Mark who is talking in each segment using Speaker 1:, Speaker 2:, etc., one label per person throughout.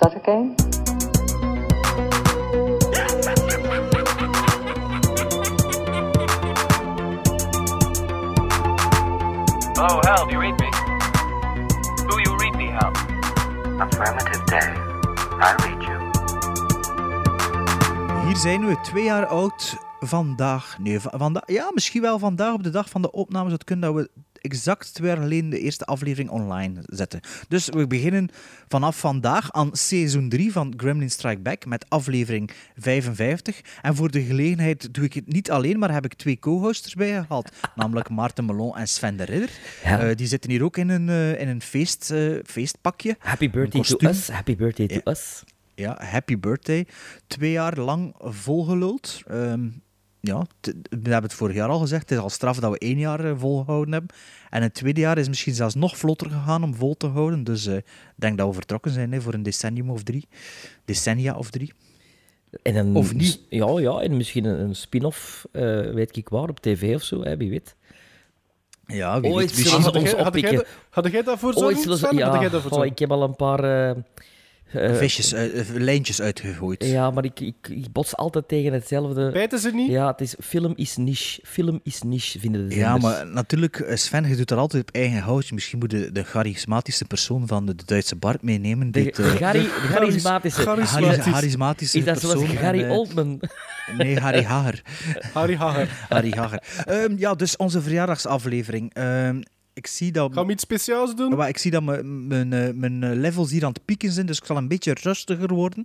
Speaker 1: oké?
Speaker 2: Oh, Hal, do you read me? Do you read me, Hal?
Speaker 3: Affirmative day. I read you.
Speaker 4: Hier zijn we, twee jaar oud vandaag. Nee, va- vanda ja, misschien wel vandaag op de dag van de opname zou het kunnen dat we exact twee jaar geleden de eerste aflevering online zetten. Dus we beginnen vanaf vandaag aan seizoen 3 van Gremlin Strike Back met aflevering 55. En voor de gelegenheid doe ik het niet alleen, maar heb ik twee co-hosters bijgehaald. namelijk Maarten Melon en Sven de Ridder.
Speaker 5: Ja.
Speaker 4: Eh, die zitten hier ook in een, eh, in een feest, eh, feestpakje.
Speaker 5: Happy birthday
Speaker 4: Een
Speaker 5: to
Speaker 4: kostuum.
Speaker 5: us. Happy birthday to us.
Speaker 4: Ja, happy birthday. Twee jaar lang volgeluld. Ehm, ja, t- we hebben het vorig jaar al gezegd. Het is al straf dat we één jaar eh, volgehouden hebben. En het tweede jaar is misschien zelfs nog vlotter gegaan om vol te houden. Dus eh, ik denk dat we vertrokken zijn hè, voor een decennium of drie. Decennia of drie.
Speaker 5: En een,
Speaker 4: Of niet.
Speaker 5: Ja, ja, en misschien een, een spin-off, eh, weet ik waar, op tv of zo, hè, wie weet.
Speaker 4: Ja, wie
Speaker 5: Ooit
Speaker 4: weet. wie
Speaker 5: zullen
Speaker 4: ziet-
Speaker 5: ze ons
Speaker 6: Had jij,
Speaker 5: oppikken.
Speaker 6: dat- had jij dat voor
Speaker 5: Ooit
Speaker 6: zorgen?
Speaker 5: zullen ze-
Speaker 6: Sven? Had
Speaker 5: ja,
Speaker 6: jij dat voor
Speaker 5: goh,
Speaker 6: zorgen?
Speaker 5: ik heb al een paar... eh, eh,
Speaker 4: visjes, eh, eh, lijntjes uitgegooid.
Speaker 5: ja, maar ik, ik, ik bots altijd tegen hetzelfde.
Speaker 6: Bijten ze niet?
Speaker 5: Ja, het is, film is niche. Film is niche, vinden de
Speaker 4: Ja,
Speaker 5: zenders.
Speaker 4: maar natuurlijk, eh, Sven, je doet dat altijd op eigen houtje. Misschien moet je de charismatische persoon van de, de Duitse Bart meenemen.
Speaker 5: De,
Speaker 4: Dit,
Speaker 5: de,
Speaker 4: eh,
Speaker 5: Gary- de charismatische.
Speaker 4: charis-
Speaker 6: Garis- charismatisch.
Speaker 4: charismatische
Speaker 5: Is dat zoals
Speaker 4: persoon.
Speaker 5: Gary
Speaker 4: en, eh,
Speaker 5: Oldman?
Speaker 4: Nee, Harry Hager.
Speaker 6: Harry Hager.
Speaker 4: Harry Hager. Ehm, ja, dus onze verjaardagsaflevering. Ehm, ik zie dat...
Speaker 6: Gaan we iets speciaals doen?
Speaker 4: Wel, ik zie dat mijn- mijn, eh, mijn eh, levels hier aan het pieken zijn, dus ik zal een beetje rustiger worden.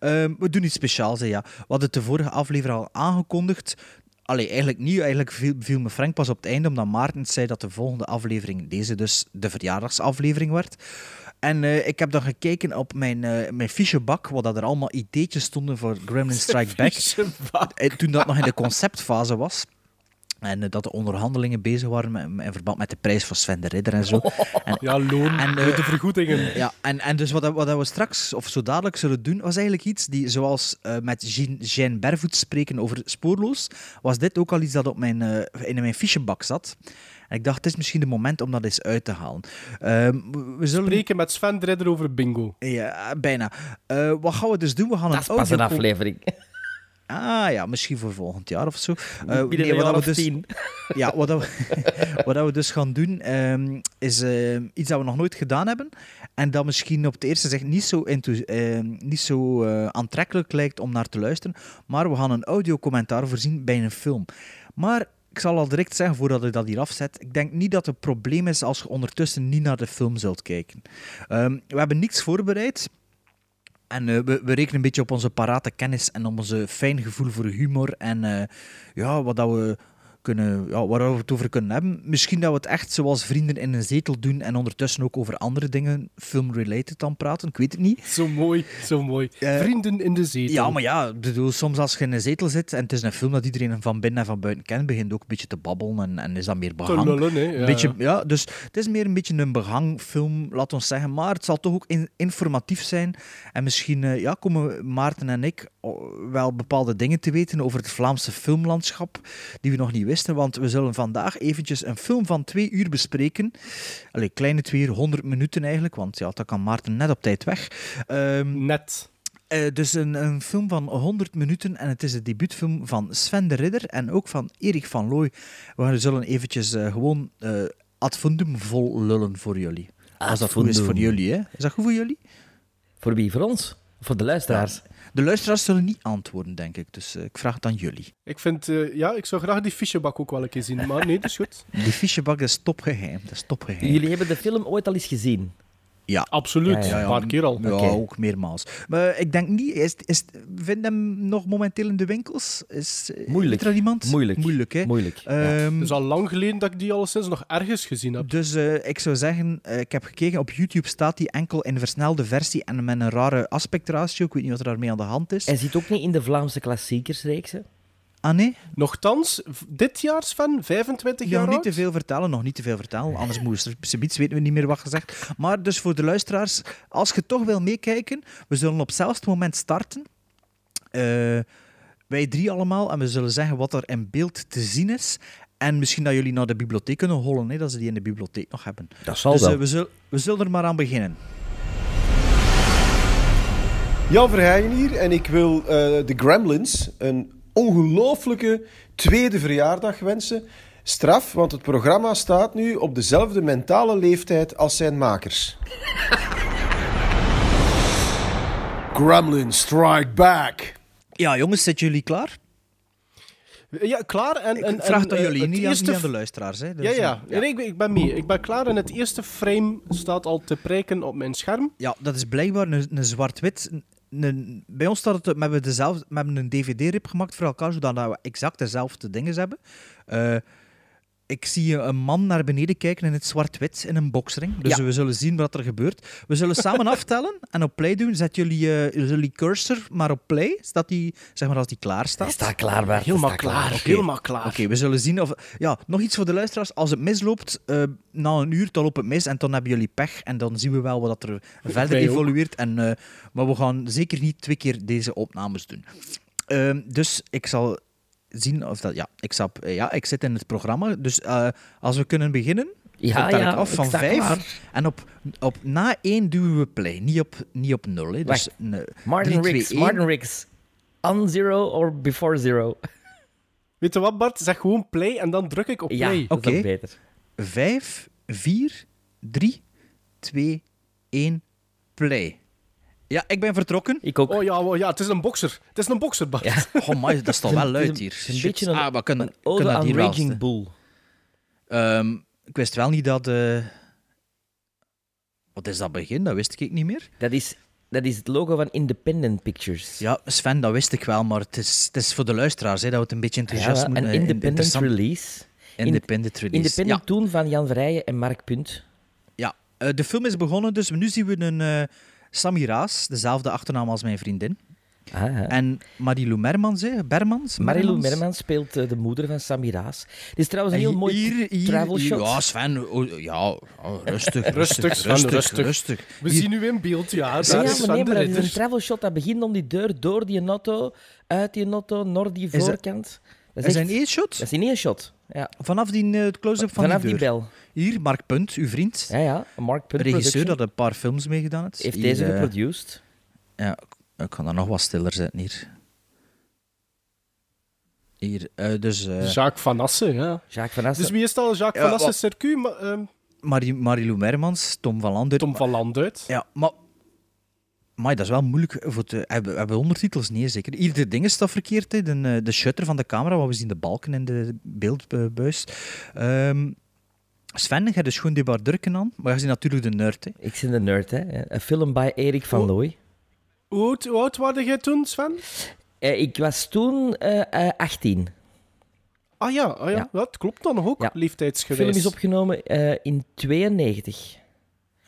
Speaker 4: Ehm, we doen iets speciaals, hè, ja. We hadden het de vorige aflevering al aangekondigd. Allee, eigenlijk niet. Eigenlijk viel, viel me Frank pas op het einde, omdat Maarten zei dat de volgende aflevering, deze dus, de verjaardagsaflevering werd. En eh, ik heb dan gekeken op mijn, eh mijn fichebak, wat dat er allemaal ideetjes stonden voor Gremlin Strike Back. Eh, Toen dat nog in de conceptfase was. En eh, dat de onderhandelingen bezig waren met, in verband met de prijs voor Sven de Ridder en zo. En
Speaker 6: Ja, loon.
Speaker 4: En, eh,
Speaker 6: de vergoedingen.
Speaker 4: ja, en, en dus wat, dat- wat dat we straks of zo dadelijk zullen doen, was eigenlijk iets die, zoals eh, met Jean, Jean Bervoet spreken over spoorloos, was dit ook al iets dat op mijn, eh, in mijn fichebak zat. En ik dacht, het is misschien het moment om dat eens uit te halen. Ehm, we- we zullen...
Speaker 6: Spreken met Sven de Ridder over bingo.
Speaker 4: Ja, bijna. Eh, wat gaan we dus doen? We gaan
Speaker 5: Dat is
Speaker 6: Oh,
Speaker 4: een
Speaker 5: pas een
Speaker 4: audio-
Speaker 5: aflevering.
Speaker 4: Ah ja, misschien voor volgend jaar of zo. Eh,
Speaker 5: Binnen
Speaker 4: nee,
Speaker 5: een
Speaker 4: wat dat
Speaker 5: jaar
Speaker 4: we
Speaker 5: of
Speaker 4: dus...
Speaker 5: tien.
Speaker 4: Ja, wat, dat we, wat dat we dus gaan doen, ehm, is ehm, iets dat we nog nooit gedaan hebben. En dat misschien op het eerste zicht niet zo, enthous- ehm, niet zo eh, aantrekkelijk lijkt om naar te luisteren. Maar we gaan een audiocommentaar voorzien bij een film. Maar ik zal al direct zeggen, voordat ik dat hier afzet, ik denk niet dat het probleem is als je ondertussen niet naar de film zult kijken. Ehm, we hebben niets voorbereid. En eh, we, we rekenen een beetje op onze parate kennis en op onze fijn gevoel voor humor. En eh, ja, wat dat we kunnen, ja, waar we het over kunnen hebben. Misschien dat we het echt zoals vrienden in een zetel doen en ondertussen ook over andere dingen, film-related dan praten. Ik weet het niet.
Speaker 6: Zo mooi, zo mooi.
Speaker 4: Eh,
Speaker 6: Vrienden in de zetel.
Speaker 4: Ja, maar ja, ik bedoel, soms als je in een zetel zit en het is een film dat iedereen van binnen en van buiten kent, begint ook een beetje te babbelen en, en is dat meer
Speaker 6: Te
Speaker 4: behang.
Speaker 6: lullen, hè. Ja.
Speaker 4: Een beetje, ja, dus het is meer een beetje een behangfilm, laat ons zeggen. Maar het zal toch ook in- informatief zijn. En misschien eh, ja, komen Maarten en ik o- wel bepaalde dingen te weten over het Vlaamse filmlandschap die we nog niet wisten. Want we zullen vandaag eventjes een film van twee uur bespreken. Allee, kleine twee uur, 100 minuten eigenlijk. Want ja, dat kan Maarten net op tijd weg. Ehm,
Speaker 6: Net.
Speaker 4: eh, dus een, een film van 100 minuten en het is de debuutfilm van Sven de Ridder en ook van Erik van Looy. We zullen eventjes eh, gewoon eh ad fundum vol lullen voor jullie. Als dat goed is voor
Speaker 5: fundum.
Speaker 4: jullie, hè? Is dat goed voor jullie?
Speaker 5: Voor wie? Voor ons? Voor de luisteraars?
Speaker 4: De luisteraars zullen niet antwoorden, denk ik. Dus eh, ik vraag het aan jullie.
Speaker 6: Ik vind, eh, ja, ik zou graag die fichebak ook wel een keer zien. Maar nee, dat is goed.
Speaker 4: Die fichebak dat is topgeheim. Dat is topgeheim.
Speaker 5: Jullie hebben de film ooit al eens gezien.
Speaker 4: Ja.
Speaker 6: Absoluut.
Speaker 5: Ja, ja,
Speaker 6: Een paar keer al.
Speaker 4: Ja,
Speaker 5: Oké.
Speaker 4: ook meermaals. Maar ik denk niet... Is, is, vindt hem nog momenteel in de winkels? Is, eh,
Speaker 5: Moeilijk.
Speaker 4: Is er iemand?
Speaker 5: Moeilijk.
Speaker 4: Moeilijk, hè?
Speaker 5: Moeilijk.
Speaker 4: Ehm,
Speaker 6: Het is al lang geleden dat ik die alleszins nog ergens gezien heb.
Speaker 4: Dus eh, ik zou zeggen, eh, ik heb gekeken op YouTube staat die enkel in versnelde versie en met een rare aspectratio. Ik weet niet wat er daarmee aan de hand is.
Speaker 5: Hij zit ook niet in de Vlaamse klassiekersreeks. Hè?
Speaker 4: Ah nee,
Speaker 6: Nochtans, v- dit jaar, Sven, 25 jaar
Speaker 4: nog niet te
Speaker 6: oud?
Speaker 4: veel vertellen, nog niet te veel vertellen. Anders moest ze iets weten we niet meer wat gezegd. Maar dus voor de luisteraars, als je toch wil meekijken, we zullen op hetzelfde moment starten. Eh, wij drie allemaal en we zullen zeggen wat er in beeld te zien is. En misschien dat jullie naar de bibliotheek kunnen hollen, hè, dat ze die in de bibliotheek nog hebben.
Speaker 5: Dat zal
Speaker 4: dus eh,
Speaker 5: wel.
Speaker 4: we, zullen, we zullen er maar aan beginnen.
Speaker 1: Jan Verheijen hier en ik wil eh, de Gremlins een ongelooflijke tweede verjaardag wensen. Straf, want het programma staat nu op dezelfde mentale leeftijd als zijn makers. Gremlins Strike Back.
Speaker 4: Ja, jongens, zitten jullie klaar?
Speaker 6: Ja, klaar. En, en,
Speaker 4: Ik vraag
Speaker 6: en,
Speaker 4: het aan
Speaker 6: eh,
Speaker 4: jullie,
Speaker 6: het
Speaker 4: niet, aan-
Speaker 6: eerste
Speaker 4: niet aan de luisteraars. Hè. Dus,
Speaker 6: Ja,
Speaker 4: eh,
Speaker 6: ja. Nee, ik, ben- ik ben mee. Ik ben klaar en het eerste frame staat al te prijken op mijn scherm.
Speaker 4: Ja, dat is blijkbaar een, een zwart-wit. Een- een- bij ons staat het, we hebben, dezelfde, we hebben een dvd-rip gemaakt voor elkaar, zodat we exact dezelfde dingen hebben. Eh, ik zie een man naar beneden kijken in het zwart-wit in een boksring. Dus we zullen zien wat er gebeurt. We zullen samen aftellen en op play doen. Zet jullie, eh, jullie cursor maar op play, zodat die, zeg maar als die klaar staat.
Speaker 7: Is dat klaar, Bert? Is
Speaker 6: Helemaal
Speaker 7: dat
Speaker 6: klaar.
Speaker 7: Oké.
Speaker 6: Helemaal klaar.
Speaker 4: Oké, we zullen zien of... Ja, nog iets voor de luisteraars. Als het misloopt, eh, na een uur, dan loopt het mis en dan hebben jullie pech. En dan zien we wel wat dat er verder
Speaker 6: Wij ook.
Speaker 4: evolueert. En, eh, maar we gaan zeker niet twee keer deze opnames doen. Ehm, dus ik zal zien of dat... Ja, ik, zal, eh, ja, ik zit in het programma. Dus eh, als we kunnen beginnen,
Speaker 7: Ja,
Speaker 4: dan tel
Speaker 7: ja,
Speaker 4: ik af
Speaker 7: ik
Speaker 4: van
Speaker 7: sta
Speaker 4: vijf.
Speaker 7: klaar.
Speaker 4: En op, op na één duwen we play. Niet op, niet op nul, hè. Dus,
Speaker 7: Wacht.
Speaker 4: nee,
Speaker 7: Martin
Speaker 4: drie, twee,
Speaker 7: Riggs,
Speaker 4: één.
Speaker 7: Martin Riggs. On zero or before zero?
Speaker 6: Weet je wat, Bart? Zeg gewoon play en dan druk ik op
Speaker 7: Ja,
Speaker 6: play.
Speaker 7: dat is
Speaker 4: Oké.
Speaker 7: ook beter.
Speaker 4: 5, 4, 3, 2, 1, play. Ja, ik ben vertrokken.
Speaker 7: Ik ook.
Speaker 6: Oh ja, oh, ja, het is een bokser. Het is een bokser, Bart.
Speaker 7: Ja.
Speaker 4: Oh my, dat is toch wel
Speaker 7: Het is een-
Speaker 4: luid
Speaker 7: het is
Speaker 4: hier.
Speaker 7: een- het is een
Speaker 4: Shit.
Speaker 7: beetje een-
Speaker 4: ah, maar kunnen,
Speaker 7: Ode
Speaker 4: kunnen dat
Speaker 7: aan
Speaker 4: hier wel
Speaker 7: Raging
Speaker 4: eens-
Speaker 7: Bull.
Speaker 4: Ehm, Ik wist wel niet dat... eh, Wat is dat begin? Dat wist ik niet meer.
Speaker 7: Dat is, dat is het logo van Independent Pictures.
Speaker 4: Ja, Sven, dat wist ik wel, maar het is, het is voor de luisteraars hè, dat we het een beetje enthousiast
Speaker 7: een
Speaker 4: moeten... eh, in-
Speaker 7: independent
Speaker 4: interessant-
Speaker 7: release.
Speaker 4: Independent release.
Speaker 7: Independent
Speaker 4: Ja.
Speaker 7: toen van Jan Verrijen en Mark Punt.
Speaker 4: Ja, eh, de film is begonnen, dus nu zien we een eh Sammy Raas, dezelfde achternaam als mijn vriendin.
Speaker 7: Ah, ja.
Speaker 4: En Marilou Mermans, hè? Bermans?
Speaker 7: Marilou Merman speelt eh, de moeder van Sammy Raas. Dit is trouwens een heel mooi
Speaker 4: Hier- hier-
Speaker 7: travel
Speaker 4: hier-
Speaker 7: shot.
Speaker 4: Ja, Sven, oh, ja, oh, rustig,
Speaker 6: Rustig,
Speaker 4: rustig,
Speaker 6: Sven,
Speaker 4: rustig, rustig.
Speaker 6: rustig. We
Speaker 4: Hier-
Speaker 6: zien u in beeld, ja. Daar
Speaker 7: Ja, maar
Speaker 6: is
Speaker 7: nee,
Speaker 6: Van
Speaker 7: maar
Speaker 6: de
Speaker 7: dat is
Speaker 6: Ritter.
Speaker 7: een travel shot dat begint om die deur, door die auto, uit die auto, naar die
Speaker 4: dat-
Speaker 7: voorkant. Dat
Speaker 4: Er
Speaker 7: is,
Speaker 4: zijn
Speaker 7: echt-
Speaker 4: één shot
Speaker 7: dat is in één shot. Ja.
Speaker 4: vanaf die eh, close-up van
Speaker 7: Vanaf
Speaker 4: die,
Speaker 7: die
Speaker 4: deur.
Speaker 7: bel.
Speaker 4: Hier, Mark Punt, uw vriend,
Speaker 7: Ja, ja. Mark Punt
Speaker 4: regisseur
Speaker 7: Production
Speaker 4: dat een paar films meegedaan heeft.
Speaker 7: heeft
Speaker 4: Hier,
Speaker 7: deze
Speaker 4: eh,
Speaker 7: geproduced.
Speaker 4: ja, ik- ik kan daar nog wat stiller zetten hier. Hier, eh, dus eh
Speaker 6: Jacques Van Assen, ja.
Speaker 7: Jacques van Assen.
Speaker 6: Dus wie is het al? Jacques
Speaker 4: Ja,
Speaker 6: Van Assen
Speaker 4: wat-
Speaker 6: Circuit, maar, ehm,
Speaker 4: Marie, Marilou Mermans, Tom van Lander.
Speaker 6: Tom van Landuit.
Speaker 4: Ja, maar... Maar dat is wel moeilijk. eh, Voor te, hebben, hebben we ondertitels? Nee, zeker. Hier, de ding staat verkeerd. Hè. De, eh, de shutter van de camera, want we zien de balken in de beeldbuis. Ehm, Sven, jij hebt dus gewoon die bar drukken aan. Maar je ziet natuurlijk de nerd. Hè.
Speaker 7: Ik ben de nerd, hè. Een film bij Erik
Speaker 4: Oh.
Speaker 7: van Looy.
Speaker 6: Hoe, oud, hoe oud waren jij toen, Sven?
Speaker 7: Eh, ik was toen eh, eh, 18.
Speaker 6: Ah ja, ah, ja.
Speaker 7: Ja.
Speaker 6: dat klopt dan nog ook,
Speaker 7: Ja. De
Speaker 6: leeftijdsgewijs.
Speaker 7: film is opgenomen eh, in 92.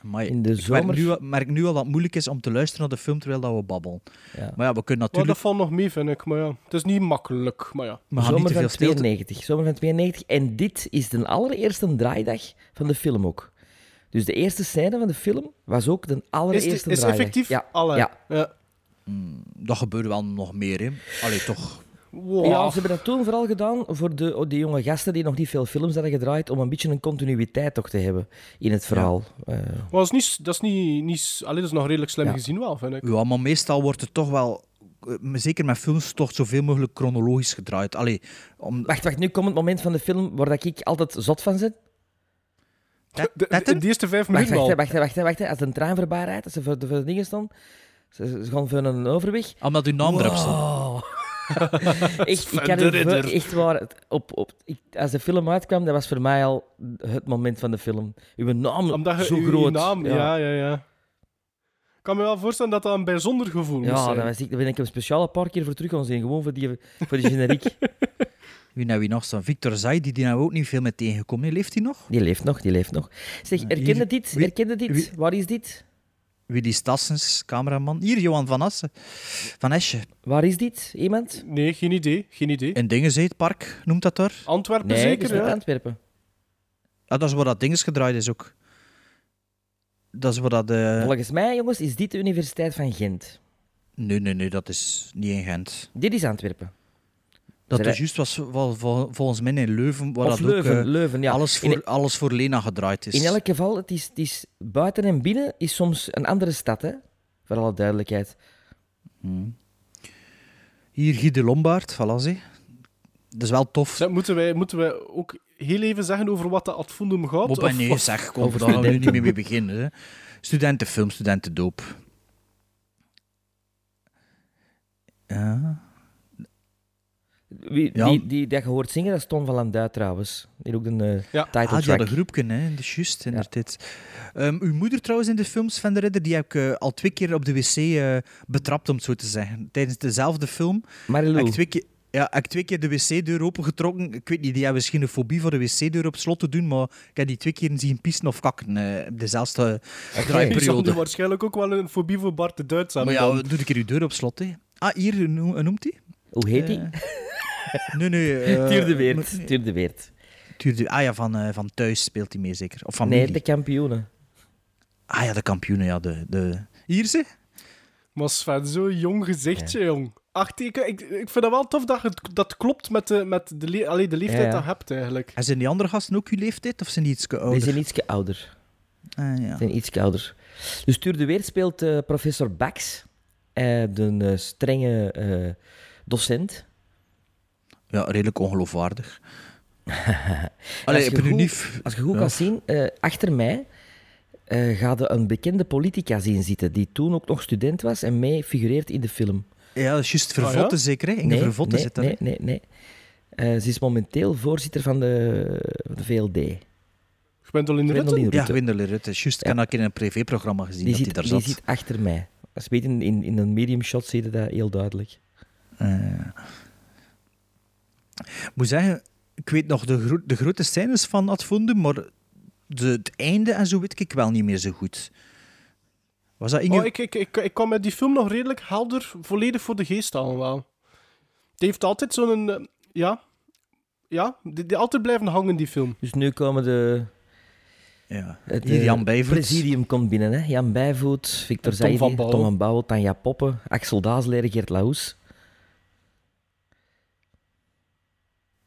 Speaker 4: Amai,
Speaker 7: In de
Speaker 4: ik merk
Speaker 7: zomer.
Speaker 4: nu, al- merk nu al dat het moeilijk is om te luisteren naar de film terwijl dat we babbelen.
Speaker 7: Ja.
Speaker 4: Maar ja, we kunnen
Speaker 6: Maar dat
Speaker 4: natuurlijk...
Speaker 6: valt nog mee, vind ik. Maar ja, het is niet makkelijk, maar ja.
Speaker 4: we gaan niet
Speaker 7: zomer
Speaker 4: te veel
Speaker 7: van
Speaker 4: stilte...
Speaker 7: 92. Zomer van 92. En dit is de allereerste draaidag van de film ook. Dus de eerste scène van de film was ook de
Speaker 6: Is,
Speaker 7: allereerste
Speaker 6: het- is
Speaker 7: draaidag.
Speaker 6: effectief
Speaker 7: Ja.
Speaker 6: alle...
Speaker 7: ja.
Speaker 6: ja.
Speaker 4: Dat gebeurde wel nog meer, hè. Allee, toch.
Speaker 6: Wow.
Speaker 7: Ja, ze hebben dat toen vooral gedaan voor de, oh, die jonge gasten die nog niet veel films hadden gedraaid, om een beetje een continuïteit toch te hebben in het verhaal. Eh,
Speaker 6: Maar dat is, niet, dat, is niet, niet, allee, dat is nog redelijk slim
Speaker 7: Ja.
Speaker 6: gezien wel, vind ik.
Speaker 4: Ja, maar meestal wordt het toch wel... eh, Zeker met films toch zoveel mogelijk chronologisch gedraaid. Allee, om,
Speaker 7: Wacht, wacht, nu komt het moment van de film waar dat ik altijd zot van zit.
Speaker 4: Tet-
Speaker 6: De, de,
Speaker 4: tetten?
Speaker 6: de eerste vijf
Speaker 7: Wacht,
Speaker 6: minuten
Speaker 7: wacht,
Speaker 6: al.
Speaker 7: hè, wacht, hè, wacht, hè, wacht, hè. Als een trein voorbij rijdt, als ze voor de, voor de dingen staan, ze, ze gaan voor een overweg.
Speaker 4: Omdat uw naam erop staat.
Speaker 7: Wow. Oh. echt, ik kan
Speaker 6: de
Speaker 7: het wel-
Speaker 6: Ridder.
Speaker 7: echt waar. het- Op, op, ik, als de film uitkwam, dat was voor mij al het moment van de film. Uw naam
Speaker 6: Omdat je
Speaker 7: zo
Speaker 6: uw
Speaker 7: groot.
Speaker 6: naam... Ja. ja, ja, Ik kan me wel voorstellen dat dat een bijzonder gevoel
Speaker 7: Ja,
Speaker 6: moest
Speaker 7: daar,
Speaker 6: zijn.
Speaker 7: was ik, daar ben ik een speciale paar keer voor terug gaan zien. Gewoon voor die, voor die generiek.
Speaker 4: Wie nou wie nog staan? Victor Zay, die die nou ook niet veel mee tegenkomt. hè. Leeft hij nog?
Speaker 7: Die leeft nog, die leeft nog. Zeg, herkende dit?
Speaker 4: wie-
Speaker 7: Herkende
Speaker 4: wie-
Speaker 7: dit? Waar is dit?
Speaker 4: Willy Stassens, cameraman. Hier, Johan van Assen. Van Esche.
Speaker 7: Waar is dit? Iemand?
Speaker 6: Nee, geen idee. Geen idee.
Speaker 4: In Dingenzee, het park, noemt dat daar?
Speaker 6: Antwerpen
Speaker 7: Nee, dus het is
Speaker 6: zeker,
Speaker 7: uit
Speaker 6: ja.
Speaker 7: Antwerpen.
Speaker 4: Ah, dat is waar dat dinges gedraaid is ook. Dat is waar dat... eh,
Speaker 7: Volgens mij, jongens, is dit de Universiteit van Gent.
Speaker 4: Nee, nee, nee, dat is niet in Gent.
Speaker 7: Dit is Antwerpen.
Speaker 4: Dat
Speaker 7: Zij-
Speaker 4: dus juist was vol- vol- volgens mij in Leuven, waar
Speaker 7: of
Speaker 4: dat
Speaker 7: Leuven,
Speaker 4: ook eh,
Speaker 7: Leuven, ja.
Speaker 4: alles, voor,
Speaker 7: In- e-
Speaker 4: alles voor Lena gedraaid is.
Speaker 7: In elk geval, het is, het is buiten en binnen is soms een andere stad, hè? Voor alle duidelijkheid.
Speaker 4: Hier Guy de Lombaard, voilà zie. Dat is wel tof.
Speaker 6: Zeg, moeten, wij, moeten wij ook heel even zeggen over wat de ad fundum gaat?
Speaker 4: Op
Speaker 6: Of-
Speaker 4: en nee,
Speaker 6: of-
Speaker 4: zeg, kom,
Speaker 7: over
Speaker 4: daar gaan we nu niet
Speaker 7: studenten.
Speaker 4: meer mee beginnen. Hè. Studentenfilm, studentendoop. Ja.
Speaker 7: Wie,
Speaker 4: Ja.
Speaker 7: die, die, dat je hoort zingen, dat is Tom van Landuit trouwens. Die heeft ook een eh,
Speaker 6: Ja.
Speaker 7: title
Speaker 4: Ah, die had
Speaker 7: track.
Speaker 4: een groepje, hè. Dat is juist, inderdaad. Ehm, uw moeder trouwens in de films, Van de Ridder, die heb ik eh, al twee keer op de wc eh, betrapt, om het zo te zeggen. Tijdens dezelfde film
Speaker 7: Marilou.
Speaker 4: heb ik twee keer... Ja, heb ik twee keer de wc-deur opengetrokken. Ik weet niet, die hebben misschien een fobie voor de wc-deur op slot te doen, maar ik heb die twee keer zien pissen of kakken eh, op dezelfde
Speaker 6: Ik zal nu
Speaker 4: draaiperiode.
Speaker 6: waarschijnlijk ook wel een fobie voor Bart de Duits hebben.
Speaker 4: Maar ja,
Speaker 6: dan.
Speaker 4: doe een keer uw deur op slot, hè. Ah, hier, hoe noem- hoe noemt hij?
Speaker 7: Hoe heet die?
Speaker 4: Nee, nee. eh,
Speaker 7: Tuur de Weert.
Speaker 4: moet-
Speaker 7: Tuur de Weert.
Speaker 4: Tuur de- Ah ja, van, eh, van thuis speelt hij mee zeker. Of van
Speaker 7: Nee,
Speaker 4: Mili.
Speaker 7: de kampioenen.
Speaker 4: Ah ja, de kampioenen, ja. De, de... Hier ze?
Speaker 6: Maar Sven, zo'n jong gezichtje, jong. Ach, ik, ik, ik vind dat wel tof dat het, dat klopt met de, met de, le- allee, de leeftijd
Speaker 7: Ja, ja.
Speaker 6: dat je hebt, eigenlijk.
Speaker 4: En zijn die andere gasten ook uw leeftijd? Of zijn die iets
Speaker 7: Die
Speaker 4: ouder?
Speaker 7: zijn ietsje ouder.
Speaker 4: Ah, ja.
Speaker 7: Zijn ietsje ouder. Dus Tuur de Weert speelt eh, professor Bax. eh, de eh, strenge eh, docent.
Speaker 4: ja, redelijk ongeloofwaardig. Allee,
Speaker 7: Als
Speaker 4: ik
Speaker 7: je
Speaker 4: ben nu
Speaker 7: goed-
Speaker 4: niet...
Speaker 7: Als je goed
Speaker 4: Ja.
Speaker 7: kan zien, eh, achter mij eh gaat er een bekende politica zien zitten. Die toen ook nog student was en mee figureert in de film.
Speaker 4: Ja, dat is juist Vervotte
Speaker 6: Ah, ja?
Speaker 4: zeker, hè? Inge Vervotte
Speaker 7: nee,
Speaker 4: zit daar.
Speaker 7: Nee, nee, nee. Eh, ze is momenteel voorzitter van de, van de VLD.
Speaker 6: Je bent al in
Speaker 7: Gwendoline
Speaker 6: de Rutte?
Speaker 7: Rutte.
Speaker 4: Ja, Gwendolyn Rutte. Juist, ik heb dat een keer in een privéprogramma gezien
Speaker 7: Die,
Speaker 4: dat
Speaker 7: zit,
Speaker 4: hij daar
Speaker 7: die
Speaker 4: zat.
Speaker 7: zit achter mij. Als je weet, in, in, in een medium shot zie je dat heel duidelijk.
Speaker 4: Ik moet zeggen, ik weet nog de, gro- de grote scènes van Ad Fundum, maar de, het einde en zo weet ik wel niet meer zo goed. Was dat Inge?
Speaker 6: Oh, ik, ik, ik, ik kwam met die film nog redelijk helder, volledig voor de geest aan wel. Het heeft altijd zo'n... eh, ja, ja die, die altijd blijven hangen, die film. Ah,
Speaker 7: Dus nu komen de...
Speaker 4: ja.
Speaker 7: Het,
Speaker 4: Hier
Speaker 7: eh,
Speaker 4: Jan Bijvoet.
Speaker 7: presidium komt binnen, hè. Jan Bijvoet, Victor
Speaker 6: En Tom
Speaker 7: Zaidi,
Speaker 6: van Bouwen.
Speaker 7: Tom van Bouwen, Tanja Poppen, Axel Daasleer, Gert Laus.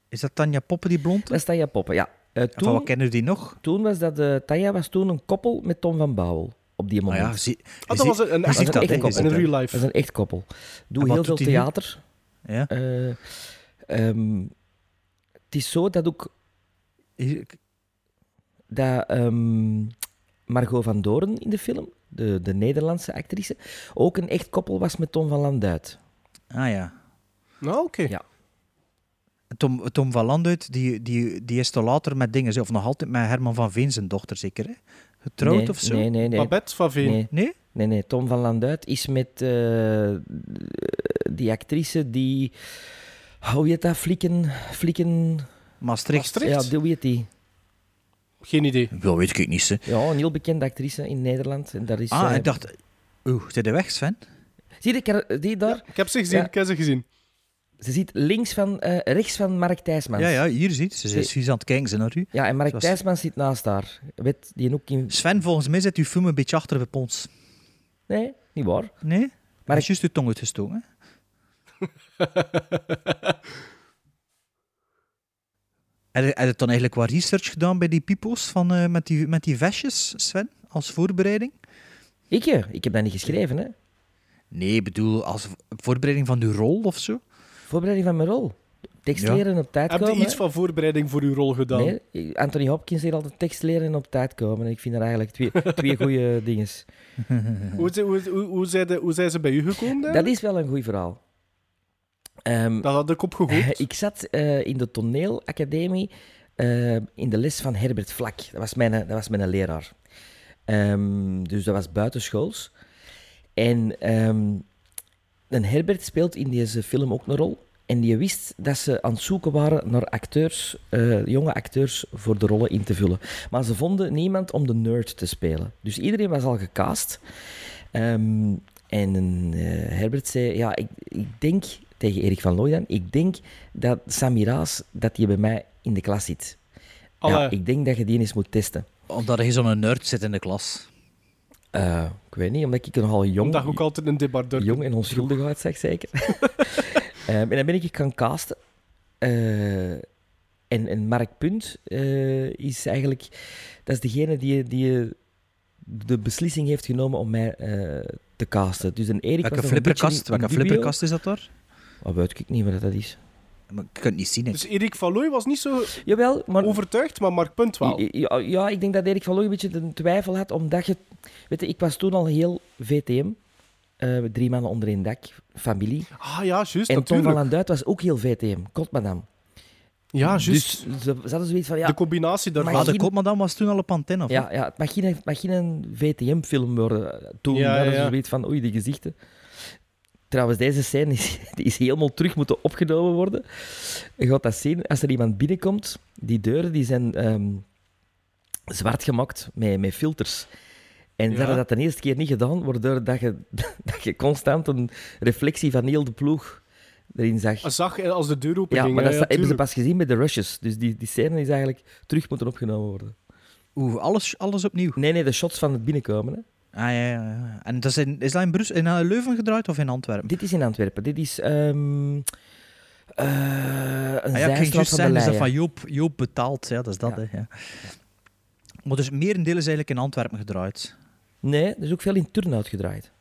Speaker 4: Is dat Tanja Poppen die blond?
Speaker 7: Dat is Tanja Poppen, ja. Eh,
Speaker 4: Van wat
Speaker 7: toen,
Speaker 4: kennen we die nog?
Speaker 7: toen was dat... eh Tanja was toen een koppel met Tom van Bouwen. Op die
Speaker 4: Ah
Speaker 7: moment.
Speaker 4: ja, zie,
Speaker 6: Ah,
Speaker 4: zie-
Speaker 6: dat was een, een
Speaker 4: je ziet
Speaker 6: echt
Speaker 7: dat, hè,
Speaker 6: koppel,
Speaker 7: je ziet
Speaker 6: in
Speaker 7: dat.
Speaker 6: real
Speaker 7: Dat is
Speaker 6: life.
Speaker 7: een echt koppel.
Speaker 4: En
Speaker 7: Doe
Speaker 4: wat
Speaker 7: heel veel
Speaker 4: doet hij nu?
Speaker 7: theater.
Speaker 4: ja.
Speaker 7: Eh, ehm, het is zo dat ook
Speaker 4: Hier-
Speaker 7: dat ehm, Margot van Doorn in de film, de, de Nederlandse actrice, ook een echt koppel was met Tom van Landuit.
Speaker 4: ah ja.
Speaker 6: Nou, oké.
Speaker 7: Ja.
Speaker 4: Tom, Tom van Landuit, die, die, die is toch later met dingen, of nog altijd met Herman van Veen, zijn dochter zeker, hè? Getrouwd
Speaker 7: nee,
Speaker 4: of zo?
Speaker 7: Nee, nee, nee.
Speaker 6: Babette van Veen.
Speaker 7: Nee,
Speaker 4: Nee?
Speaker 7: nee, nee. Tom van Landuit is met eh, die actrice die... Hoe heet dat? Flikken... Flikken...
Speaker 4: Maastricht.
Speaker 6: Maastricht?
Speaker 7: Ja, die- hoe heet die?
Speaker 6: Geen idee.
Speaker 4: Wel weet ik niet, ze.
Speaker 7: Ja, een heel bekende actrice in Nederland. En daar is,
Speaker 4: Ah,
Speaker 7: eh,
Speaker 4: ik dacht... Oeh, zit hij weg, Sven?
Speaker 7: Zie je die- die daar?
Speaker 6: Ik heb ze gezien,
Speaker 7: Ja.
Speaker 6: ik heb ze gezien.
Speaker 7: Ze zit links van, eh, rechts van Mark Thijsmans.
Speaker 4: Ja, ja, hier ziet ze. Ze is vies aan het kijken, ze naar u.
Speaker 7: Ja, en Mark
Speaker 4: Zoals-
Speaker 7: Thijsmans zit naast haar. Weet die ook in...
Speaker 4: Sven, volgens mij zit uw film een beetje achter bij ons.
Speaker 7: Nee, niet waar.
Speaker 4: Nee? Maar
Speaker 7: Maar
Speaker 4: is juist uw tong uitgestoken. hè? Heb je- Heb je dan eigenlijk wat research gedaan bij die pipo's van, eh, met, die, met die vestjes, Sven, als voorbereiding?
Speaker 7: Ik, eh, ik heb dat niet geschreven, hè.
Speaker 4: Nee, ik bedoel, als voorbereiding van uw rol of zo?
Speaker 7: Voorbereiding van mijn rol. Tekst
Speaker 4: Ja.
Speaker 7: leren en op tijd
Speaker 6: Heb
Speaker 7: komen.
Speaker 6: je iets
Speaker 7: hè.
Speaker 6: van voorbereiding voor uw rol gedaan?
Speaker 7: Nee, Anthony Hopkins zegt altijd tekst leren en op tijd komen. En ik vind er eigenlijk twee, twee goede dingen.
Speaker 6: Hoe, ze- hoe, hoe, hoe, zijn de- hoe zijn ze bij u gekomen?
Speaker 7: Dat
Speaker 6: eigenlijk?
Speaker 7: is wel een goed verhaal. Ehm,
Speaker 6: dat had ik opgegooid.
Speaker 7: ik zat eh, in de toneelacademie eh, in de les van Herbert Vlak. Dat was mijn, dat was mijn leraar. Ehm, dus dat was buitenschools. En ehm, een Herbert speelt in deze film ook een rol. En die wist dat ze aan het zoeken waren naar acteurs, eh, jonge acteurs voor de rollen in te vullen. Maar ze vonden niemand om de nerd te spelen. Dus iedereen was al gecast. Ehm, en eh, Herbert zei, ja, ik, ik denk tegen Erik van Looijan, ik denk dat Samira's, dat die bij mij in de klas zit. Ja,
Speaker 6: Allee.
Speaker 7: ik denk dat je die eens moet testen.
Speaker 4: Omdat je zo'n nerd zit in de klas.
Speaker 7: Eh, ik weet niet, omdat ik er nogal jong...
Speaker 6: Omdat je ook altijd een debardeur
Speaker 7: Jong en onschuldig uitzag, zeker. Ehm, en dan ben ik gaan casten. Eh, en, en Mark Punt eh, is eigenlijk... Dat is degene die, die de beslissing heeft genomen om mij eh, te casten. Dus een Erik was
Speaker 4: Welke
Speaker 7: nog een beetje
Speaker 4: flipperkast,
Speaker 7: in
Speaker 4: welke
Speaker 7: dubio.
Speaker 4: flipperkast is dat daar?
Speaker 7: Oh, weet ik niet wat dat is.
Speaker 4: Maar ik kan het niet zien. hè.
Speaker 6: Dus Erik van Looy was niet zo
Speaker 7: Jawel, maar...
Speaker 6: overtuigd, maar Mark Punt wel.
Speaker 7: Ja, ja, ik denk dat Erik van Looy een beetje de twijfel had, omdat je... Weet je, ik was toen al heel VTM. eh, drie mannen onder één dak, familie.
Speaker 6: Ah ja, juist,
Speaker 7: en Tom van
Speaker 6: natuurlijk.
Speaker 7: Landuit was ook heel VTM, Kotmadam.
Speaker 6: Ja, juist.
Speaker 7: Dus ze, ze hadden zoiets van, ja,
Speaker 6: De combinatie daarvan.
Speaker 7: Maar
Speaker 4: Ah, de
Speaker 7: misschien-
Speaker 4: koopmadam was toen al op antenne, of
Speaker 7: ja, ja het, mag geen, het mag geen VTM-film worden. Toen
Speaker 6: Ja,
Speaker 7: hadden
Speaker 6: ja, ja.
Speaker 7: ze zoiets van, oei, die gezichten. Trouwens, deze scène is, die is helemaal terug moeten opgenomen worden. Je gaat dat zien, als er iemand binnenkomt, die deuren die zijn ehm, zwart gemaakt met, met filters. En ze
Speaker 6: Ja.
Speaker 7: hadden dat de eerste keer niet gedaan, waardoor dat je, dat je constant een reflectie van heel de ploeg erin zag.
Speaker 6: Als Zag eh, als de deur open
Speaker 7: Ja,
Speaker 6: ging.
Speaker 7: maar
Speaker 6: hè,
Speaker 7: dat sta- hebben ze
Speaker 6: tuurlijk.
Speaker 7: pas gezien met de rushes. Dus die, die scène is eigenlijk terug moeten opgenomen worden.
Speaker 4: Oeh, alles, alles opnieuw.
Speaker 7: Nee, nee, de shots van het binnenkomen. Hè.
Speaker 4: Ah, ja, ja, ja. En dat is, in, is dat in, Brussel, in eh, Leuven gedraaid of in Antwerpen?
Speaker 7: Dit is in Antwerpen. Dit is ehm eh een
Speaker 4: Ah, ja, ik ging
Speaker 7: zijstraat
Speaker 4: juist
Speaker 7: van
Speaker 4: zeggen,
Speaker 7: de
Speaker 4: is dat van
Speaker 7: Leyen.
Speaker 4: Joop, Joop betaald. Ja, dat is dat,
Speaker 7: Ja.
Speaker 4: hè. Ja. Maar dus merendeel is eigenlijk in Antwerpen gedraaid.
Speaker 7: Nee, er is ook veel in Turnhout gedraaid.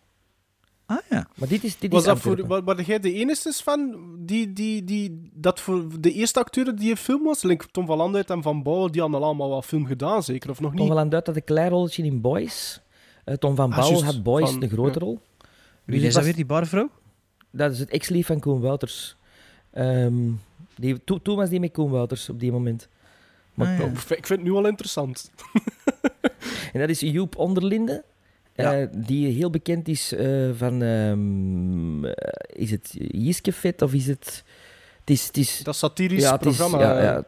Speaker 4: Ah ja.
Speaker 7: Maar dit is, dit
Speaker 6: Was
Speaker 7: is
Speaker 6: dat voor,
Speaker 7: Antwerpen.
Speaker 6: wa- waar jij de enige van die, die, die, dat voor de eerste acteur die in film was? Link Tom van Landuit en Van Bouwen, die hadden allemaal wel film gedaan, zeker, of nog
Speaker 7: Tom
Speaker 6: niet?
Speaker 7: van Landuit had een klein rolletje in Boys. Eh, Tom van
Speaker 6: Ah,
Speaker 7: Bouwel
Speaker 6: juist,
Speaker 7: had Boys
Speaker 6: van-
Speaker 7: een grote
Speaker 6: ja.
Speaker 7: rol.
Speaker 4: Wie
Speaker 7: Dus
Speaker 4: is dat
Speaker 7: was-
Speaker 4: weer, die barvrouw?
Speaker 7: Dat is het ex-lief van Koen Wouters. Ehm, die, toen, toen was die met Koen Wouters op die moment. Maar
Speaker 4: Ah, ja.
Speaker 6: Oh, Ik vind het nu al interessant.
Speaker 7: En dat is Joep Onderlinde.
Speaker 4: Ja.
Speaker 7: eh, die heel bekend is eh, van... ehm, eh, is het Jiskefit of is het... Het is... Het is
Speaker 6: Dat satirisch
Speaker 7: ja, het is,
Speaker 6: programma.
Speaker 7: ja, ja.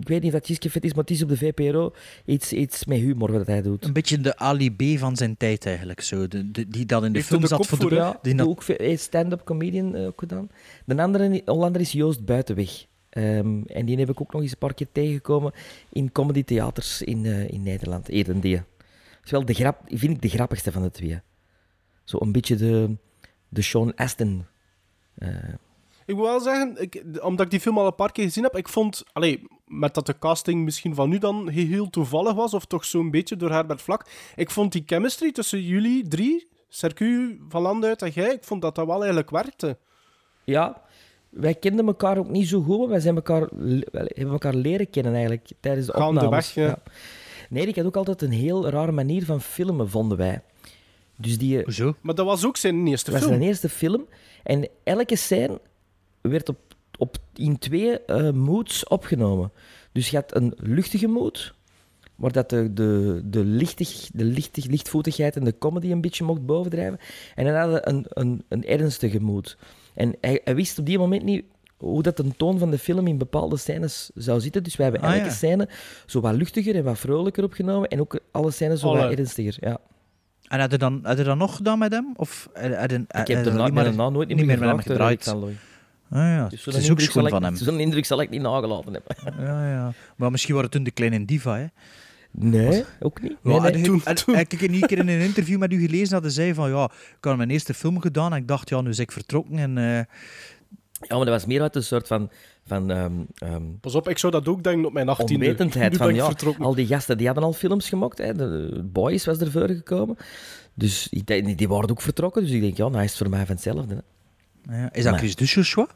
Speaker 7: ik weet niet of dat Jiskefit is, maar het is op de VPRO iets, iets met humor wat hij doet.
Speaker 4: Een beetje de Ali B van zijn tijd eigenlijk. Zo. De, de- die dat in de
Speaker 6: Heeft
Speaker 4: film
Speaker 6: er de
Speaker 4: zat
Speaker 6: kop
Speaker 4: voor de...
Speaker 6: voor, hè?
Speaker 7: Ja,
Speaker 4: die nat-
Speaker 7: ook veel- eh, stand-up comedian eh, ook gedaan. De andere Hollander is Joost Buitenweg. Ehm, en die heb ik ook nog eens een paar keer tegengekomen in comedy theaters in, eh, in Nederland, eerder die. Dat is wel de grap, vind ik de grappigste van de twee. Zo een beetje de, de Sean Astin. eh,
Speaker 6: Ik moet wel zeggen, ik, d- omdat ik die film al een paar keer gezien heb, ik vond, allee, met dat de casting misschien van nu dan geheel toevallig was, of toch zo'n beetje door Herbert Vlak, ik vond die chemistry tussen jullie drie, Sercu, Van Landuit en jij, ik vond dat dat wel eigenlijk werkte.
Speaker 7: ja, wij kenden elkaar ook niet zo goed, maar wij zijn elkaar, le- wel, hebben elkaar leren kennen eigenlijk tijdens de
Speaker 6: Gaandeweg,
Speaker 7: opnames.
Speaker 6: ja.
Speaker 7: Nee, ik had ook altijd een heel rare manier van filmen, vonden wij. Dus die,
Speaker 4: Hoezo?
Speaker 6: Maar dat was ook zijn eerste
Speaker 7: Het was
Speaker 6: film.
Speaker 7: zijn eerste film. En elke scène werd op, op, in twee eh moods opgenomen. Dus je had een luchtige mood, waar dat de, de, de, lichtig, de lichtig, lichtvoetigheid en de comedy een beetje mocht bovendrijven. En dan had je een, een, een ernstige mood. En hij, hij wist op die moment niet hoe dat de toon van de film in bepaalde scènes zou zitten. Dus wij hebben
Speaker 4: Ah,
Speaker 7: elke
Speaker 4: ja.
Speaker 7: scène zo wat luchtiger en wat vrolijker opgenomen. En ook alle scènes zo
Speaker 6: Alle.
Speaker 7: wat ernstiger. Ja.
Speaker 4: En had je, dan, had je dan nog gedaan met hem? Of eh, had- had je- had
Speaker 7: Ik
Speaker 4: je dan
Speaker 7: heb daarna
Speaker 4: niet meer-
Speaker 7: daarna nooit
Speaker 4: niet meer met hem
Speaker 7: gevraagd, eh,
Speaker 4: gedraaid.
Speaker 7: Rick van Looy.
Speaker 4: Ah, ja.
Speaker 7: Dus
Speaker 4: het
Speaker 7: zo'n
Speaker 4: is ook
Speaker 7: indruk, zal
Speaker 4: schoon
Speaker 7: ik,
Speaker 4: van hem.
Speaker 7: zo'n indruk zal ik niet nagelaten hebben.
Speaker 4: Ja, ja. Maar misschien waren toen de kleine diva, hè?
Speaker 7: Nee, ook niet.
Speaker 4: Ja,
Speaker 7: Nee,
Speaker 4: en
Speaker 7: nee.
Speaker 4: hij- en- en Ik heb een keer in een interview met u gelezen dat hij zei van ja, ik had mijn eerste film gedaan en ik dacht ja, nu is ik vertrokken en eh,
Speaker 7: Ja, maar dat was meer uit een soort van, van ehm, ehm,
Speaker 6: Pas op, ik zou dat ook denken op mijn 18e.
Speaker 7: onwetendheid.
Speaker 6: Nu
Speaker 7: Van,
Speaker 6: ben ik
Speaker 7: ja,
Speaker 6: vertrokken.
Speaker 7: al die gasten die hadden al films gemaakt. Hè. De Boys was er voor gekomen. Dus ik denk, die waren ook vertrokken. Dus ik denk, ja, nou is het voor mij van hetzelfde. Hè.
Speaker 4: nou ja, is dat
Speaker 7: Maar-
Speaker 4: Chris de Joshua?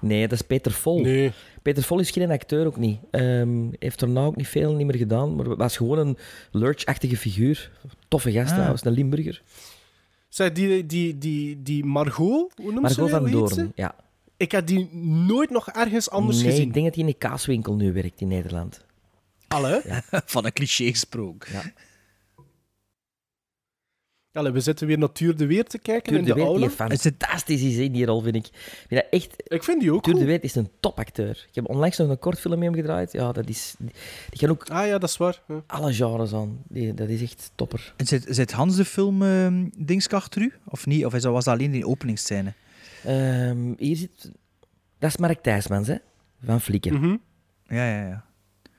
Speaker 7: Nee, dat is Peter Vol.
Speaker 6: Nee.
Speaker 7: Peter Vol is geen acteur ook niet. Ehm heeft daarna ook niet veel niet meer gedaan. Maar was gewoon een lurch-achtige figuur. Toffe gast
Speaker 4: Ah.
Speaker 7: trouwens, een Limburger.
Speaker 6: Zeg, die, die, die, die Margot, hoe noemt ze?
Speaker 7: Margot
Speaker 6: weer?
Speaker 7: van
Speaker 6: Hoe heet ze?
Speaker 7: Doorn. Ja.
Speaker 6: Ik had die nooit nog ergens anders
Speaker 7: nee,
Speaker 6: gezien.
Speaker 7: ik denk dat hij in een kaaswinkel nu werkt in Nederland.
Speaker 6: Alle,
Speaker 4: Van een cliché gesproken.
Speaker 6: Allee, we zitten weer naar Tuur de Weer te kijken
Speaker 7: Tuur
Speaker 6: in
Speaker 7: de
Speaker 6: de,
Speaker 7: Weet
Speaker 6: aula.
Speaker 7: die fantastisch is in die rol, vind ik. Ik vind dat echt...
Speaker 6: Ik vind die ook
Speaker 7: Tuur de
Speaker 6: goed.
Speaker 7: Weet is een topacteur. Ik heb onlangs nog een kort film met hem gedraaid. Ja, dat is... Die gaan ook
Speaker 6: Ah ja, dat is waar. Ja.
Speaker 7: alle genres aan. Die, dat is echt topper.
Speaker 4: En zit, zit Hans de film ehm dingsk achter u? Of niet? Of is dat, was dat alleen die openingsscène?
Speaker 7: Ehm, hier zit... Dat is Mark Thijsmans, hè? Van Flikken.
Speaker 6: Mm.
Speaker 4: Ja, ja, ja.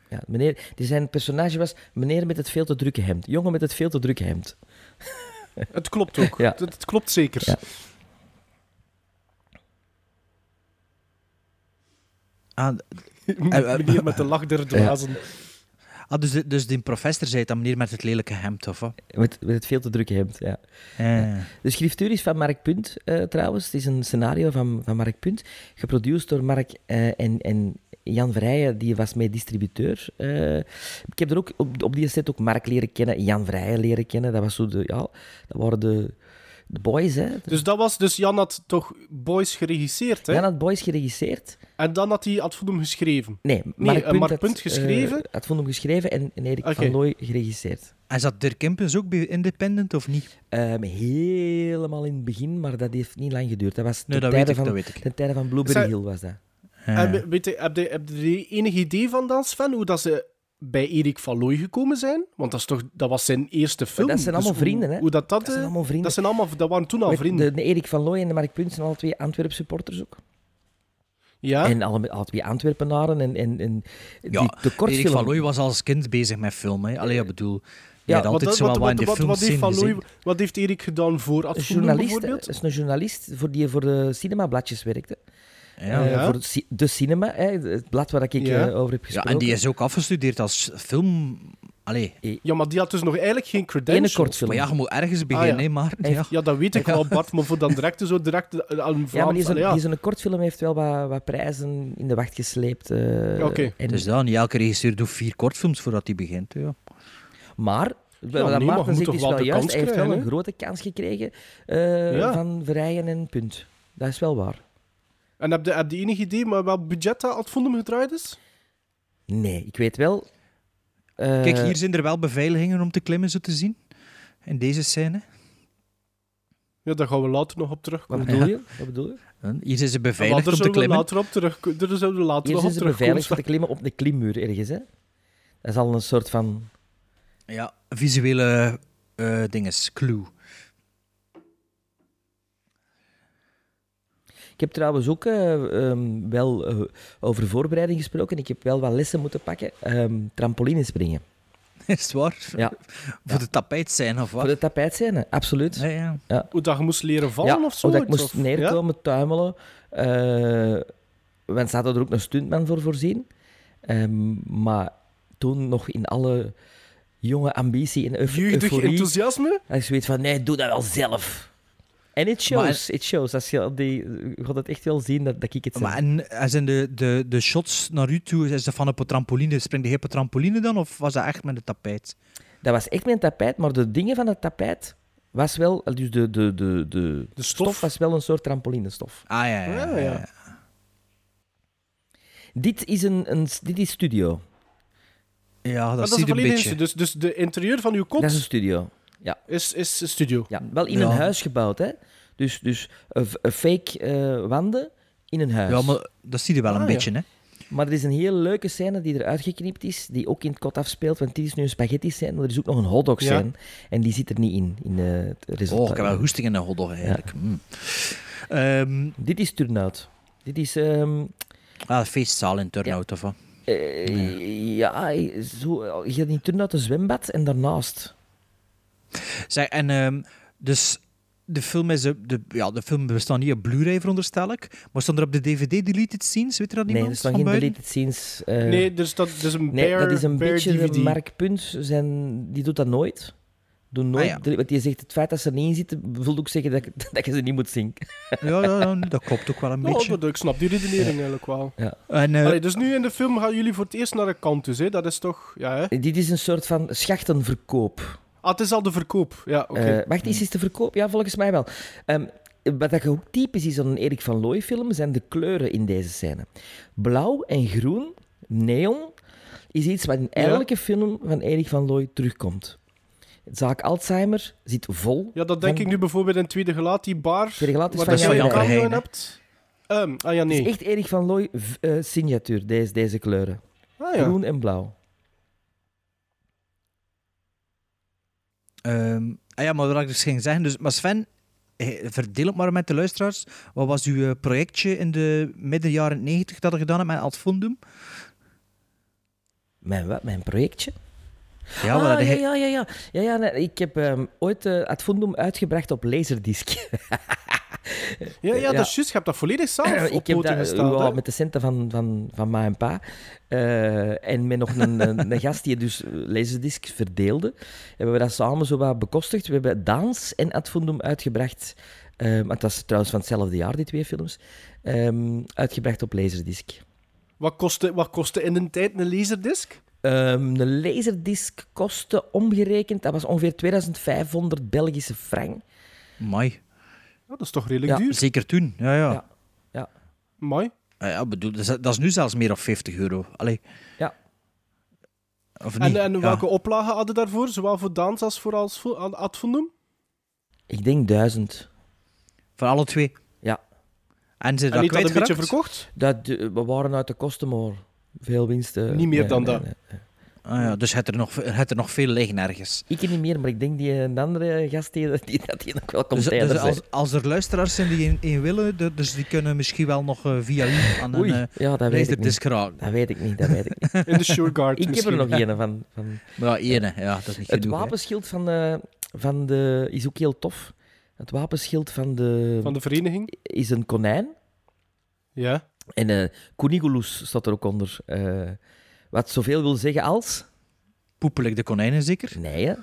Speaker 7: ja, meneer, die zijn personage was meneer met het veel te drukke hemd. Jongen met het veel te drukke hemd.
Speaker 6: Het klopt ook.
Speaker 7: Ja.
Speaker 6: Het, het klopt zeker.
Speaker 7: Ja.
Speaker 4: Ah, d- Ah,
Speaker 7: eh,
Speaker 6: Meneer met de lach der dwazen.
Speaker 4: Ah, dus, de- dus die professor zei het, dat meneer met het lelijke hemd, of wat?
Speaker 7: Met, met het veel te drukke hemd, ja.
Speaker 4: Eh,
Speaker 7: De schriftuur is van Mark Punt, eh, trouwens. Het is een scenario van, van Mark Punt, geproduceerd door Mark eh, en, en Jan Vrijen, die was mijn distributeur. Eh, ik heb er ook op, op die set ook Mark leren kennen, Jan Vrijen leren kennen. Dat, was zo de, ja, dat waren de, de boys, hè.
Speaker 6: Dus dat was... Dus Jan had toch Boys geregisseerd, hè?
Speaker 7: Jan had boys geregisseerd.
Speaker 6: En dan had hij Ad Voedum geschreven.
Speaker 7: Nee,
Speaker 6: eh,
Speaker 7: Mark Punt,
Speaker 6: Mark
Speaker 7: had,
Speaker 6: Punt geschreven.
Speaker 7: eh, had van hem geschreven en, en Erik
Speaker 6: Oké.
Speaker 7: van Looy geregisseerd.
Speaker 4: en zat Dirk Kempens ook bij Independent, of niet?
Speaker 7: Ehm, helemaal in het begin, maar dat heeft niet lang geduurd. Dat was
Speaker 4: Nee,
Speaker 7: ten
Speaker 4: dat weet
Speaker 7: tijde
Speaker 4: ik,
Speaker 7: van,
Speaker 4: dat weet ik.
Speaker 7: ten tijde van Blueberry
Speaker 6: Zij-
Speaker 7: Hill was dat.
Speaker 4: Eh,
Speaker 6: En we- weet je, heb, je, heb je enig idee van dat, Sven? Hoe dat ze bij Erik van Looy gekomen zijn? Want dat, is toch, dat was zijn eerste film.
Speaker 7: dat zijn
Speaker 6: Dus
Speaker 7: allemaal
Speaker 6: hoe-
Speaker 7: vrienden, hè?
Speaker 6: Hoe dat, dat,
Speaker 7: Dat zijn
Speaker 6: eh,
Speaker 7: allemaal vrienden.
Speaker 6: Dat, zijn allemaal, dat waren toen al
Speaker 7: Weet,
Speaker 6: vrienden.
Speaker 7: De, de Erik van Looy en de Mark Punt zijn alle twee Antwerp supporters ook.
Speaker 6: Ja?
Speaker 7: En alle, alle twee Antwerpenaren. En, en, en die,
Speaker 4: ja,
Speaker 7: de kortfilm.
Speaker 4: Erik van Looy was als kind bezig met film, hè. Allee, ik bedoel... Ja,
Speaker 7: Ja,
Speaker 4: had altijd
Speaker 6: wat-
Speaker 4: zo
Speaker 6: wat-
Speaker 4: wel wat in
Speaker 6: wat-
Speaker 4: de
Speaker 6: wat- wat heeft
Speaker 4: filmscene
Speaker 6: Van Looy-
Speaker 4: gezien.
Speaker 6: Wat heeft Erik gedaan voor Ad
Speaker 7: Een
Speaker 6: Voedum
Speaker 7: journalist, hè.
Speaker 6: bijvoorbeeld?
Speaker 7: dat is een journalist voor die voor de cinemabladjes werkte.
Speaker 4: Ja.
Speaker 7: Eh,
Speaker 6: Ja.
Speaker 7: voor het ci- de cinema, hè, het blad waar ik
Speaker 6: Ja.
Speaker 7: eh, over heb
Speaker 4: Ja,
Speaker 7: gesproken.
Speaker 4: en die is ook afgestudeerd als film... Allee,
Speaker 6: Ja, maar die had dus nog eigenlijk geen credentials.
Speaker 7: Ene kortfilm.
Speaker 4: maar ja, je moet ergens
Speaker 6: ja.
Speaker 4: beginnen, hè, maar... Ja.
Speaker 6: Ja, dat weet ik wel, Bart, maar voor dan direct zo direct eh, aan
Speaker 7: Ja, maar die
Speaker 6: Vlaams...
Speaker 7: zijn,
Speaker 6: Allee, Ja,
Speaker 7: die zijn kortfilm heeft wel wat, wat prijzen in de wacht gesleept. eh,
Speaker 6: Oké.
Speaker 7: en-
Speaker 4: Dus dan, niet elke regisseur doet vier kortfilms voordat hij begint. Ja.
Speaker 7: Maar, wat
Speaker 6: nee,
Speaker 7: dat
Speaker 6: maar je moet
Speaker 7: Maarten
Speaker 6: toch
Speaker 7: zegt is
Speaker 6: wel
Speaker 7: wel
Speaker 6: de
Speaker 7: juist.
Speaker 6: kans
Speaker 7: Hij heeft wel
Speaker 6: krijgen,
Speaker 7: een
Speaker 6: hè?
Speaker 7: grote kans gekregen eh,
Speaker 6: Ja.
Speaker 7: van Verrijen en Punt. Dat is wel waar.
Speaker 6: En heb je, heb je enig idee maar wat budget dat Ad Voedum gedraaid is?
Speaker 7: Nee, ik weet wel... eh,
Speaker 4: Kijk, hier zijn er wel beveiligingen om te klimmen, zo te zien. In deze scène.
Speaker 6: Ja, daar gaan we later nog op terugkomen.
Speaker 7: Wat bedoel je? Wat bedoel je?
Speaker 4: Hm, Hier zijn ze
Speaker 6: Ja, maar
Speaker 4: beveiligd
Speaker 6: daar
Speaker 4: om te
Speaker 6: zullen we
Speaker 4: klimmen.
Speaker 6: later op terugkomen. Daar zullen we
Speaker 7: Hier
Speaker 6: later nog
Speaker 7: zijn
Speaker 6: op
Speaker 7: ze
Speaker 6: terugkomen.
Speaker 7: beveiligd voor te klimmen op een klimmuur ergens, hè? Dat is al een soort van...
Speaker 4: Ja, visuele eh dinges, clue.
Speaker 7: Ik heb trouwens ook eh, ehm, wel eh, over voorbereiding gesproken. Ik heb wel wat lessen moeten pakken. Ehm trampoline springen.
Speaker 4: Is het waar?
Speaker 7: Ja.
Speaker 4: Voor de tapijt zijn of
Speaker 7: Voor
Speaker 4: wat?
Speaker 7: de tapijtscène, absoluut.
Speaker 4: Ja, ja.
Speaker 6: Hoe dat je moest leren vallen of zo.
Speaker 7: omdat ik moest
Speaker 6: of-
Speaker 7: neerkomen, tuimelen. eh, want ze hadden er ook een stuntman voor voorzien. Ehm, maar toen nog in alle jonge ambitie en
Speaker 6: Ja?
Speaker 7: euf
Speaker 6: Jeugdig
Speaker 7: euforie...
Speaker 6: enthousiasme.
Speaker 7: Dat je zoiets van, nee, doe dat wel zelf. En it shows, it shows. Als je, al die, je gaat het echt wel zien dat, dat ik het
Speaker 4: Maar
Speaker 7: zeg.
Speaker 4: en, en zijn de, de, de shots naar u toe, is dat van op een trampoline? Springt hij op een trampoline dan, of was dat echt met de tapijt?
Speaker 7: Dat was echt mijn tapijt, maar de dingen van het tapijt was wel... Dus de, de, de, de,
Speaker 6: De stof.
Speaker 7: was wel een soort trampolinestof.
Speaker 4: Ah ja, ja. ja,
Speaker 6: Ja, ja.
Speaker 7: Dit is, een, een, dit is studio.
Speaker 4: Ja, dat,
Speaker 6: Maar
Speaker 4: zie je een
Speaker 6: volledig
Speaker 4: beetje.
Speaker 6: eens- Dus, dus de interieur van uw kot
Speaker 7: Dat is een studio. Ja,
Speaker 6: is, is een studio.
Speaker 7: ja. wel in
Speaker 4: Ja.
Speaker 7: een huis gebouwd, hè. Dus, dus een v- een fake eh, wanden in een huis.
Speaker 4: Ja, maar dat zie je wel een
Speaker 6: Ah, ja.
Speaker 4: beetje, hè.
Speaker 7: Maar er is een hele leuke scène die eruit geknipt is, die ook in het kot afspeelt, want dit is nu een spaghetti scène, maar er is ook nog een hotdog
Speaker 6: Ja.
Speaker 7: scène. En die zit er niet in, in eh, het resultaat.
Speaker 4: Oh, ik heb wel hoesting in de hotdog, eigenlijk. Mm. Ehm,
Speaker 7: Dit is Turnout. Dit is... ehm,
Speaker 4: ah, feestzaal in Turnhout, of wat?
Speaker 7: eh, ja, zo, je hebt in Turnout een zwembad en daarnaast.
Speaker 4: Zeg, en ehm, dus de film, is, op de, ja, de film bestaat niet op Blu-ray, veronderstel ik. Maar stond er op de DVD deleted scenes? Weet je dat niet?
Speaker 7: nee, er staan geen deleted scenes. eh,
Speaker 6: Nee, dus dat, dat is een
Speaker 7: nee,
Speaker 6: bare,
Speaker 7: dat is een
Speaker 6: bare
Speaker 7: beetje
Speaker 6: DVD.
Speaker 7: de Mark Punt, zijn, die doet dat nooit. Doet nooit,
Speaker 4: Ah,
Speaker 7: want je zegt het feit dat ze er niet in zitten, wil ook zeggen dat, dat je ze niet moet zien.
Speaker 4: Ja, ja, ja, nee, dat klopt ook wel een
Speaker 6: Ja,
Speaker 4: beetje.
Speaker 6: Oh, dat- ik snap die redenering eigenlijk wel.
Speaker 4: En, eh,
Speaker 6: Allee, dus nu in de film gaan jullie voor het eerst naar de kant, dus, hè? dat is toch... Ja, hè?
Speaker 7: Dit is een soort van schachtenverkoop.
Speaker 6: Ah, het is al de verkoop. Ja, oké.
Speaker 7: Eh, wacht, is het te verkoop? Ja, volgens mij wel. Ehm, wat dat ook typisch is aan een Erik van Looy film, zijn de kleuren in deze scène. Blauw en groen, neon, is iets wat in elke film van Erik van Looy terugkomt. Zaak Alzheimer zit vol.
Speaker 6: ja, dat denk
Speaker 7: van-
Speaker 6: ik nu bijvoorbeeld in het Tweede Gelaat, die bar...
Speaker 7: Tweede Gelaat is
Speaker 6: waar
Speaker 7: van
Speaker 6: dat
Speaker 7: Jan
Speaker 6: je een
Speaker 7: Verheyen,
Speaker 6: cameo in
Speaker 4: hè?
Speaker 6: hebt. Ehm, ah ja,
Speaker 7: Het is
Speaker 6: nee.
Speaker 7: echt Erik van Looy v- eh, signatuur, deze, deze kleuren.
Speaker 6: Ah, ja.
Speaker 7: Groen en blauw.
Speaker 4: ehm, ah ja, maar wat ik dus ging zeggen. Dus, maar Sven, eh, verdeel het maar met de luisteraars. Wat was uw eh, projectje in de midden jaren 90 dat je gedaan hebt met Ad Fundum?
Speaker 7: Mijn, wat, mijn projectje?
Speaker 4: Ja, wat
Speaker 7: Ah,
Speaker 4: had
Speaker 7: ja,
Speaker 4: jij-
Speaker 7: ja, eh, ja, ja. ja, ja nee, ik heb ehm, ooit het Ad Fundum uitgebracht op Laserdisc.
Speaker 6: Ja, ja,
Speaker 7: Ja.
Speaker 6: dat is juist. Je hebt dat volledig zelf op
Speaker 7: ik heb
Speaker 6: poten
Speaker 7: dat
Speaker 6: gestaan.
Speaker 7: ja,
Speaker 6: hè.
Speaker 7: met de centen van, van, van ma en pa. eh, en met nog een, een, een gast die dus laserdiscs verdeelde. Hebben we dat samen zo wat bekostigd. We hebben Daans en Ad Fundum uitgebracht. eh, want dat is trouwens van hetzelfde jaar, die twee films. ehm, uitgebracht op laserdisc.
Speaker 6: Wat, kostte, wat kostte in de tijd een laserdisc?
Speaker 7: Ehm de laserdisc kostte omgerekend, dat was ongeveer 2500 Belgische frank.
Speaker 4: Mai.
Speaker 6: Ja, dat is toch redelijk
Speaker 7: Ja.
Speaker 6: duur.
Speaker 4: Zeker toen, ja, ja.
Speaker 7: Ja. Ja,
Speaker 6: Mooi.
Speaker 4: Ah ja, bedoel, dat, is, dat is nu zelfs meer dan 50 euro. Allee,
Speaker 7: ja.
Speaker 4: of niet?
Speaker 6: En, en
Speaker 4: Ja.
Speaker 6: welke oplagen hadden daarvoor? Zowel voor Daans als voor als voor Ad- Ad Fundum?
Speaker 7: ik denk 1000.
Speaker 4: Voor alle twee.
Speaker 7: Ja,
Speaker 4: En ze
Speaker 6: En
Speaker 4: dat
Speaker 6: niet dat een beetje
Speaker 4: kwijtgeraakt?
Speaker 6: verkocht?
Speaker 7: dat, eh, we waren uit de kosten, maar veel winsten.
Speaker 6: Niet meer dan dat.
Speaker 4: Ah, ja, dus het er, nog, het er nog veel liggen ergens.
Speaker 7: Ik niet meer, maar ik denk die een andere gast die, die, dat die nog wel komt
Speaker 4: Dus, dus als, als er luisteraars zijn die in, in willen, de- dus die kunnen misschien wel nog eh, via u aan
Speaker 7: Oei,
Speaker 4: een
Speaker 7: ja, dat weet ik
Speaker 4: laserdisc
Speaker 7: niet.
Speaker 4: geraken.
Speaker 7: Dat weet ik niet, dat weet ik niet.
Speaker 6: In de Sureguard
Speaker 7: Ik heb
Speaker 6: misschien.
Speaker 7: er nog een van. van.
Speaker 4: Maar ja, ene, ja, dat is niet
Speaker 7: Het
Speaker 4: genoeg. hè.
Speaker 7: wapenschild van de, van de... Is ook heel tof. Het wapenschild van de...
Speaker 6: Van de vereniging?
Speaker 7: Is een konijn.
Speaker 6: Ja.
Speaker 7: En eh Cunigulus staat er ook onder. eh, wat zoveel wil zeggen als...
Speaker 4: Poepel ik de konijnen zeker?
Speaker 7: Nee, hè.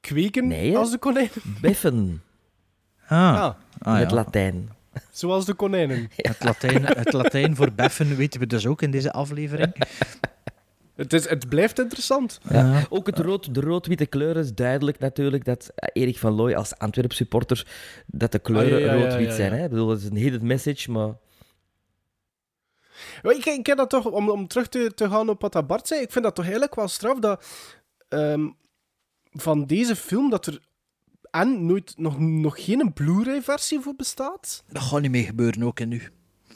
Speaker 6: Kweken
Speaker 7: Nee, hè?
Speaker 6: als de konijnen?
Speaker 7: Beffen,
Speaker 4: Ah,
Speaker 6: Ah,
Speaker 4: ah,
Speaker 7: met
Speaker 4: ja.
Speaker 7: Latijn.
Speaker 6: zoals de konijnen.
Speaker 4: het, Latijn, het Latijn voor beffen weten we dus ook in deze aflevering.
Speaker 6: Het, is, het blijft interessant.
Speaker 4: Ja.
Speaker 7: Ook het rood, de rood-witte kleuren is duidelijk natuurlijk dat eh, Erik van Looy als Antwerp supporter dat de kleuren
Speaker 6: Ah, ja, ja, ja,
Speaker 7: rood-wit
Speaker 6: ja,
Speaker 7: zijn.
Speaker 6: ja.
Speaker 7: Hè? Ik bedoel, dat is een hidden message, maar
Speaker 6: Maar Ik, ik heb dat toch, om, om terug te, te gaan op wat dat Bart zei, ik vind dat toch eigenlijk wel straf dat ehm, van deze film dat er en nooit, nog, nog geen Blu-ray-versie voor bestaat.
Speaker 4: Dat gaat niet meer gebeuren ook in nu.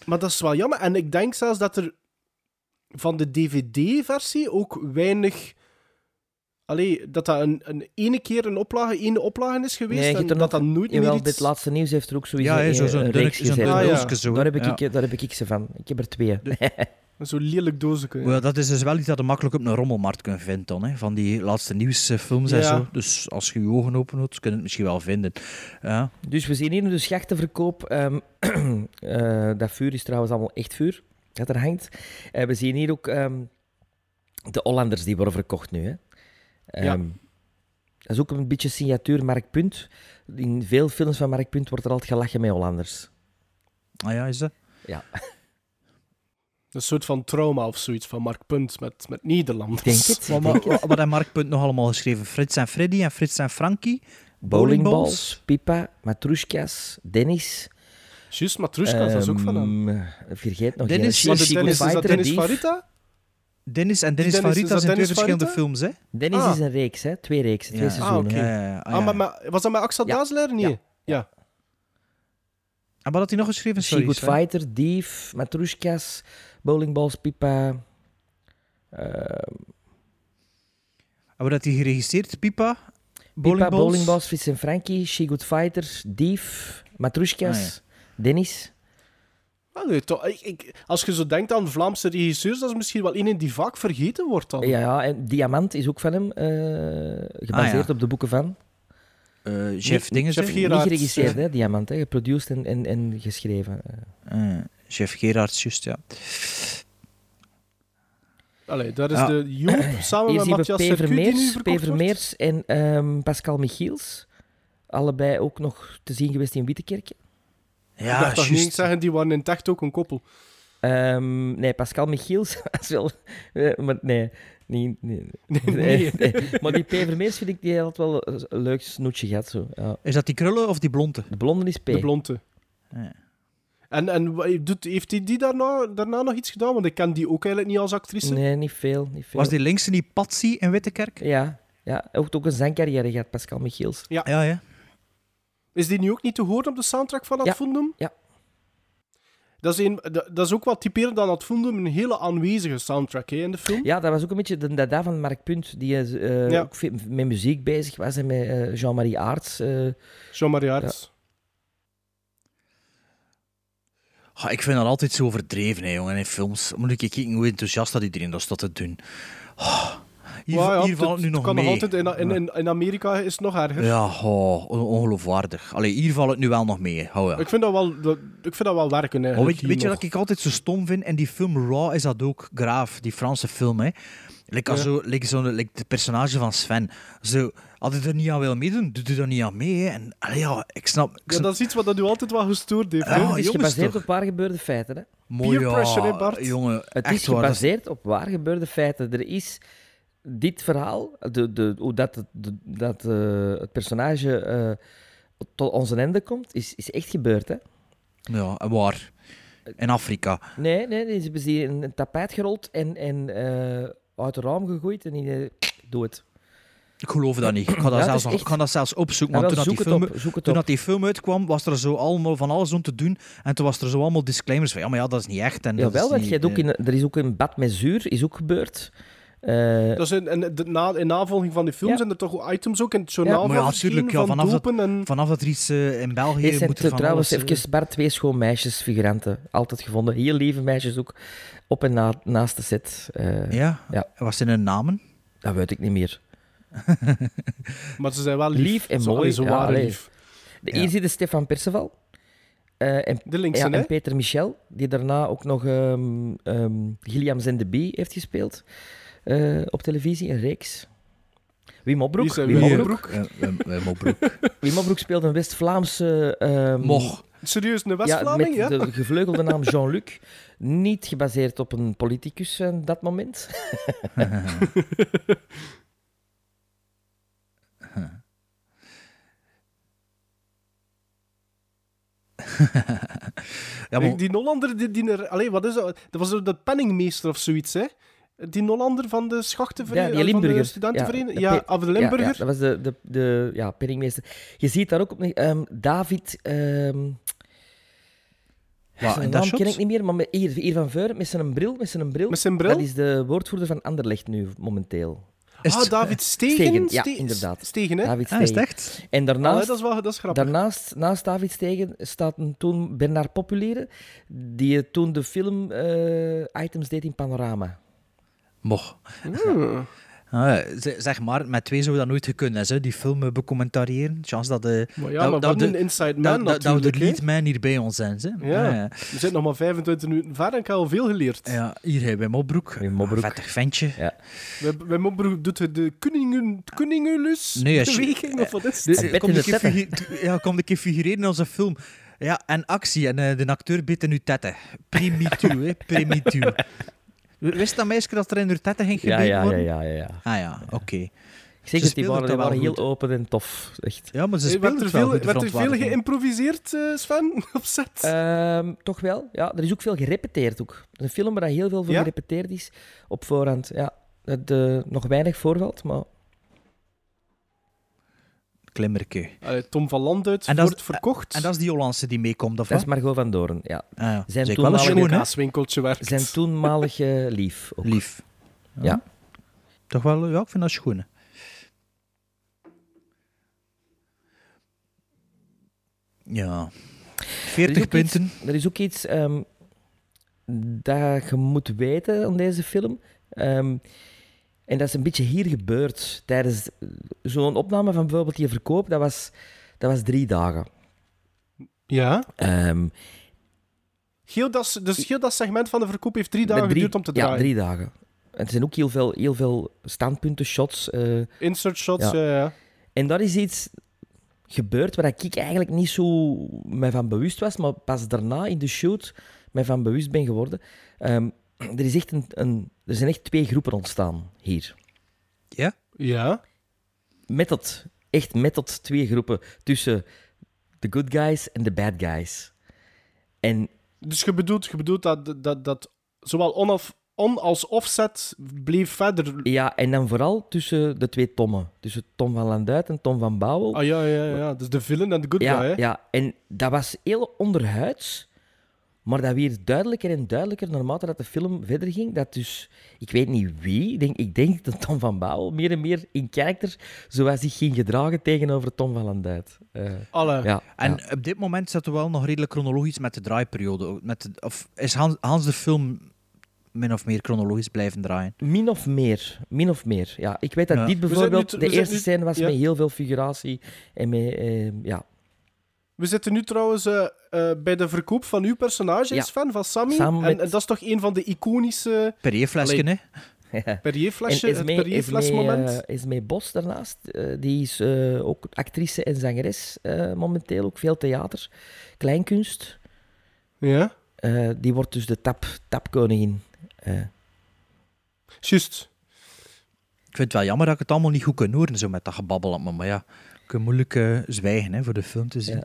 Speaker 6: Maar dat is wel jammer. En ik denk zelfs dat er van de DVD-versie ook weinig... Allee, dat dat een, een ene keer een oplage, ene oplage is geweest
Speaker 7: Nee, je
Speaker 6: en
Speaker 7: hebt er
Speaker 6: dat
Speaker 7: nog-
Speaker 6: dat nooit
Speaker 7: jawel,
Speaker 6: meer iets...
Speaker 7: dit laatste nieuws heeft er ook sowieso
Speaker 4: Ja, hè,
Speaker 7: een,
Speaker 4: zo- zo'n
Speaker 7: een
Speaker 4: dunne-
Speaker 7: reeks
Speaker 4: zo'n
Speaker 7: gezet. Dus
Speaker 6: dunne
Speaker 4: dunne
Speaker 6: Ah, ja.
Speaker 4: doosje zo.
Speaker 7: Daar, heb ik,
Speaker 4: ja.
Speaker 7: ik, daar heb ik ik ze van. Ik heb er twee.
Speaker 6: Zo'n lelijk doosje.
Speaker 4: Maar ja, dat is dus wel iets dat je makkelijk op een rommelmarkt kunt vinden, dan, hè? van die laatste nieuwsfilms en
Speaker 6: Ja.
Speaker 4: zo. Dus als je je ogen open houdt, kun je het misschien wel vinden. Ja.
Speaker 7: Dus we zien hier nu de schachtenverkoop. Ehm, eh, dat vuur is trouwens allemaal echt vuur dat er hangt. Eh, we zien hier ook ehm, de Hollanders die worden verkocht nu. Hè.
Speaker 6: Ja.
Speaker 7: Ehm, Dat is ook een beetje signatuur Mark Punt. In veel films van Mark Punt wordt er altijd gelachen met Hollanders.
Speaker 4: Ah ja, is dat?
Speaker 7: Ja,
Speaker 6: Een soort van trauma of zoiets van Mark Punt met, met Nederlanders.
Speaker 7: ik denk het.
Speaker 4: Wat, wat, wat, wat heeft Mark Punt nog allemaal geschreven? Frits en Freddy en Frits en Frankie.
Speaker 7: Bowlingballs, Pipa, Matrushkas, Dennis.
Speaker 6: Juist, Matrushka, dat is ook van hem.
Speaker 7: Ehm, Vergeet nog
Speaker 4: Dennis-
Speaker 7: geen-
Speaker 6: Maar de
Speaker 4: Secret
Speaker 6: tennis, is dat
Speaker 7: Fighter,
Speaker 6: Dennis
Speaker 7: Dief.
Speaker 6: Farita?
Speaker 4: Dennis en Dennis,
Speaker 6: Dennis,
Speaker 4: Farita
Speaker 6: is dat
Speaker 4: zijn
Speaker 6: Dennis
Speaker 4: twee verschillende
Speaker 6: Farita?
Speaker 4: films, hè?
Speaker 7: Dennis
Speaker 6: Ah.
Speaker 7: is een reeks, hè? twee reeksen, twee
Speaker 4: Ja. Ah,
Speaker 7: seizoenen.
Speaker 6: oké.
Speaker 7: hè.
Speaker 4: Ja, ja, ja. Ah,
Speaker 6: Ah,
Speaker 4: ja.
Speaker 6: maar, maar- was dat met Axel
Speaker 7: Ja.
Speaker 6: Dazeler? Nee. Ja.
Speaker 7: Ja.
Speaker 4: En wat had hij nog geschreven?
Speaker 7: She
Speaker 4: Sorry,
Speaker 7: Good
Speaker 4: sorry.
Speaker 7: Fighter, Dief, Matrushkas, Bowlingballs, Pipa. eh,
Speaker 4: En wat had hij geregisseerd? Pipa?
Speaker 7: Pipa,
Speaker 4: Bowlingballs?
Speaker 7: Bowlingballs, Fits en Frankie, She Good Fighter, Dief, Matrushkas, Dennis.
Speaker 6: Ah, nee, toch, ik, ik- als je zo denkt aan Vlaamse regisseurs, dat is misschien wel een die vaak vergeten wordt dan.
Speaker 7: Ja, ja, en Diamant is ook van hem, eh, gebaseerd
Speaker 4: Ah, ja.
Speaker 7: op de boeken van.
Speaker 4: Eh, chef
Speaker 6: Nee,
Speaker 4: dingen
Speaker 6: Chef
Speaker 4: zeg.
Speaker 6: Gerard. Gerards,
Speaker 7: Niet geregisseerd,
Speaker 6: eh.
Speaker 7: hè, Diamant, hè, geproduced en, en, en geschreven. Eh,
Speaker 4: Eh, chef Gerards, juist, ja.
Speaker 6: Allee, daar is
Speaker 4: Ja.
Speaker 6: de Joop samen
Speaker 7: Hier
Speaker 6: met
Speaker 7: zien
Speaker 6: Matthias
Speaker 7: we P.
Speaker 6: Sercu die nu
Speaker 7: Vermeers, P.
Speaker 6: verkocht wordt.
Speaker 7: Vermeers en ehm, Pascal Michiels. Allebei ook nog te zien geweest in Wittekerk.
Speaker 4: Ja,
Speaker 6: ik dacht toch niet
Speaker 4: juist.
Speaker 6: eens zeggen, die waren in het echt ook een koppel.
Speaker 7: Ehm, nee, Pascal Michiels was wel... eh, maar nee, niet- nee, nee,
Speaker 6: nee.
Speaker 7: Maar die P. Vermeers vind ik, die had wel een leuk snoetje gehad. Zo. Ja.
Speaker 4: Is dat die krullen of die blonde?
Speaker 7: De blonde is P.
Speaker 6: De blonde.
Speaker 4: Ja.
Speaker 6: En, en wa- doet, heeft hij die, daarna, daarna nog iets gedaan? Want ik ken die ook eigenlijk niet als actrice.
Speaker 7: nee, niet veel, niet veel.
Speaker 4: Was die linkse niet Patsy in Wittekerk?
Speaker 7: Ja, ja. Hij heeft ook een zangcarrière gehad, Pascal Michiels.
Speaker 4: Ja, ja.
Speaker 6: Is die nu ook niet te horen op de soundtrack van
Speaker 7: Ja.
Speaker 6: Advondum?
Speaker 7: Ja.
Speaker 6: Dat is, een, dat, dat is ook wat typerend aan Advondum, een hele aanwezige soundtrack hè, in de film.
Speaker 7: Ja, dat was ook een beetje de dada van Mark Punt, die eh,
Speaker 6: Ja.
Speaker 7: ook veel met muziek bezig was en met eh, Jean-Marie Aarts. eh,
Speaker 6: Jean-Marie Aerts.
Speaker 4: Ah, ik vind dat altijd zo overdreven, hè, jongen, in films. Moet ik kijken hoe enthousiast dat iedereen dat staat te doen. Ah, Hier,
Speaker 6: Maar ja,
Speaker 4: hier valt het
Speaker 6: het-
Speaker 4: nu
Speaker 6: het
Speaker 4: nog
Speaker 6: kan
Speaker 4: mee.
Speaker 6: altijd. In, in, in, in Amerika is het nog erger.
Speaker 4: Ja, goh, on- ongeloofwaardig. Allee, hier valt het nu wel nog mee. Hou ja.
Speaker 6: Ik, vind dat wel, dat- ik vind dat wel werken.
Speaker 4: Maar
Speaker 6: eigenlijk,
Speaker 4: Oh, weet,
Speaker 6: hier
Speaker 4: weet je
Speaker 6: nog.
Speaker 4: wat ik altijd zo stom vind? En die film Raw is dat ook graaf, die Franse film. Hè? Like als zo, like zo'n- like de personage van Sven. Zo, als je er niet aan wil meedoen, doe er dan niet aan mee. Hè? En allee, ja, ik snap. Ik
Speaker 6: Ja,
Speaker 4: snap
Speaker 6: dat is iets wat dat u altijd wel gestoord heeft.
Speaker 4: Ja,
Speaker 6: hè?
Speaker 7: Het is
Speaker 4: jongens,
Speaker 7: gebaseerd
Speaker 4: toch?
Speaker 7: op waar gebeurde feiten. Hè?
Speaker 4: mooi,
Speaker 6: peer pressure, hè, Bart?
Speaker 4: Jongen,
Speaker 7: Het
Speaker 4: echt
Speaker 7: is
Speaker 4: waar, dat
Speaker 7: gebaseerd op waar gebeurde feiten. Er is dit verhaal, de, de, hoe dat, het- de- dat eh, het personage eh, tot onze einde komt, is, is echt gebeurd. Hè?
Speaker 4: Ja, waar. In Afrika.
Speaker 7: Nee, nee, die hebben ze hier in een tapijt gerold en, en eh, uit het raam gegooid en die eh, doe het.
Speaker 4: Ik geloof dat niet. Ik ga dat,
Speaker 7: het
Speaker 4: zelfs,
Speaker 7: is
Speaker 4: nog-
Speaker 7: echt-
Speaker 4: ik ga dat zelfs opzoeken.
Speaker 7: Ja,
Speaker 4: Want
Speaker 7: wel,
Speaker 4: toen, dat die
Speaker 7: zoek,
Speaker 4: film,
Speaker 7: het op, zoek het
Speaker 4: toen
Speaker 7: op.
Speaker 4: dat die film uitkwam, was er zo allemaal van alles om te doen. En toen was er zo allemaal disclaimers van, ja, maar ja, dat is niet echt. En dat
Speaker 7: Jawel,
Speaker 4: is
Speaker 7: want
Speaker 4: niet,
Speaker 7: je hebt ook
Speaker 4: eh,
Speaker 7: in, er is ook een bad met zuur, is ook gebeurd. Eh,
Speaker 6: Dat is in, in, de, na, in navolging van die film
Speaker 7: Ja.
Speaker 6: zijn er toch items ook in het journaal
Speaker 4: Maar
Speaker 6: van
Speaker 4: ja,
Speaker 6: verschenen,
Speaker 4: tuurlijk, ja,
Speaker 6: van
Speaker 4: vanaf dat-
Speaker 6: dopen en...
Speaker 4: Vanaf dat er iets eh, in België
Speaker 7: Dit
Speaker 4: moet
Speaker 7: zijn
Speaker 4: er van
Speaker 7: trouwens
Speaker 4: alles, eh,
Speaker 7: even maar twee schoon meisjes, figuranten. Altijd gevonden. Heel lieve meisjes ook. Op en na, naast de set. Eh,
Speaker 4: Ja?
Speaker 7: Ja.
Speaker 4: En Wat zijn hun namen?
Speaker 7: Dat weet ik niet meer.
Speaker 6: Maar ze zijn wel lief.
Speaker 7: Lief en
Speaker 6: Zo-
Speaker 7: mooi,
Speaker 6: allee, Ze
Speaker 7: ja,
Speaker 6: waren
Speaker 7: allee.
Speaker 6: lief.
Speaker 7: De,
Speaker 4: Ja.
Speaker 7: Hier zitten Stefan Perceval. eh, en,
Speaker 6: De linkse,
Speaker 7: ja,
Speaker 6: hè?
Speaker 7: en Peter Michel, die daarna ook nog ehm ehm Gilliam en de Bee heeft gespeeld. eh, op televisie, een reeks. Wim Opbroek.
Speaker 6: Wie zijn
Speaker 7: Wim
Speaker 6: Wim
Speaker 7: Opbroek,
Speaker 6: Opbroek?
Speaker 4: Eh, eh, eh, Mobroek.
Speaker 7: Wim Opbroek speelde een West-Vlaamse... ehm,
Speaker 4: Moch.
Speaker 6: Serieus, een
Speaker 7: Ja,
Speaker 6: West-Vlaming,
Speaker 7: met
Speaker 6: ja?
Speaker 7: de gevleugelde naam Jean-Luc. Niet gebaseerd op een politicus eh, dat moment.
Speaker 4: Ja, maar,
Speaker 6: Die Nollander, die, die er... Allee, wat is dat? Dat was zo de penningmeester of zoiets, hè? Die Nollander van de
Speaker 7: Ja,
Speaker 6: schachtenvereniging,
Speaker 7: die
Speaker 6: eh, van de
Speaker 7: Limburger.
Speaker 6: studentenvereniging.
Speaker 7: Ja,
Speaker 6: Ja,
Speaker 7: de
Speaker 6: ja,
Speaker 7: Pe-
Speaker 6: of
Speaker 7: Ja,
Speaker 6: de Limburger.
Speaker 7: ja, dat was de, de, de ja, penningmeester. Je ziet daar ook op... ehm, David... ehm
Speaker 4: wat,
Speaker 7: zijn
Speaker 4: en dat
Speaker 7: naam
Speaker 4: shot?
Speaker 7: ken ik niet meer, maar met, hier, hier van Veuren, met zijn bril, met zijn bril.
Speaker 6: Met zijn bril?
Speaker 7: Dat is de woordvoerder van Anderlecht nu, momenteel.
Speaker 4: Is
Speaker 6: ah,
Speaker 4: het-
Speaker 6: David Stegen?
Speaker 7: Stegen, ja,
Speaker 6: Ste-
Speaker 7: inderdaad.
Speaker 6: Stegen, hè?
Speaker 7: David
Speaker 4: Ah, is het
Speaker 7: Stegen.
Speaker 4: echt?
Speaker 7: En
Speaker 6: Allee,
Speaker 7: daarnaast...
Speaker 6: dat is wel dat is grappig.
Speaker 7: Daarnaast, naast David Stegen staat een toen Bernard Populiere, die eh, toen de film eh, Items deed in Panorama.
Speaker 4: Moch.
Speaker 6: Hmm.
Speaker 4: Ah, ze- zeg maar, met twee zou dat nooit gekund hebben, hè, die film eh, becommentariëren. Chance dat de...
Speaker 6: Maar ja,
Speaker 4: dat,
Speaker 6: maar
Speaker 4: dat
Speaker 6: wat
Speaker 4: de-
Speaker 6: een inside man
Speaker 4: dat, dat, dat we
Speaker 6: natuurlijk,
Speaker 4: de
Speaker 6: hè?
Speaker 4: lead man hier bij ons zijn. Hè?
Speaker 6: Ja. We zitten nog maar 25 minuten verder en ik heb al veel geleerd.
Speaker 4: Ja, hier hebben we Mobroek. Ah,
Speaker 7: Wim Opbroek.
Speaker 4: Vettig ventje.
Speaker 6: Bij, bij mijn broer doet het de Kuningen, Kuningulus
Speaker 4: Nee, als je-
Speaker 6: beweging, of wat is het?
Speaker 4: Dus,
Speaker 7: Een
Speaker 4: eh,
Speaker 7: bed
Speaker 4: kom
Speaker 7: in
Speaker 4: een
Speaker 7: de
Speaker 4: keer
Speaker 7: tetten.
Speaker 4: figuur- Ja, kom een keer figureren in onze film. Ja, en actie. En eh, de acteur bit in uw tetten. Primitieu, hè. Primitieu. Wist dat meisje dat er in uw tetten ging gebeuren worden?
Speaker 7: ja, ja, ja.
Speaker 4: Ah ja, oké.
Speaker 7: Ik zeg
Speaker 4: Ze
Speaker 7: het, die
Speaker 4: speelden
Speaker 7: waren,
Speaker 4: dat
Speaker 7: die
Speaker 4: wel
Speaker 7: waren heel
Speaker 4: goed.
Speaker 7: open en tof. Echt.
Speaker 4: Ja, maar ze
Speaker 6: Eh,
Speaker 4: speelt
Speaker 6: Werd er
Speaker 4: het wel
Speaker 6: veel,
Speaker 4: goed, de
Speaker 6: werd er veel
Speaker 4: verontwaardiging.
Speaker 6: geïmproviseerd, eh, Sven, op set?
Speaker 7: Ehm, toch wel? Ja, er is ook veel gerepeteerd. Ook. Het is een film waar heel veel voor
Speaker 6: Ja?
Speaker 7: gerepeteerd is op voorhand. Ja, dat eh, nog weinig voorvalt, maar
Speaker 4: Klimmerke.
Speaker 6: Allee, Tom van Landuit
Speaker 4: En dat is-
Speaker 6: wordt verkocht.
Speaker 4: En dat is die Hollandse die meekomt, of
Speaker 7: dat
Speaker 4: wat?
Speaker 7: is Margot van Doorn. Ja.
Speaker 4: Ah, ja.
Speaker 7: Zijn
Speaker 4: Zeg,
Speaker 7: toen
Speaker 4: wel een
Speaker 7: al in
Speaker 6: in een
Speaker 4: schoon, hè?
Speaker 6: kaaswinkeltje werkt.
Speaker 7: Zijn toenmalig eh, lief. Ook.
Speaker 4: Lief.
Speaker 7: Ja.
Speaker 4: Toch wel, ja, ik vind dat schoon. hè. Ja.
Speaker 7: Er is
Speaker 4: 40
Speaker 7: ook iets-
Speaker 4: punten.
Speaker 7: er is ook iets ehm, dat je moet weten aan deze film. Ehm, en dat is een beetje hier gebeurd. Tijdens zo'n opname van bijvoorbeeld die verkoop, dat was, dat was drie dagen.
Speaker 6: Ja.
Speaker 7: Ehm,
Speaker 6: Heel dat, dus heel dat segment van de verkoop heeft drie dagen
Speaker 7: met drie-
Speaker 6: geduurd om te
Speaker 7: Ja,
Speaker 6: draaien.
Speaker 7: drie dagen. En er zijn ook heel veel, heel veel standpunten, shots. eh.
Speaker 6: Insert shots,
Speaker 7: Ja.
Speaker 6: ja. ja.
Speaker 7: en dat is iets gebeurd waar ik eigenlijk niet zo mij van bewust was, maar pas daarna in de shoot mij van bewust ben geworden. Ehm, er, is echt een, een, er zijn echt twee groepen ontstaan hier.
Speaker 4: Ja?
Speaker 6: ja.
Speaker 7: Met dat, echt met dat twee groepen tussen de good guys en de bad guys. En
Speaker 6: Dus je bedoelt, je bedoelt dat, dat, dat zowel on, of, on als offset bleef verder...
Speaker 7: ja, en dan vooral tussen de twee Tommen. Tussen Tom van Landuit en Tom van Bouwel.
Speaker 6: Ah ja, ja, ja. Dus de villain en de good
Speaker 7: ja,
Speaker 6: guy, hè?
Speaker 7: ja, en dat was heel onderhuids. Maar dat weer duidelijker en duidelijker naarmate dat de film verder ging. Dat dus, ik weet niet wie, ik denk, ik denk dat Tom van Bouwel meer en meer in karakter zoals zich ging gedragen tegenover Tom van Landuit. Eh,
Speaker 6: Alle.
Speaker 7: ja,
Speaker 4: En
Speaker 7: ja.
Speaker 4: op dit moment zitten we wel nog redelijk chronologisch met de draaiperiode. ook, Met de- of is Hans, Hans de film min of meer chronologisch blijven draaien.
Speaker 7: Min of meer. Min of meer. Ja, ik weet dat
Speaker 4: Ja.
Speaker 7: dit
Speaker 6: zijn
Speaker 7: bijvoorbeeld
Speaker 6: nu- we
Speaker 7: de
Speaker 6: zijn
Speaker 7: eerste
Speaker 6: nu-
Speaker 7: scène was
Speaker 6: ja.
Speaker 7: met heel veel figuratie. En met, eh, ja,
Speaker 6: We zitten nu trouwens eh, eh, bij de verkoop van uw personage,
Speaker 7: Ja.
Speaker 6: Sven, van Sammy.
Speaker 7: Samen
Speaker 6: en,
Speaker 7: met-
Speaker 6: en dat is toch een van de iconische
Speaker 4: Perrier-flesje, hè?
Speaker 6: Perrier-flesje, het
Speaker 7: Esmee-
Speaker 6: Perrier-flesmoment.
Speaker 7: Esmee, eh, Esmee Bos daarnaast, eh, die is eh, ook actrice en zangeres eh, momenteel, ook veel theater, kleinkunst.
Speaker 6: Ja,
Speaker 7: Eh, die wordt dus de tap, tapkoningin. Eh,
Speaker 6: juist.
Speaker 4: Ik vind het wel jammer dat ik het allemaal niet goed kan horen, zo met dat gebabbel op me. Maar ja, ik kan moeilijk eh, zwijgen hè, voor de film te zien.
Speaker 7: Ja.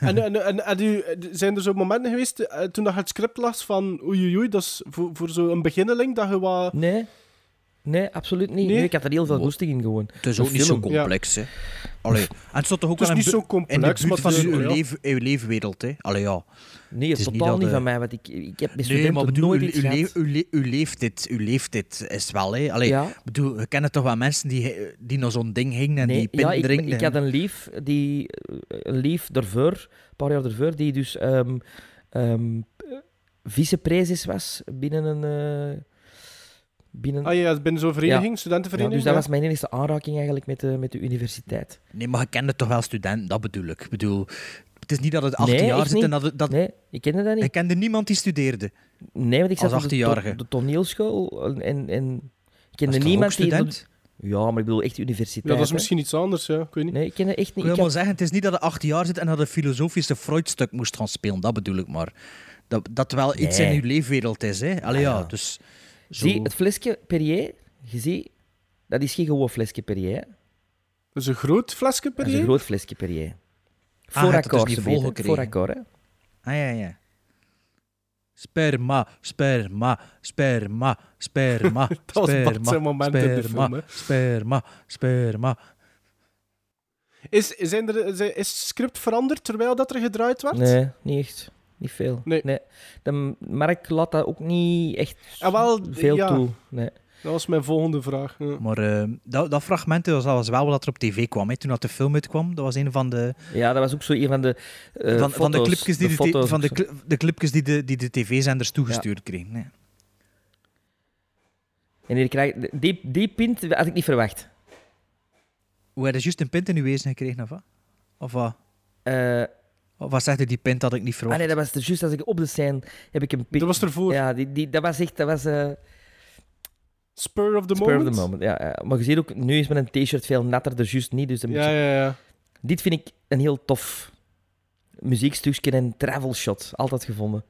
Speaker 6: En, en, en, en u, zijn er zo momenten geweest eh, toen dat je het script las van oei oei oei, dat is voor, voor zo'n beginneling dat je wat...
Speaker 7: nee, nee, absoluut niet.
Speaker 6: Nee?
Speaker 7: Nee, ik had er heel veel
Speaker 4: Wow.
Speaker 7: goesting in gewoon.
Speaker 4: Het is
Speaker 7: De
Speaker 4: ook niet zo
Speaker 7: film.
Speaker 4: complex, hè. Allee, en het stond toch ook
Speaker 6: Het is
Speaker 4: wel
Speaker 6: niet
Speaker 4: in bu-
Speaker 6: zo
Speaker 4: in de
Speaker 6: complex,
Speaker 4: buurt
Speaker 6: maar
Speaker 4: van
Speaker 6: het is-
Speaker 4: uw,
Speaker 6: ja.
Speaker 4: leef, uw leefwereld, hè. Allee, ja.
Speaker 7: Nee,
Speaker 4: is niet
Speaker 7: totaal
Speaker 4: dat,
Speaker 7: niet
Speaker 4: eh,
Speaker 7: van mij, want ik, ik heb met
Speaker 4: Nee,
Speaker 7: studenten
Speaker 4: maar bedoel,
Speaker 7: nooit
Speaker 4: u,
Speaker 7: iets
Speaker 4: u,
Speaker 7: gehad.
Speaker 4: leef- u, le- u leeft dit, u leeft dit, is het wel, hè. Allee,
Speaker 7: Ja.
Speaker 4: bedoel, we kennen toch wel mensen die, die naar zo'n ding hingen en die
Speaker 7: Nee,
Speaker 4: pin
Speaker 7: ja, ik,
Speaker 4: drinken.
Speaker 7: ik had een lief, die, eh, een lief daarvoor, een paar jaar daarvoor, die dus ehm ehm eh, vicepresis was binnen een... eh, binnen...
Speaker 6: Ah ja, binnen zo'n vereniging,
Speaker 7: ja,
Speaker 6: studentenvereniging.
Speaker 7: dus dat
Speaker 6: ja.
Speaker 7: was mijn enige aanraking eigenlijk met de, met de universiteit.
Speaker 4: Nee, maar je kende toch wel studenten, dat bedoel ik. Ik bedoel, het is niet dat het 18
Speaker 7: Nee,
Speaker 4: jaar
Speaker 7: echt
Speaker 4: zit
Speaker 7: niet.
Speaker 4: en dat... het- dat
Speaker 7: Nee, ik kende dat
Speaker 4: Je
Speaker 7: niet.
Speaker 4: kende niemand die studeerde.
Speaker 7: Nee, want ik
Speaker 4: Als
Speaker 7: zat op de,
Speaker 4: 18-jarige.
Speaker 7: to- de toneelschool en, en ik
Speaker 4: Was
Speaker 7: kende
Speaker 4: toch ook
Speaker 7: niemand
Speaker 4: student?
Speaker 7: die... Ja, maar ik bedoel echt universiteit.
Speaker 6: Ja, dat is
Speaker 7: hè.
Speaker 6: misschien iets anders, ja. ik weet niet.
Speaker 7: Nee, ik kende echt
Speaker 4: Ik
Speaker 7: niet...
Speaker 4: wil
Speaker 7: Ik
Speaker 4: maar
Speaker 7: had-
Speaker 4: zeggen, het is niet dat hij 18 jaar zit en dat een filosofische Freud-stuk moest gaan spelen. Dat bedoel ik maar. Dat, dat wel iets
Speaker 7: Nee.
Speaker 4: in uw leefwereld is. Hè? Allee,
Speaker 7: Ah,
Speaker 4: ja,
Speaker 7: ja.
Speaker 4: dus... Zo.
Speaker 7: Zie, het flesje Perrier, je ziet, dat is geen gewoon flesje Perrier. hè.
Speaker 6: Dat is een groot flesje
Speaker 7: Dat is
Speaker 6: Perrier.
Speaker 7: een groot flesje Perrier.
Speaker 4: Ah, je
Speaker 7: Voor
Speaker 4: hebt het dus
Speaker 7: akkoord,
Speaker 4: niet
Speaker 7: ze
Speaker 4: volgekregen.
Speaker 7: weten. Voor akkoord, hè.
Speaker 4: Ah, ja, ja. Sperma, sperma, sperma, sperma,
Speaker 6: Dat was Bart
Speaker 4: sperma,
Speaker 6: zijn moment in de film,
Speaker 4: sperma,
Speaker 6: hè.
Speaker 4: sperma, sperma.
Speaker 6: Is, zijn er, zijn- is het script veranderd terwijl dat er gedraaid werd?
Speaker 7: Nee, niet echt. Niet veel.
Speaker 6: Nee.
Speaker 7: De m- markt laat dat ook niet echt
Speaker 6: Ah, wel,
Speaker 7: veel
Speaker 6: ja.
Speaker 7: toe. Nee.
Speaker 6: Dat was mijn volgende vraag. Ja.
Speaker 4: Maar eh, dat, dat fragment dat was, dat was wel wat er op tv kwam. Hè. Toen dat de film uitkwam, dat was een van de,
Speaker 7: Ja, dat was ook zo een van de eh,
Speaker 4: van,
Speaker 7: foto's,
Speaker 4: van de clipjes die de,
Speaker 7: foto's
Speaker 4: t- van
Speaker 7: ook
Speaker 4: de,
Speaker 7: zo.
Speaker 4: cli- de, clipjes die de, die de tv-zenders toegestuurd kregen. hè.
Speaker 7: En hier krijg, die, die pint had ik niet verwacht.
Speaker 4: Hoe hij dus juist een pint in uw wezen gekregen, of wat? Of wat?
Speaker 7: Eh,
Speaker 4: Of wat zegt hij, die pint had ik niet
Speaker 7: ah
Speaker 4: verwacht?
Speaker 7: nee, dat was er juist als ik op de scène heb ik een pint.
Speaker 6: Dat was ervoor.
Speaker 7: Ja, die, die, dat was echt... Dat was, eh,
Speaker 6: Spur of the
Speaker 7: spur of
Speaker 6: moment.
Speaker 7: the moment. Ja, ja. Maar je ziet ook, nu is mijn t-shirt veel natter, dus juist niet. Dus dan moet
Speaker 6: Ja,
Speaker 7: je-
Speaker 6: ja, ja.
Speaker 7: Dit vind ik een heel tof muziekstukje en travel shot. Altijd gevonden.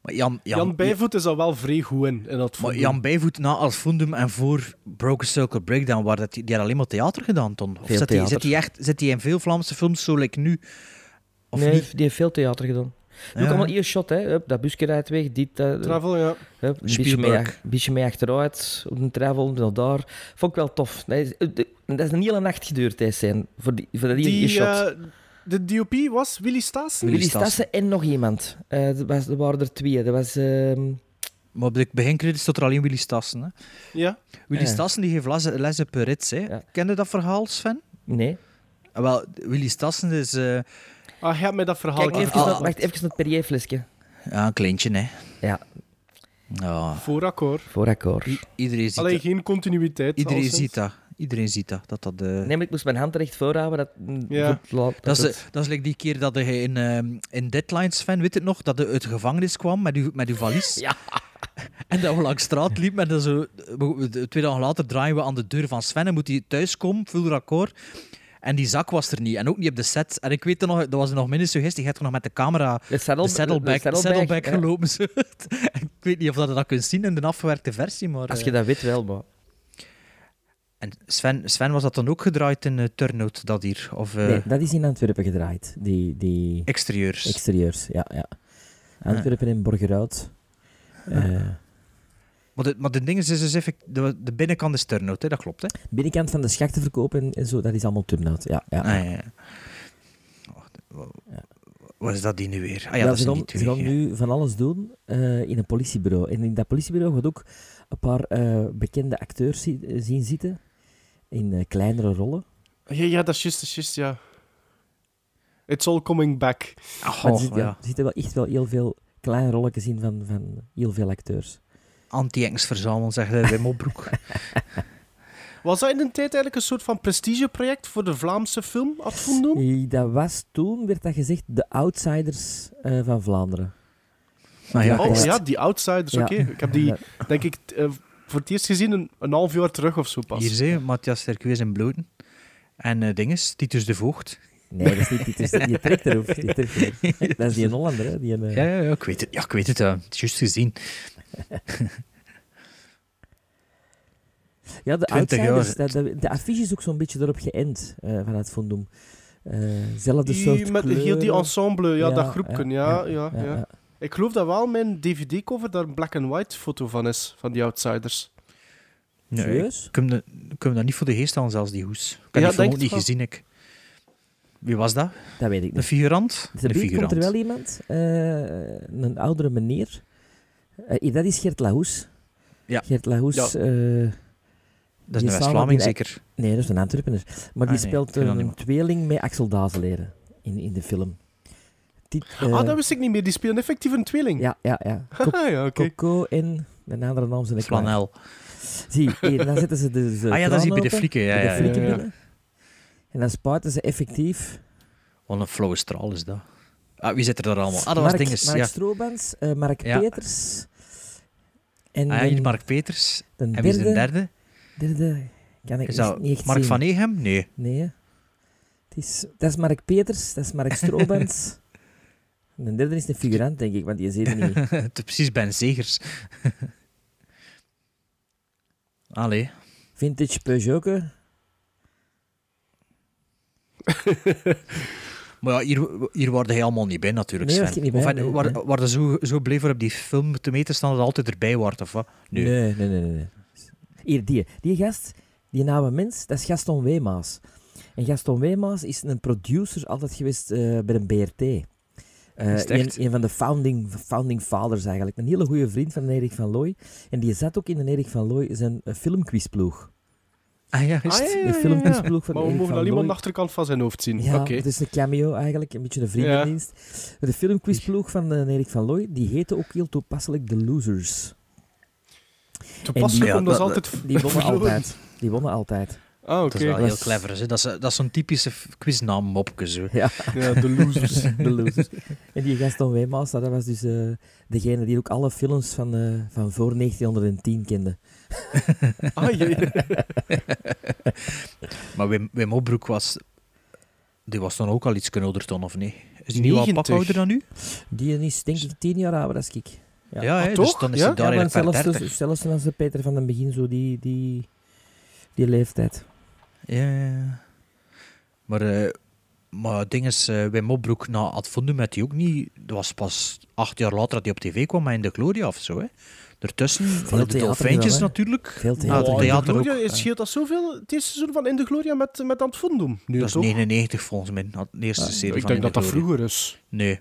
Speaker 4: Maar Jan, Jan,
Speaker 6: Jan, Bijvoet is al wel vrij goed in, in dat
Speaker 4: maar
Speaker 6: voetbal.
Speaker 4: Jan Bijvoet na als Fundum en voor Broken Circle Breakdown, waar dat, die die had alleen maar theater gedaan, Ton. Of
Speaker 7: Veel
Speaker 4: zit hij,
Speaker 7: theater.
Speaker 4: zit, hij echt, zit hij in veel Vlaamse films, zo like nu? Of
Speaker 7: nee,
Speaker 4: niet?
Speaker 7: die heeft veel theater gedaan. Doe
Speaker 4: Ja.
Speaker 7: ik allemaal eerst shot, hè. Hup, dat busje rijdt weg, dit... dat-
Speaker 6: Travel, ja.
Speaker 7: hup, een beetje
Speaker 4: Spielberg.
Speaker 7: mee, ach- een beetje mee achteruit, op een travel, dan daar. Vond ik wel tof. Nee, is- eh, de- dat is een hele nacht geduurd, deze scène, voor, die, voor dat ene
Speaker 6: Die,
Speaker 7: shot.
Speaker 6: eh, de DOP was Willy Staassen.
Speaker 4: Willy
Speaker 7: Willy Stassen en nog iemand. Eh, er, was, er waren er twee. Dat was... ehm,
Speaker 4: Maar op de begincredits stond er alleen Willy Stassen. Hè.
Speaker 6: Ja.
Speaker 4: Willy
Speaker 7: Ja.
Speaker 4: Stassen die geeft les, les op Rits. Hè.
Speaker 7: Eh. Ja.
Speaker 4: Ken je dat verhaal, Sven?
Speaker 7: nee.
Speaker 4: Ah, Wel, Willy Stassen is eh,
Speaker 6: Ah, je hebt mij dat verhaal
Speaker 7: Kijk, even,
Speaker 4: ah,
Speaker 7: naar-
Speaker 4: ah.
Speaker 7: Oh, wacht, even naar het Perrier-flesje.
Speaker 4: ja, een kleintje, hè.
Speaker 7: Ja,
Speaker 4: Ja.
Speaker 6: Voor akkoord.
Speaker 7: voor akkoord.
Speaker 4: I- iedereen ziet
Speaker 6: Alleen
Speaker 4: dat.
Speaker 6: geen continuïteit.
Speaker 4: Iedereen
Speaker 6: alleszins.
Speaker 4: ziet dat. Iedereen ziet dat. dat, dat eh,
Speaker 7: Nee, maar ik moest mijn hand er echt voor houden. Dat, mm,
Speaker 6: Ja.
Speaker 7: dat,
Speaker 4: Dat is,
Speaker 7: het-
Speaker 4: eh, dat is like die keer dat je in, ehm in Deadlines, Sven, weet het nog, dat je uit de gevangenis kwam met uw, met uw valies.
Speaker 7: Ja.
Speaker 4: En dat we langs straat liepen en dan zo... we- we- Twee dagen later draaien we aan de deur van Sven en moet hij thuiskomen, full record. En die zak was er niet. En ook niet op de set. En ik weet er nog, dat was nog minder suggestie, je hebt nog met de camera
Speaker 7: De saddle-
Speaker 4: de saddleback,
Speaker 7: de saddleback,
Speaker 4: saddleback
Speaker 7: ja.
Speaker 4: gelopen. zo. ik weet niet of dat je dat kunt zien in de afgewerkte versie, maar...
Speaker 7: Als
Speaker 4: eh,
Speaker 7: je dat weet wel, maar...
Speaker 4: En Sven, Sven, was dat dan ook gedraaid in eh, Turnhout, dat hier? Of eh,
Speaker 8: Nee, dat is in Antwerpen gedraaid, die, die
Speaker 4: exterieurs? Ah.
Speaker 8: exterieurs. Ja, ja. Antwerpen en Borgerhout. Eh,
Speaker 4: Maar de, maar de ding is, is, is effect, de, de binnenkant is turnout, hè? dat klopt. Hè?
Speaker 8: binnenkant van de schachtenverkoop en, en zo, dat is allemaal turnout. Ja, ja.
Speaker 4: Ah, ja, ja. Oh, de- wa- Wat is dat die nu weer? Ah ja,
Speaker 8: Ja,
Speaker 4: dat
Speaker 8: ze
Speaker 4: is
Speaker 8: gaan,
Speaker 4: niet
Speaker 8: ze gaan nu van alles doen eh, in een politiebureau. En in dat politiebureau gaat ook een paar eh, bekende acteurs zi- eh, zien zitten. In eh, kleinere rollen.
Speaker 6: Ja, ja, dat is juist, dat is juist, ja. It's all coming back.
Speaker 4: Ah,
Speaker 8: maar er, zit- ja, er zitten wel echt wel heel veel
Speaker 7: klein rolletje zien van, van heel veel acteurs.
Speaker 4: Anti-engs verzamelen, zegt eh, Wim Opbroek.
Speaker 6: Was dat in een tijd eigenlijk een soort van prestigeproject voor de Vlaamse film aan het doen?
Speaker 7: Eh, Dat was toen, werd dat gezegd, de outsiders eh, van Vlaanderen.
Speaker 4: nou ja,
Speaker 7: Ja,
Speaker 6: Oh
Speaker 4: is-
Speaker 6: ja, die Outsiders,
Speaker 7: Ja.
Speaker 6: oké. Ik heb die, denk ik, t- eh, voor het eerst gezien een, een half jaar terug of zo pas.
Speaker 4: hier zie je Matthias Terqueus in Bloten. En eh dinges, Titus de Voogd.
Speaker 7: Nee, dat is niet die, tussen- die trekt erop. Die trekt erop. Dat is die een Hollander, hè? Die een, eh,
Speaker 4: Ja, ja, ja, ik weet het. Ja, ik weet het. eh, het is juist gezien.
Speaker 7: Ja, de
Speaker 4: 20
Speaker 7: outsiders.
Speaker 4: jaar.
Speaker 7: dat- dat- de affiche is ook zo'n beetje erop geënt eh, vanuit Vondum. Eh zelfde soort
Speaker 6: Die, met heel die
Speaker 7: kleuren.
Speaker 6: ensemble, ja,
Speaker 7: Ja,
Speaker 6: dat groepje, ja, ja, ja,
Speaker 7: ja.
Speaker 6: Ik geloof dat wel mijn DVD-cover daar een black-and-white foto van is, van die Outsiders.
Speaker 4: Nee, ik
Speaker 7: Serieus?
Speaker 4: kan me dat- ik kan me dat niet voor de geest halen, zelfs die hoes. Ik heb die
Speaker 6: Ja,
Speaker 4: film
Speaker 6: denk
Speaker 4: ook niet
Speaker 6: het wel.
Speaker 4: gezien, ik. Wie was dat?
Speaker 7: Dat weet ik
Speaker 4: Een
Speaker 7: niet.
Speaker 4: figurant?
Speaker 7: Dus
Speaker 4: Een
Speaker 7: er komt
Speaker 4: figurant.
Speaker 7: er wel iemand, eh, een oudere meneer. Eh, hier, dat is Gert Lahoes.
Speaker 4: Ja.
Speaker 7: Gert Lahoes...
Speaker 6: Ja.
Speaker 7: eh,
Speaker 4: Dat
Speaker 7: Die
Speaker 4: is een
Speaker 7: staan
Speaker 4: West-Vlaming,
Speaker 7: op die-
Speaker 4: zeker.
Speaker 7: nee, dat is een Antwerpener. Maar die
Speaker 4: Ah, nee, ik
Speaker 7: speelt
Speaker 4: ken dat niet,
Speaker 7: een
Speaker 4: man.
Speaker 7: tweeling met Axel Dazeleren in, in de film. Dit, eh,
Speaker 6: ah, dat wist ik niet meer. Die spelen effectief een tweeling.
Speaker 7: Ja, ja, ja. Co-
Speaker 6: Ah, ja, oké.
Speaker 7: Coco en... Mijn andere naam zijn ik kwijt.
Speaker 4: Flanel.
Speaker 7: Zie, hier, dan zetten ze de, de
Speaker 4: Ah ja, dat is
Speaker 7: kraan
Speaker 4: die bij de
Speaker 7: open,
Speaker 4: flieken. Ja,
Speaker 7: bij de
Speaker 4: ja, ja.
Speaker 7: flieken
Speaker 6: ja.
Speaker 7: binnen. En dan spuiten ze effectief.
Speaker 4: Wat een flauwe straal is dat. Ah, wie zit er daar allemaal? Ah, dat was
Speaker 7: Mark,
Speaker 4: dinges.
Speaker 7: Mark
Speaker 4: Ja.
Speaker 7: Stroobans, eh, Mark
Speaker 4: Ja.
Speaker 7: Peters. En
Speaker 4: Ah, ja,
Speaker 7: de-
Speaker 4: hier Mark Peters.
Speaker 7: de
Speaker 4: En wie is de
Speaker 7: derde-
Speaker 4: derde?
Speaker 7: derde kan ik
Speaker 4: Is
Speaker 7: niet-
Speaker 4: dat
Speaker 7: niet echt
Speaker 4: Mark
Speaker 7: zien.
Speaker 4: van Egem? Nee.
Speaker 7: Nee. hè. Het is, dat is Mark Peters, dat is Mark Stroobans. en de derde is een figurant, denk ik, want die zit er niet. in.
Speaker 4: Het is precies Ben Zegers. Allee.
Speaker 7: Vintage Peugeot. hè.
Speaker 4: Maar ja, hier, hier waren hij allemaal niet bij natuurlijk,
Speaker 7: Nee, was
Speaker 4: Sven.
Speaker 7: ik niet bij,
Speaker 4: Of, en,
Speaker 7: nee,
Speaker 4: waar,
Speaker 7: nee.
Speaker 4: waar je zo, zo bleef voor op die film te meten staan dat je altijd erbij wordt, of wat? Nee.
Speaker 7: Nee, nee, nee, nee. nee. Hier, die, die gast, die oude mens, dat is Gaston Weemaas. En Gaston Weemaas is een producer altijd geweest eh, bij een BRT. Eh,
Speaker 4: Is het
Speaker 7: een,
Speaker 4: echt?
Speaker 7: een van de founding, founding fathers eigenlijk. Een hele goede vriend van Erik van Looy. En die zat ook in een Erik van Looy zijn eh, filmquizploeg.
Speaker 4: Ah ja,
Speaker 6: Ah,
Speaker 4: juist.
Speaker 6: ja, ja,
Speaker 7: De
Speaker 6: ja, ja.
Speaker 7: filmquizploeg van
Speaker 6: Maar we
Speaker 7: Erik
Speaker 6: mogen
Speaker 7: van
Speaker 6: alleen maar
Speaker 7: Looy.
Speaker 6: de achterkant van zijn hoofd zien.
Speaker 7: Ja, dus-
Speaker 6: Oké.
Speaker 7: het is een cameo eigenlijk, een beetje een vriendendienst. De filmquizploeg van eh, Erik van Looy, die heette ook heel toepasselijk The Losers.
Speaker 6: Toepasselijk,
Speaker 4: Ja,
Speaker 6: omdat ze
Speaker 4: dat-
Speaker 6: altijd...
Speaker 7: Die wonnen
Speaker 6: verloren.
Speaker 7: altijd. Die wonnen altijd.
Speaker 6: Ah,
Speaker 4: Dat
Speaker 6: oké.
Speaker 4: is wel heel
Speaker 7: was-
Speaker 4: clever. Hè? Dat is, dat is zo'n typische quiznaam mopje. Zo.
Speaker 7: Ja.
Speaker 6: Ja, de losers.
Speaker 7: De losers. En die Gaston Weemaas, dat was dus eh, degene die ook alle films van, eh, van voor 1910 kende.
Speaker 6: Ah, jee.
Speaker 4: Maar Wim, Wim Opbroek was... Die was dan ook al iets ouder dan, of nee? Is die nu al
Speaker 6: 90.
Speaker 4: pak ouder dan nu?
Speaker 7: Die is denk ik tien jaar ouder als ik. Ja.
Speaker 4: Ja, hè,
Speaker 6: Ah,
Speaker 4: dus
Speaker 6: toch?
Speaker 4: dan is
Speaker 6: Ja?
Speaker 4: hij daar
Speaker 7: ja, want
Speaker 4: eigenlijk
Speaker 7: zelfs,
Speaker 4: per 30.
Speaker 7: dus, zelfs als de Peter van den Begin, zo die, die, die leeftijd.
Speaker 4: Ja, ja, ja. Maar, eh maar het ding is, eh, Wim Opbroek na Advondum met die ook niet... Dat was pas acht jaar later dat hij op tv kwam, maar in de Gloria of zo, hè. Daartussen, allee, de
Speaker 7: theater
Speaker 4: dolfijntjes
Speaker 7: wel, hè.
Speaker 4: natuurlijk.
Speaker 7: Veel
Speaker 4: Ja,
Speaker 7: theater.
Speaker 4: het
Speaker 6: Oh, in de
Speaker 4: theater ook.
Speaker 6: Gloria is, scheelt dat zoveel? Het eerste seizoen van In de Gloria met, met Antwoordum. Nu
Speaker 4: Dat is
Speaker 6: toch? Ah,
Speaker 4: 99 volgens mij, na de eerste serie
Speaker 6: Ik
Speaker 4: van In
Speaker 6: denk dat
Speaker 4: de
Speaker 6: dat
Speaker 4: Gloria.
Speaker 6: vroeger is.
Speaker 4: Nee,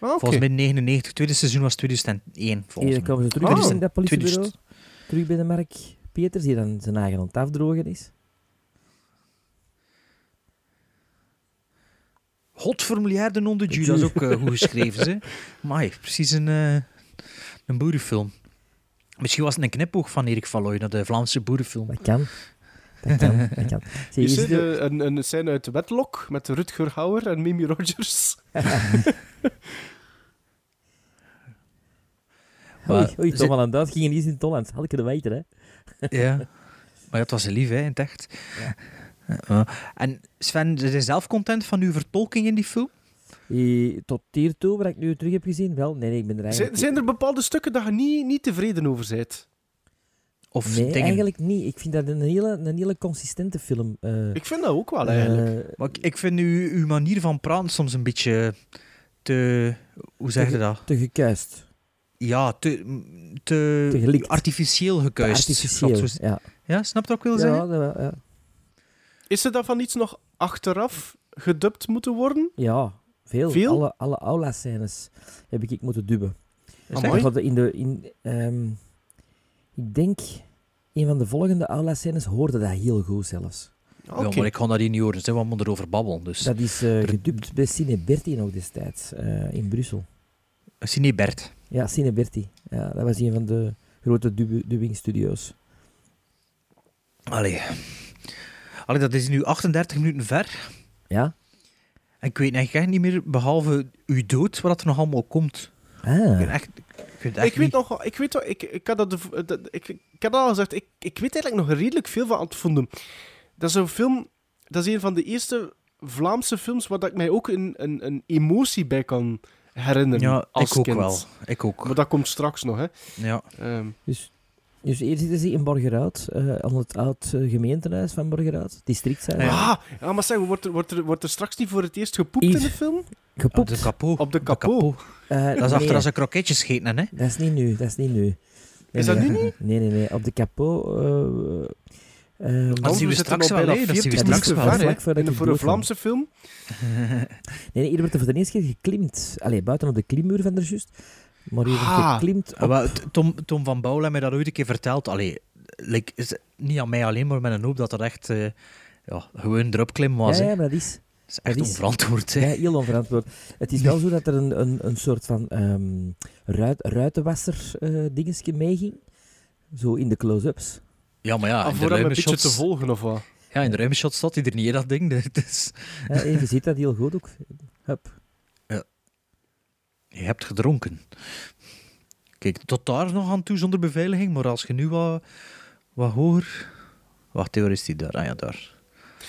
Speaker 6: Ah, oké.
Speaker 4: volgens mij 99. tweede seizoen was 2001, volgens
Speaker 7: Hier
Speaker 4: mij.
Speaker 7: komen ze terug
Speaker 6: Oh,
Speaker 7: dus in dat politiebureau.
Speaker 4: 2000.
Speaker 7: Terug bij de Mark Peters, die dan zijn eigen aan het afdrogen is.
Speaker 4: Godformulier de non de Dieu, dat is ook eh, goed geschreven. Ze. Amai, precies een, eh, een boerenfilm. Misschien was het een knipoog van Erik van Looy naar de Vlaamse boerenfilm.
Speaker 7: Dat kan. Dat kan, dat kan. Zie,
Speaker 6: Is
Speaker 7: hier
Speaker 6: er
Speaker 7: zit ook-
Speaker 6: eh, een, een scène uit Wedlock met Rutger Hauer en Mimi Rogers?
Speaker 7: Oei, oei,
Speaker 4: Ze-
Speaker 7: Tom al aan dat ging niet in Tolland. Had ik er weten, hè?
Speaker 4: Ja. Maar dat was ze lief, hè, in het echt. Ja. En Sven, ze zijn zelf content van uw vertolking in die film?
Speaker 7: Eh, Tot hiertoe, wat ik nu terug heb gezien, wel. Nee, nee, ik ben er eigenlijk...
Speaker 6: Zijn, zijn er bepaalde stukken dat je niet, niet tevreden over bent?
Speaker 4: Of
Speaker 7: nee,
Speaker 4: dingen?
Speaker 7: eigenlijk niet. Ik vind dat een hele, een hele consistente film. eh,
Speaker 6: Ik vind dat ook wel, eigenlijk.
Speaker 7: eh,
Speaker 4: Maar ik, ik vind uw, uw manier van praten soms een beetje te... Hoe zeg je dat?
Speaker 7: te gekuist.
Speaker 4: Ja, te... Te,
Speaker 7: Te gelikt.
Speaker 4: artificieel
Speaker 7: Te
Speaker 4: gekuist.
Speaker 7: artificieel,
Speaker 4: Klopt zo-
Speaker 7: ja.
Speaker 4: Ja, snap je wat ik wil
Speaker 7: Ja,
Speaker 4: zeggen?
Speaker 7: dat wel, ja.
Speaker 6: Is er dan van iets nog achteraf gedubt moeten worden?
Speaker 7: Ja, veel.
Speaker 6: Veel?
Speaker 7: Alle, alle aula-scènes heb ik, ik moeten dubben.
Speaker 4: Is
Speaker 6: Amai.
Speaker 4: dat-
Speaker 7: Ik had in de... In, ehm, ik denk, een van de volgende aula-scènes hoorde dat heel goed zelfs.
Speaker 6: Oké.
Speaker 4: Ja, maar ik ga dat hier niet horen, ze, want we moeten erover babbelen. Dus.
Speaker 7: Dat is eh gedubt bij Cine Berti nog destijds, eh, in Brussel.
Speaker 4: Cine Bert.
Speaker 7: Ja, Cineberti. Ja, dat was een van de grote dubu- dubbing studios.
Speaker 4: Allee. Allee, dat is nu 38 minuten ver.
Speaker 7: Ja?
Speaker 4: En ik weet eigenlijk echt niet meer, behalve uw dood, wat er nog allemaal komt. Ik weet
Speaker 7: Ah.
Speaker 4: echt, ik weet echt
Speaker 6: Ik weet nog, wel- ik weet wel- ik, ik had dat, de- dat- ik, ik had dat al gezegd, ik, ik weet eigenlijk nog redelijk veel van Antvonden. Dat is een film, dat is een van de eerste Vlaamse films waar dat ik mij ook een, een, een emotie bij kan herinneren.
Speaker 4: Ja,
Speaker 6: als
Speaker 4: ik ook
Speaker 6: kind.
Speaker 4: wel. Ik ook.
Speaker 6: Maar dat komt straks nog, hè.
Speaker 4: Ja.
Speaker 6: Ehm,
Speaker 7: Dus, dus hier zitten ze in Borgerhout, eh, aan het oud eh, gemeentehuis van Borgerhout, districthuis.
Speaker 4: Ja.
Speaker 6: Ah, ja, maar zeg, wordt er, wordt, er, wordt er straks niet voor het eerst gepoept
Speaker 7: Iets.
Speaker 6: in de film?
Speaker 4: Op
Speaker 7: Gepoept. Eh,
Speaker 4: de kapot.
Speaker 6: Op de kapot.
Speaker 4: Dat is Ah, achter als ze kroketjes scheten, hè.
Speaker 7: Dat is niet nu, dat is niet nu. Nee,
Speaker 6: Is
Speaker 7: nee,
Speaker 6: dat nu niet?
Speaker 7: Nee, nee, nee. Op de kapot... eh, eh,
Speaker 4: Dat
Speaker 6: Want
Speaker 4: zien we
Speaker 6: zitten
Speaker 4: straks
Speaker 6: al
Speaker 4: wel,
Speaker 6: bijna
Speaker 4: hè. Dat zien we
Speaker 6: 40
Speaker 7: straks
Speaker 6: minuten
Speaker 7: wel.
Speaker 6: ver, hè.
Speaker 7: Vlak voordat
Speaker 6: En
Speaker 7: ik
Speaker 6: Voor een
Speaker 7: dood ben.
Speaker 6: Vlaamse film?
Speaker 7: Nee, nee, hier wordt er voor de eerste keer geklimd. Allee, buiten op de klimmuur van de just. Maar hier wordt
Speaker 6: Ah.
Speaker 7: geklimd op...
Speaker 4: Ah, wel, t- Tom, Tom van Bouwel heeft mij dat ooit een keer verteld. Allee, like, is, niet aan mij alleen, maar met een hoop dat dat echt eh, ja, gewoon erop klim was.
Speaker 7: ja,
Speaker 4: hè.
Speaker 7: ja, maar dat is...
Speaker 4: dat is echt
Speaker 7: dat is-
Speaker 4: onverantwoord. Hè.
Speaker 7: Ja, heel onverantwoord. Het is wel zo dat er een, een, een soort van ehm ruit, ruitenwasser eh dingetje meeging. Zo in de close-ups.
Speaker 4: Ja, maar ja,
Speaker 6: Ah,
Speaker 4: in de
Speaker 6: voor hem een
Speaker 4: ruime
Speaker 6: beetje te
Speaker 4: shots,
Speaker 6: volgen, of wat?
Speaker 4: ja, in de ruime shots staat hij er niet in, dat ding. Het is-
Speaker 7: Ja, en je ziet dat heel goed ook. Hup.
Speaker 4: je hebt gedronken. Kijk, tot daar nog aan toe zonder beveiliging, maar als je nu wat, wat hoor... Wacht, hè, waar is die daar? Ah ja, daar.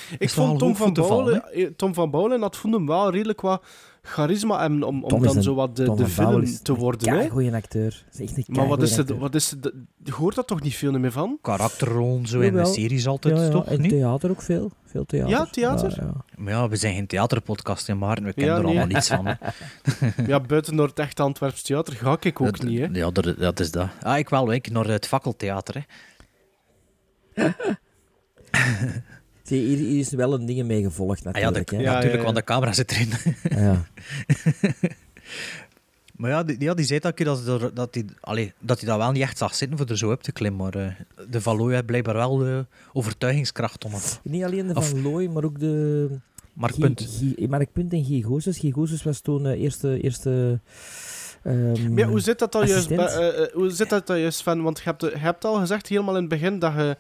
Speaker 6: Ik
Speaker 4: Is toch al
Speaker 6: vond Tom
Speaker 4: hoog
Speaker 6: van,
Speaker 4: voor te vallen,
Speaker 6: Bouwen, eh, Tom van Bouwen en dat vonden wel redelijk wat charisma hebben om, om
Speaker 7: Tom is
Speaker 6: dan
Speaker 7: een-
Speaker 6: zo wat de,
Speaker 7: Tom
Speaker 6: de
Speaker 7: van Bouwen
Speaker 6: film
Speaker 7: is
Speaker 6: te
Speaker 7: een
Speaker 6: worden. Hè?
Speaker 7: keigoeie acteur. Dat is echt een
Speaker 6: Maar wat is,
Speaker 7: keigoeie
Speaker 6: het,
Speaker 7: acteur.
Speaker 6: wat is het, je hoort dat toch niet veel meer van?
Speaker 4: Karakterrollen zo in de
Speaker 7: Jawel.
Speaker 4: series altijd,
Speaker 7: ja, ja,
Speaker 4: toch?
Speaker 7: En
Speaker 4: Niet?
Speaker 7: theater ook veel. Veel theater.
Speaker 6: Ja, theater?
Speaker 7: Ja, ja.
Speaker 4: Maar ja, we zijn geen theaterpodcast, hè, Maarten. We kennen
Speaker 6: Ja,
Speaker 4: er
Speaker 6: nee.
Speaker 4: allemaal niets van. hè.
Speaker 6: Ja, buiten door het echte Antwerps theater ga ik ook
Speaker 4: dat,
Speaker 6: niet, hè.
Speaker 4: Ja, dat, dat is dat. Ah, ik wel, ik naar het fakkeltheater. Hè. Ah,
Speaker 7: Zie, hier, hier is wel een ding mee gevolgd
Speaker 4: Ah, ja, de-
Speaker 7: natuurlijk. hè.
Speaker 6: ja.
Speaker 4: natuurlijk, want de camera zit erin.
Speaker 7: Ja.
Speaker 4: maar ja, die, ja, die zei dat keer dat hij dat, die- allee, dat, die dat wel niet echt zag zitten voor er zo op te klimmen. Maar eh, de Valooi heeft blijkbaar wel eh, overtuigingskracht om het.
Speaker 7: Niet alleen de
Speaker 4: Of-
Speaker 7: Van Looy, maar ook de...
Speaker 4: Maar
Speaker 7: Guy-
Speaker 4: punt.
Speaker 7: Guy- Mark Punt en Guy Gozes. Guy Gozes was toen eh, eerste... eerste ehm,
Speaker 6: Maar ja, hoe zit dat dan juist,
Speaker 7: assistent.
Speaker 6: bij- eh, eh, hoe zit dat dan juist Sven? Want je hebt, je hebt al gezegd helemaal in het begin dat je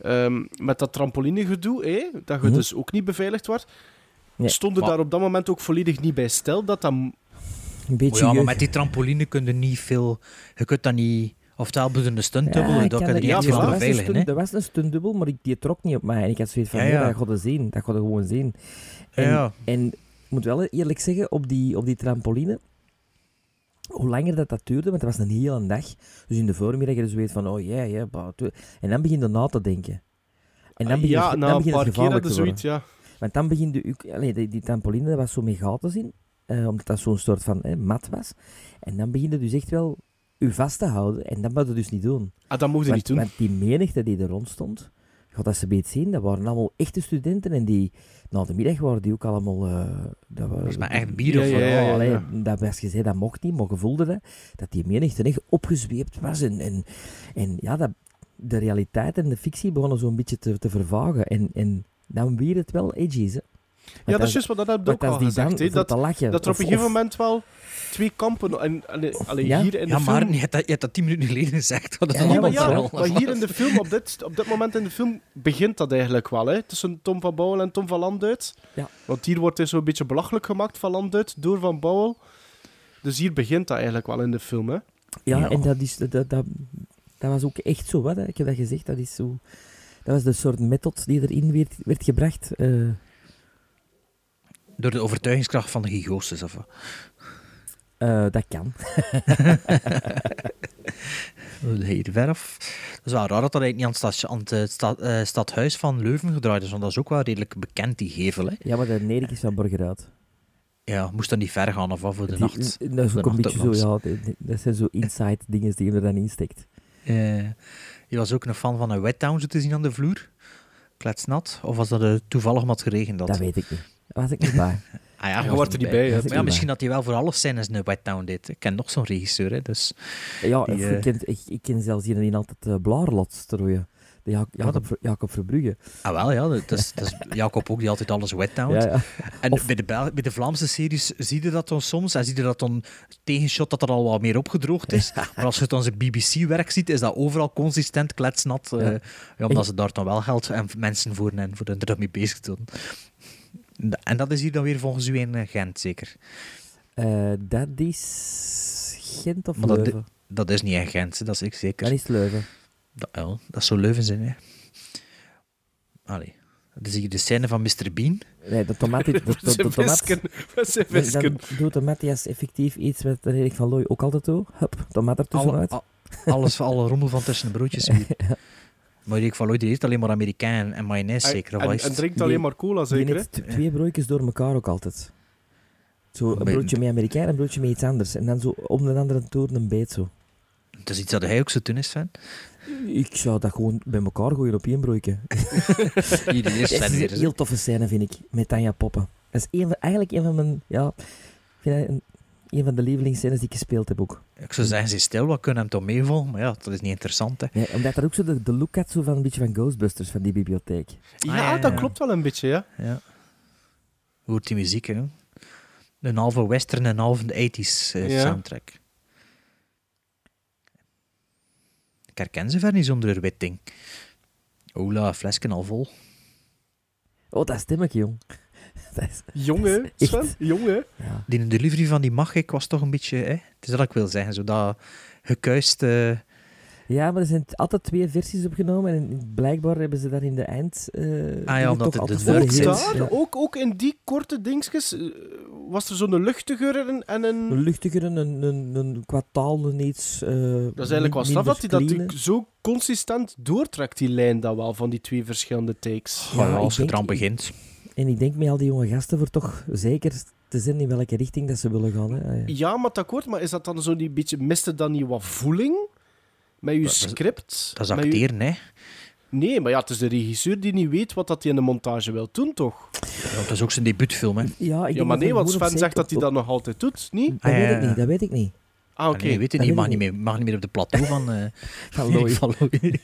Speaker 6: ehm, met dat trampolinegedoe, hè, dat je
Speaker 7: Mhm.
Speaker 6: dus ook niet beveiligd wordt.
Speaker 7: Nee,
Speaker 6: Stonden
Speaker 4: maar-
Speaker 6: daar op dat moment ook volledig niet bij stil dat dat
Speaker 7: Een
Speaker 4: Oh
Speaker 7: beetje
Speaker 4: ja, maar
Speaker 7: jeugd.
Speaker 4: met die trampoline kun je niet veel... Je kunt dat niet... Oftewel bedoel je een stunt
Speaker 7: Ja,
Speaker 4: dubbel,
Speaker 7: ik
Speaker 4: dat
Speaker 7: ken
Speaker 4: kan je
Speaker 7: dat-
Speaker 4: niet echt
Speaker 6: ja,
Speaker 4: veel
Speaker 6: voilà.
Speaker 7: er was een
Speaker 4: beveiligen. hè.
Speaker 7: stunt- Er was een stuntdubbel, maar ik- die trok niet op mij. En ik had zoiets van,
Speaker 4: Ja,
Speaker 7: nee,
Speaker 4: ja.
Speaker 7: dat gaat het zien. Dat gaat het gewoon zien. En,
Speaker 4: Ja.
Speaker 7: en ik moet wel eerlijk zeggen, op die, op die trampoline, hoe langer dat dat duurde, want dat was een hele dag. Dus in de voormiddag je dus weet van, oh ja, ja, bah, tu- En dan begin je na te denken. En dan
Speaker 6: Ah,
Speaker 7: begin je,
Speaker 6: ja,
Speaker 7: dan
Speaker 6: na een
Speaker 7: begint het
Speaker 6: paar keer
Speaker 7: gevaarlijk
Speaker 6: hadden
Speaker 7: te
Speaker 6: ze
Speaker 7: worden.
Speaker 6: zoiets, ja.
Speaker 7: Want dan begint de, uk- allee, die, die trampoline, dat was zo met gaten in, eh, omdat dat zo'n soort van eh, mat was. En dan begint het dus echt wel u vast te houden. En dat moet je dus niet doen.
Speaker 6: Ah, dat mocht je
Speaker 7: Want,
Speaker 6: niet doen.
Speaker 7: want die menigte die er rond stond, god dat ze beet zien, dat waren allemaal echte studenten. En die, na de middag waren die ook allemaal... eh dat
Speaker 4: Volgens mij
Speaker 7: was
Speaker 4: echt bier of
Speaker 6: Ja, ja,
Speaker 4: wat.
Speaker 6: ja, ja.
Speaker 7: Allee, dat was gezegd, dat mocht niet, maar gevoelde dat, dat die menigte echt opgezweept was. En, en, en ja, dat, de realiteit en de fictie begonnen zo'n beetje te, te vervagen. En, en dan weer het wel edgy, hè.
Speaker 6: Ja, dat
Speaker 7: dan-
Speaker 6: is juist wat dat heb ik
Speaker 7: want
Speaker 6: ook
Speaker 7: als
Speaker 6: al
Speaker 7: die
Speaker 6: gezegd.
Speaker 7: dan
Speaker 6: hè,
Speaker 7: voor
Speaker 6: Dat,
Speaker 7: te lachen.
Speaker 6: dat er op
Speaker 7: of-
Speaker 6: een gegeven
Speaker 7: of-
Speaker 6: moment wel twee kampen... En, allee, allee,
Speaker 7: Ja.
Speaker 6: hier in de
Speaker 4: Ja,
Speaker 6: film...
Speaker 4: maar je hebt dat- je hebt dat tien minuten geleden gezegd. Dat is
Speaker 7: Ja, ja,
Speaker 6: Ja,
Speaker 4: allemaal
Speaker 6: maar,
Speaker 7: want
Speaker 6: ja,
Speaker 4: verhaal.
Speaker 7: vooral-
Speaker 6: maar hier in de film, op dit, op dit moment in de film, begint dat eigenlijk wel. Hè? Tussen Tom van Bouwel en Tom van Landuit.
Speaker 7: Ja.
Speaker 6: Want hier wordt hij zo'n beetje belachelijk gemaakt van Landuit door Van Bouwel. Dus hier begint dat eigenlijk wel in de film. Hè?
Speaker 7: Ja,
Speaker 4: Ja.
Speaker 7: en dat, is, dat, dat, dat was ook echt zo, wat, hè. ik heb dat gezegd, dat is zo... Dat was de soort method die erin werd, werd gebracht. eh.
Speaker 4: Door de overtuigingskracht van de gigostes of wat.
Speaker 7: Eh, dat kan.
Speaker 4: Hier verf. Dat is wel raar dat dat eigenlijk niet aan het, station- aan het, eh, sta- eh, stadhuis van Leuven gedraaid is, want dat is ook wel redelijk bekend, die gevel. Hè.
Speaker 7: Ja, maar de Nederik is van Borgerhout.
Speaker 4: Ja, moest dat niet ver gaan of wat voor de
Speaker 7: Die-
Speaker 4: nacht.
Speaker 7: n- Dat is ook
Speaker 4: De nacht
Speaker 7: een beetje zo,
Speaker 4: ook
Speaker 7: ja. die- die- Dat zijn zo inside dingen die je er dan insteekt.
Speaker 4: Eh, je was ook een fan van een wet down zo te zien aan de vloer. Kletsnat. Of was dat eh, toevallig maar het geregend had?
Speaker 7: Dat weet ik niet. Daar was ik niet bij.
Speaker 4: Ah ja,
Speaker 6: Je
Speaker 4: was
Speaker 6: wordt er niet bij. hè.
Speaker 7: Dat is
Speaker 4: Maar ja, misschien dat hij wel voor alles zijn is een wet down deed. Ik ken nog zo'n regisseur, hè, dus...
Speaker 7: Ja,
Speaker 4: Die,
Speaker 7: ik,
Speaker 4: eh,
Speaker 7: ken, ik, ik ken zelfs iedereen altijd uh, eh, blaarlot strooien. de Ja- Jacob,
Speaker 4: dat-
Speaker 7: Ver- Jacob Verbrugge.
Speaker 4: Ah wel, ja. Dat is, dat is Jacob ook die altijd alles wet
Speaker 7: Ja,
Speaker 4: houdt.
Speaker 7: ja.
Speaker 4: En
Speaker 7: Of-
Speaker 4: bij, de Bel- bij de Vlaamse series zie je dat dan soms. En zie je dat dan tegenshot dat er al wat meer opgedroogd is. Maar als je het onze BBC-werk ziet, is dat overal consistent kletsnat. eh, ja. omdat ze daar dan wel geld en mensen voor en voor de er dan mee bezig doen. En dat is hier dan weer volgens u in eh, Gent, zeker?
Speaker 7: Eh, dat is Gent of
Speaker 4: Maar dat-
Speaker 7: Leuven?
Speaker 4: Dat is niet in Gent, hè, dat is ik zeker.
Speaker 7: Dat is Leuven.
Speaker 4: Dat, ja, dat zou Leuven zijn, hè. Allee. Dat is hier de scène van Mr. Bean.
Speaker 7: Nee, de tomaat... De, de, de,
Speaker 6: Wat zijn
Speaker 7: tomaat-
Speaker 6: visken? Wat zijn
Speaker 7: Dan-
Speaker 6: visken?
Speaker 7: Dan doet de Matthias effectief iets wat de Erik van Looy ook altijd doet. Hup, tomaat
Speaker 4: Alle,
Speaker 7: ertussenuit.
Speaker 4: a- alles, alle rommel van tussen de broodjes. hier. Maar Erik van Looy die eet alleen maar Amerikaan en mayonaise, zeker. of wat
Speaker 6: En,
Speaker 4: is
Speaker 6: en
Speaker 4: het?
Speaker 6: drinkt
Speaker 7: Die-
Speaker 6: alleen maar cola,
Speaker 7: Die
Speaker 6: zeker, hè?
Speaker 7: neemt t- twee broodjes door elkaar ook altijd. Zo, een
Speaker 4: Maar-
Speaker 7: broodje met Amerikaan en een broodje met iets anders. En dan zo om de andere toer een beet zo.
Speaker 4: Dat is iets dat hij ook zo doen is, Sven.
Speaker 7: Ik zou dat gewoon bij elkaar gooien op één broodje.
Speaker 4: Hier, de eerste
Speaker 7: Dat
Speaker 4: zijn
Speaker 7: is
Speaker 4: weer.
Speaker 7: een heel toffe scène, vind ik, met Tanja Poppen. Dat is een van- eigenlijk een van mijn... Ja, ik vind dat een, een van de lievelingsscènes die ik gespeeld heb ook.
Speaker 4: Ik zou zeggen, ze is stil, wat kunnen hem toch meevolgen? Maar ja, dat is niet interessant, hè.
Speaker 7: Ja, omdat dat ook zo de, de look had zo van een beetje van Ghostbusters, van die bibliotheek.
Speaker 6: Ja,
Speaker 4: Ah, ja,
Speaker 6: dat
Speaker 4: ja.
Speaker 6: klopt wel een beetje, ja.
Speaker 4: Ja. Hoort die muziek, hè. Een halve western en een halve 80s eh,
Speaker 6: Ja.
Speaker 4: soundtrack. Ik herken ze ver niet zonder haar wit ding. Ola, flesken al vol.
Speaker 7: Oh, dat stemmetje, jong. Dat is...
Speaker 6: Jongen,
Speaker 7: Echt.
Speaker 6: Sven, jongen.
Speaker 7: Ja.
Speaker 4: Die delivery van die mag ik was toch een beetje... Hè? Het is dat ik wil zeggen, zo dat gekuist... eh,
Speaker 7: ja, maar er zijn t- altijd twee versies opgenomen en in- blijkbaar hebben ze daar in de eind... eh, dingen
Speaker 4: Ah omdat
Speaker 7: toch
Speaker 4: het
Speaker 7: altijd
Speaker 4: de
Speaker 7: voor de eh,
Speaker 4: dark
Speaker 6: Ook
Speaker 4: zit.
Speaker 7: hints,
Speaker 6: daar,
Speaker 7: ja.
Speaker 6: ook, ook in die korte dingetjes, eh, was er zo'n luchtiger en, en een...
Speaker 7: Een luchtiger, een, een, een, een qua taal, een iets... eh,
Speaker 6: Dat is eigenlijk wel
Speaker 7: minder
Speaker 6: straf dat hij dat
Speaker 7: clean.
Speaker 6: natuurlijk zo consistent doortrekt, die lijn dan wel, van die twee verschillende takes.
Speaker 7: Ja,
Speaker 4: ja,
Speaker 7: ik
Speaker 4: als je
Speaker 7: denk-
Speaker 4: eraan begint.
Speaker 7: En ik denk met al die jonge gasten voor toch zeker te zijn in welke richting dat ze willen gaan. Hè. Ah, ja.
Speaker 6: Ja, maar akkoord, maar is dat dan zo die beetje, miste dan niet wat voeling? Met je
Speaker 4: dat is-
Speaker 6: script?
Speaker 4: Dat is
Speaker 6: Met uw-
Speaker 4: acteren, hè.
Speaker 6: Nee, maar ja, het is de regisseur die niet weet wat dat hij in de montage wil doen, toch?
Speaker 4: Ja, dat is ook zijn debuutfilm, hè.
Speaker 7: Ja, ik
Speaker 6: ja,
Speaker 7: denk
Speaker 6: maar
Speaker 7: dat
Speaker 6: nee,
Speaker 7: Van
Speaker 6: want
Speaker 7: Boer op
Speaker 6: Sven zegt
Speaker 7: zeker-
Speaker 6: dat hij dat nog altijd doet, niet?
Speaker 7: Dat weet
Speaker 4: Ah,
Speaker 7: ik
Speaker 4: ja.
Speaker 7: niet, dat weet ik niet.
Speaker 6: Ah, oké.
Speaker 4: Nee, weet je niet, je
Speaker 7: Dat weet
Speaker 4: mag,
Speaker 7: ik
Speaker 4: niet
Speaker 7: niet.
Speaker 4: meer, mag niet meer op de plateau van... eh,
Speaker 7: Van
Speaker 4: Erik
Speaker 7: Looy.
Speaker 4: van Looy.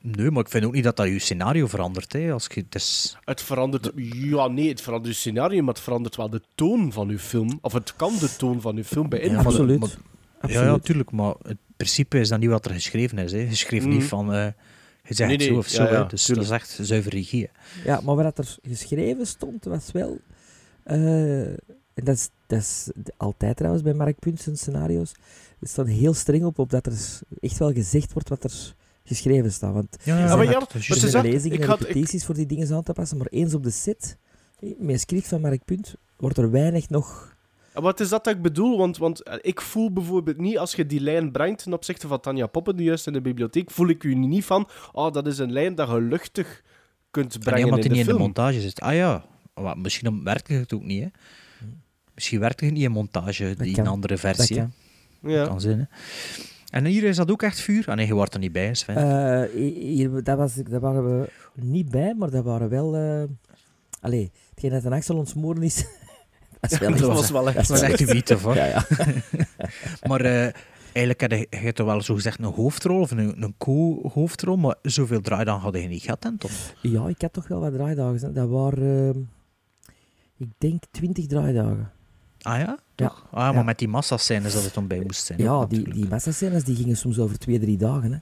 Speaker 4: nee, maar ik vind ook niet dat dat je scenario verandert. Hè. Als je, het is,
Speaker 6: Het verandert... Ja, nee, het verandert het scenario, maar het verandert wel de toon van uw film. Of het kan de toon van uw film
Speaker 4: Ja,
Speaker 6: beïnvloeden.
Speaker 4: maar-
Speaker 7: Absoluut.
Speaker 4: maar- ja,
Speaker 7: Absoluut.
Speaker 4: ja, tuurlijk, maar het principe is dan niet wat er geschreven is. Hè. Je schreef
Speaker 6: Mhm.
Speaker 4: niet van... eh je zegt
Speaker 6: Nee,
Speaker 4: het
Speaker 6: nee,
Speaker 4: zo of
Speaker 6: ja,
Speaker 4: zo.
Speaker 6: ja,
Speaker 4: hè. Dus dat is echt zuiver regie. hè.
Speaker 7: Ja, maar wat er geschreven stond, was wel... eh, en dat is, dat is altijd trouwens bij Mark Punsen's scenario's. Er staat heel streng op, op dat er echt wel gezegd wordt wat er geschreven staat. Want
Speaker 4: Ja,
Speaker 7: maar ja,
Speaker 6: Ah, maar
Speaker 7: er
Speaker 6: ze
Speaker 7: zijn
Speaker 6: zegt,
Speaker 7: lezingen
Speaker 6: ik
Speaker 7: en
Speaker 6: had- ik-
Speaker 7: repetities voor die dingen aan te passen, maar eens op de set, eh, met een script van Mark Punt, wordt er weinig nog...
Speaker 6: Ja, Wat is dat dat ik bedoel? Want, want eh, ik voel bijvoorbeeld niet, als je die lijn brengt ten opzichte van Tanja Poppen, die juist in de bibliotheek, voel ik u niet van, oh, dat is een lijn dat je luchtig kunt
Speaker 4: En
Speaker 6: brengen
Speaker 4: iemand die
Speaker 6: in de
Speaker 4: niet in de
Speaker 6: film.
Speaker 4: montage zit. Ah ja, maar misschien werkte het ook niet. Hè. Mm. Misschien werkte het niet in montage, die
Speaker 7: kan.
Speaker 4: een andere
Speaker 7: Dat
Speaker 4: versie. hè.
Speaker 7: kan.
Speaker 6: ja.
Speaker 4: kan zijn. Hè. En hier is dat ook echt vuur. Ah nee, je wordt er niet bij, hè, Sven.
Speaker 7: Eh, hier, daar, was, daar waren we niet bij, maar dat waren wel... eh allee, hetgeen dat een Axel ontsmoren is... dat is wel
Speaker 6: dat
Speaker 7: echt-
Speaker 6: was wel echt...
Speaker 7: dat is
Speaker 4: dat is
Speaker 7: wel
Speaker 4: echt een witte, hoor.
Speaker 7: Ja, ja.
Speaker 4: Maar eh, eigenlijk had je, je had toch wel zo gezegd een hoofdrol of een, een co-hoofdrol, maar zoveel draai dan hadden je niet gehad, hè, Tom?
Speaker 7: Ja, ik had toch wel wat draaidagen. hè. Dat waren, ehm, ik denk, 20 draaidagen.
Speaker 4: Ah ja?
Speaker 7: Ja.
Speaker 4: Toch? Ah, maar
Speaker 7: Ja.
Speaker 4: met die massascènes dat het dan bij moest zijn.
Speaker 7: Ja,
Speaker 4: ook
Speaker 7: die,
Speaker 4: natuurlijk.
Speaker 7: die massascènes die gingen soms over twee, drie dagen. Hè.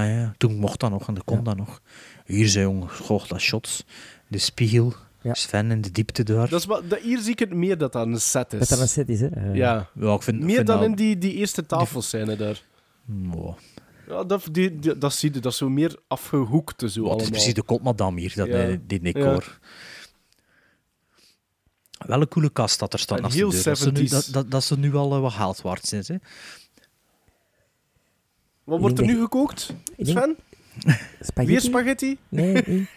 Speaker 4: Ah ja, toen mocht dat nog en dat kon
Speaker 7: Ja.
Speaker 4: dat nog. Hier zijn jongen, goh, dat shots. De spiegel,
Speaker 7: Ja.
Speaker 4: Sven in de diepte daar.
Speaker 6: Dat is wat, dat, hier zie ik het meer dat dat een set is.
Speaker 7: Dat dat een set is, hè. Eh,
Speaker 6: Ja.
Speaker 4: Ja, ik vind,
Speaker 6: Meer
Speaker 4: vind
Speaker 6: dan
Speaker 4: dat-
Speaker 6: in die, die eerste tafelscène daar.
Speaker 4: Mwah.
Speaker 6: Ja, dat, die, die- dat zie je, dat is zo meer afgehoekte zo
Speaker 4: Wat
Speaker 6: allemaal.
Speaker 4: is dus precies de kotmadam hier, dat,
Speaker 6: Ja.
Speaker 4: eh, die decor. Wel een coole kast dat er staat
Speaker 6: Een
Speaker 4: naast
Speaker 6: heel
Speaker 4: de deur. Dat ze, nu,
Speaker 6: 70s.
Speaker 4: dat, dat, dat ze nu al eh, wat geld waard zijn. Hè?
Speaker 6: Wat wordt er
Speaker 7: Ik
Speaker 6: nu
Speaker 7: denk-
Speaker 6: gekookt,
Speaker 7: ik denk-
Speaker 6: Sven?
Speaker 7: Spaghetti?
Speaker 6: Weer spaghetti?
Speaker 7: Nee, nee.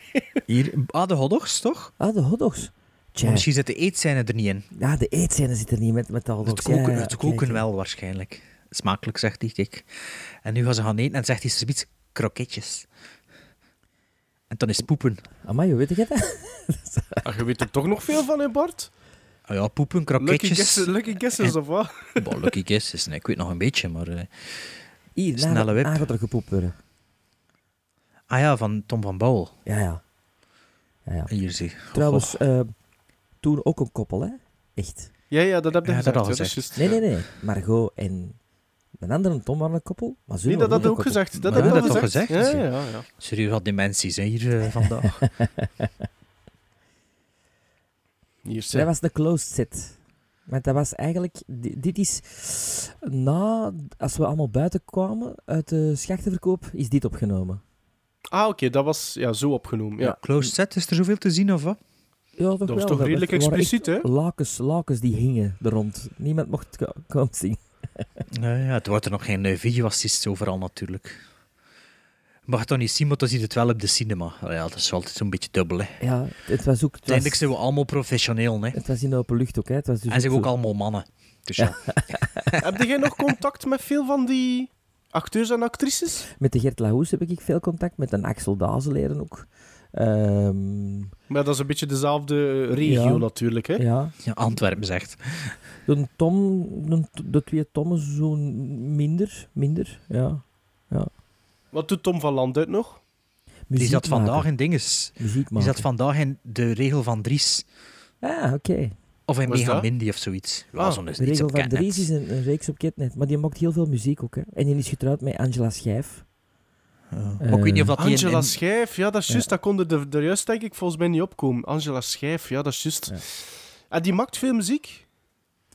Speaker 4: Hier, ah, de hotdogs, toch?
Speaker 7: Ah, de hotdogs. Tja,
Speaker 4: Maar misschien zit de eetzijne er niet in.
Speaker 7: ja, de eetzijde zit er niet met, met de hotdogs.
Speaker 4: Het
Speaker 7: Ja,
Speaker 4: koken,
Speaker 7: ja,
Speaker 4: het
Speaker 7: oké,
Speaker 4: koken
Speaker 7: oké.
Speaker 4: wel waarschijnlijk. Smakelijk, zegt hij. Kijk. En nu gaan ze gaan eten en zegt hij zoiets kroketjes. En dan is het poepen.
Speaker 7: Amai, hoe weet ik het?
Speaker 6: Ah, je weet er toch nog veel van in Bart?
Speaker 4: Ah, Ah ja, poepen,
Speaker 6: Lucky
Speaker 4: kroketjes.
Speaker 6: guesses, lucky guesses of wat?
Speaker 4: Bah, lucky guesses. Nee, ik weet nog een beetje, maar... eh,
Speaker 7: Hier,
Speaker 4: Snelle
Speaker 7: daar-
Speaker 4: wip.
Speaker 7: daar gaat er gepoept worden.
Speaker 4: Ah ja, van Tom van Bouwel.
Speaker 7: Ja, ja. ja, ja.
Speaker 4: Hier zie je.
Speaker 7: Trouwens, eh, toen ook een koppel, hè? Echt.
Speaker 6: Ja, ja, dat heb je
Speaker 4: Ja, dat
Speaker 6: gezegd.
Speaker 4: al
Speaker 6: hè,
Speaker 4: gezegd.
Speaker 6: juist.
Speaker 7: Nee, nee, nee. Margot en een andere Tom waren een koppel. Maar
Speaker 6: Nee,
Speaker 7: Zullen
Speaker 6: dat had
Speaker 7: ook
Speaker 6: je
Speaker 7: een
Speaker 6: ook
Speaker 7: koppel.
Speaker 6: gezegd. Dat
Speaker 4: Maar
Speaker 6: heb je
Speaker 4: we
Speaker 6: al
Speaker 4: hebben dat
Speaker 6: gezegd.
Speaker 4: toch gezegd?
Speaker 6: Ja, ja, ja.
Speaker 4: serieus wat dimensies hè, hier eh, vandaag.
Speaker 6: Hier
Speaker 7: Dat
Speaker 6: zijn
Speaker 7: was de closed set. Want dat was eigenlijk... di- Dit is... Na... Als we allemaal buiten kwamen uit de schachtenverkoop, is dit opgenomen.
Speaker 6: Ah, oké, dat was ja, zo opgenomen. Ja.
Speaker 4: Close set, is er zoveel te zien of wat?
Speaker 7: Ja, toch
Speaker 6: Dat
Speaker 7: wel,
Speaker 6: was toch redelijk
Speaker 7: er waren echt
Speaker 6: expliciet, hè?
Speaker 7: Lakens, lakens die hingen er rond. Niemand mocht ko- komen zien.
Speaker 4: Ja, ja, het wordt er nog geen eh, videoassist overal natuurlijk. Mag het dan niet zien, maar dan ziet het wel op de cinema. Ah Ja, dat is wel altijd zo'n beetje dubbel. Hè.
Speaker 7: Ja, het was ook... Het
Speaker 4: Uiteindelijk
Speaker 7: was,
Speaker 4: zijn we allemaal professioneel. Hè.
Speaker 7: het was in de open lucht ook, hè? Het was dus
Speaker 4: En zijn we ook
Speaker 7: zo-
Speaker 4: allemaal mannen. Dus ja.
Speaker 6: heb jij nog contact met veel van die acteurs en actrices?
Speaker 7: Met de Gert Lahoes heb ik veel contact, met een Axel Dazeleren ook. Ehm,
Speaker 6: Maar dat is een beetje dezelfde eh, regio
Speaker 7: Ja.
Speaker 6: natuurlijk, hè?
Speaker 7: ja,
Speaker 4: Ja, Antwerpen zegt.
Speaker 7: de, Tom, de, de twee Tommen zo minder, minder, ja.
Speaker 6: Wat doet Tom van Landuit nog?
Speaker 4: Die
Speaker 7: Muziek
Speaker 4: zat vandaag
Speaker 7: maken,
Speaker 4: in dinges.
Speaker 7: Muziek
Speaker 4: Die zat
Speaker 7: maken.
Speaker 4: vandaag in de regel van Dries.
Speaker 7: Ah, oké.
Speaker 4: Of in
Speaker 6: Wat is
Speaker 4: Mega
Speaker 6: dat?
Speaker 4: Mindy of zoiets. Ja,
Speaker 6: Ah,
Speaker 4: zo'n is
Speaker 7: De
Speaker 4: niets
Speaker 7: regel
Speaker 4: op
Speaker 7: van
Speaker 4: Catnet.
Speaker 7: Dries is een, een reeks op Ketnet, maar die maakt heel veel muziek ook, hè. En die is getrouwd met Angela Schijf.
Speaker 4: Ja. Maar ik weet niet of dat die in-
Speaker 6: Angela
Speaker 4: in-
Speaker 6: Schijf, ja, dat is juist. Dat kon er, de- er juist, denk ik, volgens mij niet opkomen. Angela Schijf, ja, dat is juist.
Speaker 7: Ja.
Speaker 6: En die maakt veel muziek?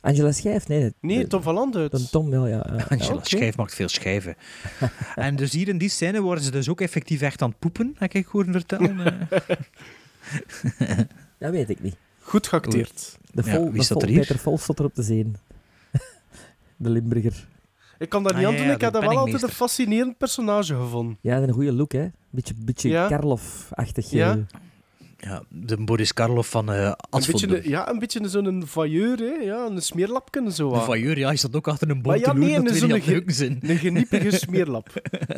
Speaker 7: Angela Schijf, nee.
Speaker 6: Nee,
Speaker 7: de-
Speaker 6: Tom van Landuit.
Speaker 7: de Tom wel, ja. ja.
Speaker 4: Angela
Speaker 6: Oké.
Speaker 4: Schijf maakt veel schijven. en dus hier in die scène worden ze dus ook effectief echt aan het poepen, heb ik horen vertellen. Eh,
Speaker 7: Oh, Dat weet ik niet.
Speaker 6: Goed geacteerd.
Speaker 7: De
Speaker 4: Ja,
Speaker 7: vol,
Speaker 4: wie
Speaker 7: de
Speaker 4: staat
Speaker 7: vol-
Speaker 4: er hier?
Speaker 7: Peter Vol staat er op de zeen. de Limburger.
Speaker 6: Ik kan dat
Speaker 4: Ah,
Speaker 6: niet
Speaker 4: ja,
Speaker 6: aan doen,
Speaker 4: ja,
Speaker 6: ik heb
Speaker 4: de
Speaker 6: dat wel altijd een
Speaker 4: penningmeester.
Speaker 6: fascinerend personage gevonden.
Speaker 7: Ja, een goede look, hè. Beetje, beetje
Speaker 6: Ja.
Speaker 7: Karloff-achtig.
Speaker 6: Ja.
Speaker 7: eh,
Speaker 4: ja, de Boris Karloff van eh
Speaker 6: Een
Speaker 4: Asfodum.
Speaker 6: beetje, een-
Speaker 4: De
Speaker 6: ja, een beetje zo'n vailleur, hè? Ja, een smeerlapken zo. wat.
Speaker 4: voyeur, ja, hij staat ook achter een boom
Speaker 6: Maar ja,
Speaker 4: te loeren
Speaker 6: nee,
Speaker 4: dat
Speaker 6: en
Speaker 4: we
Speaker 6: zo'n
Speaker 4: niet aan het
Speaker 6: ge-
Speaker 4: rukken zijn.
Speaker 6: Een geniepige smeerlap. Eh,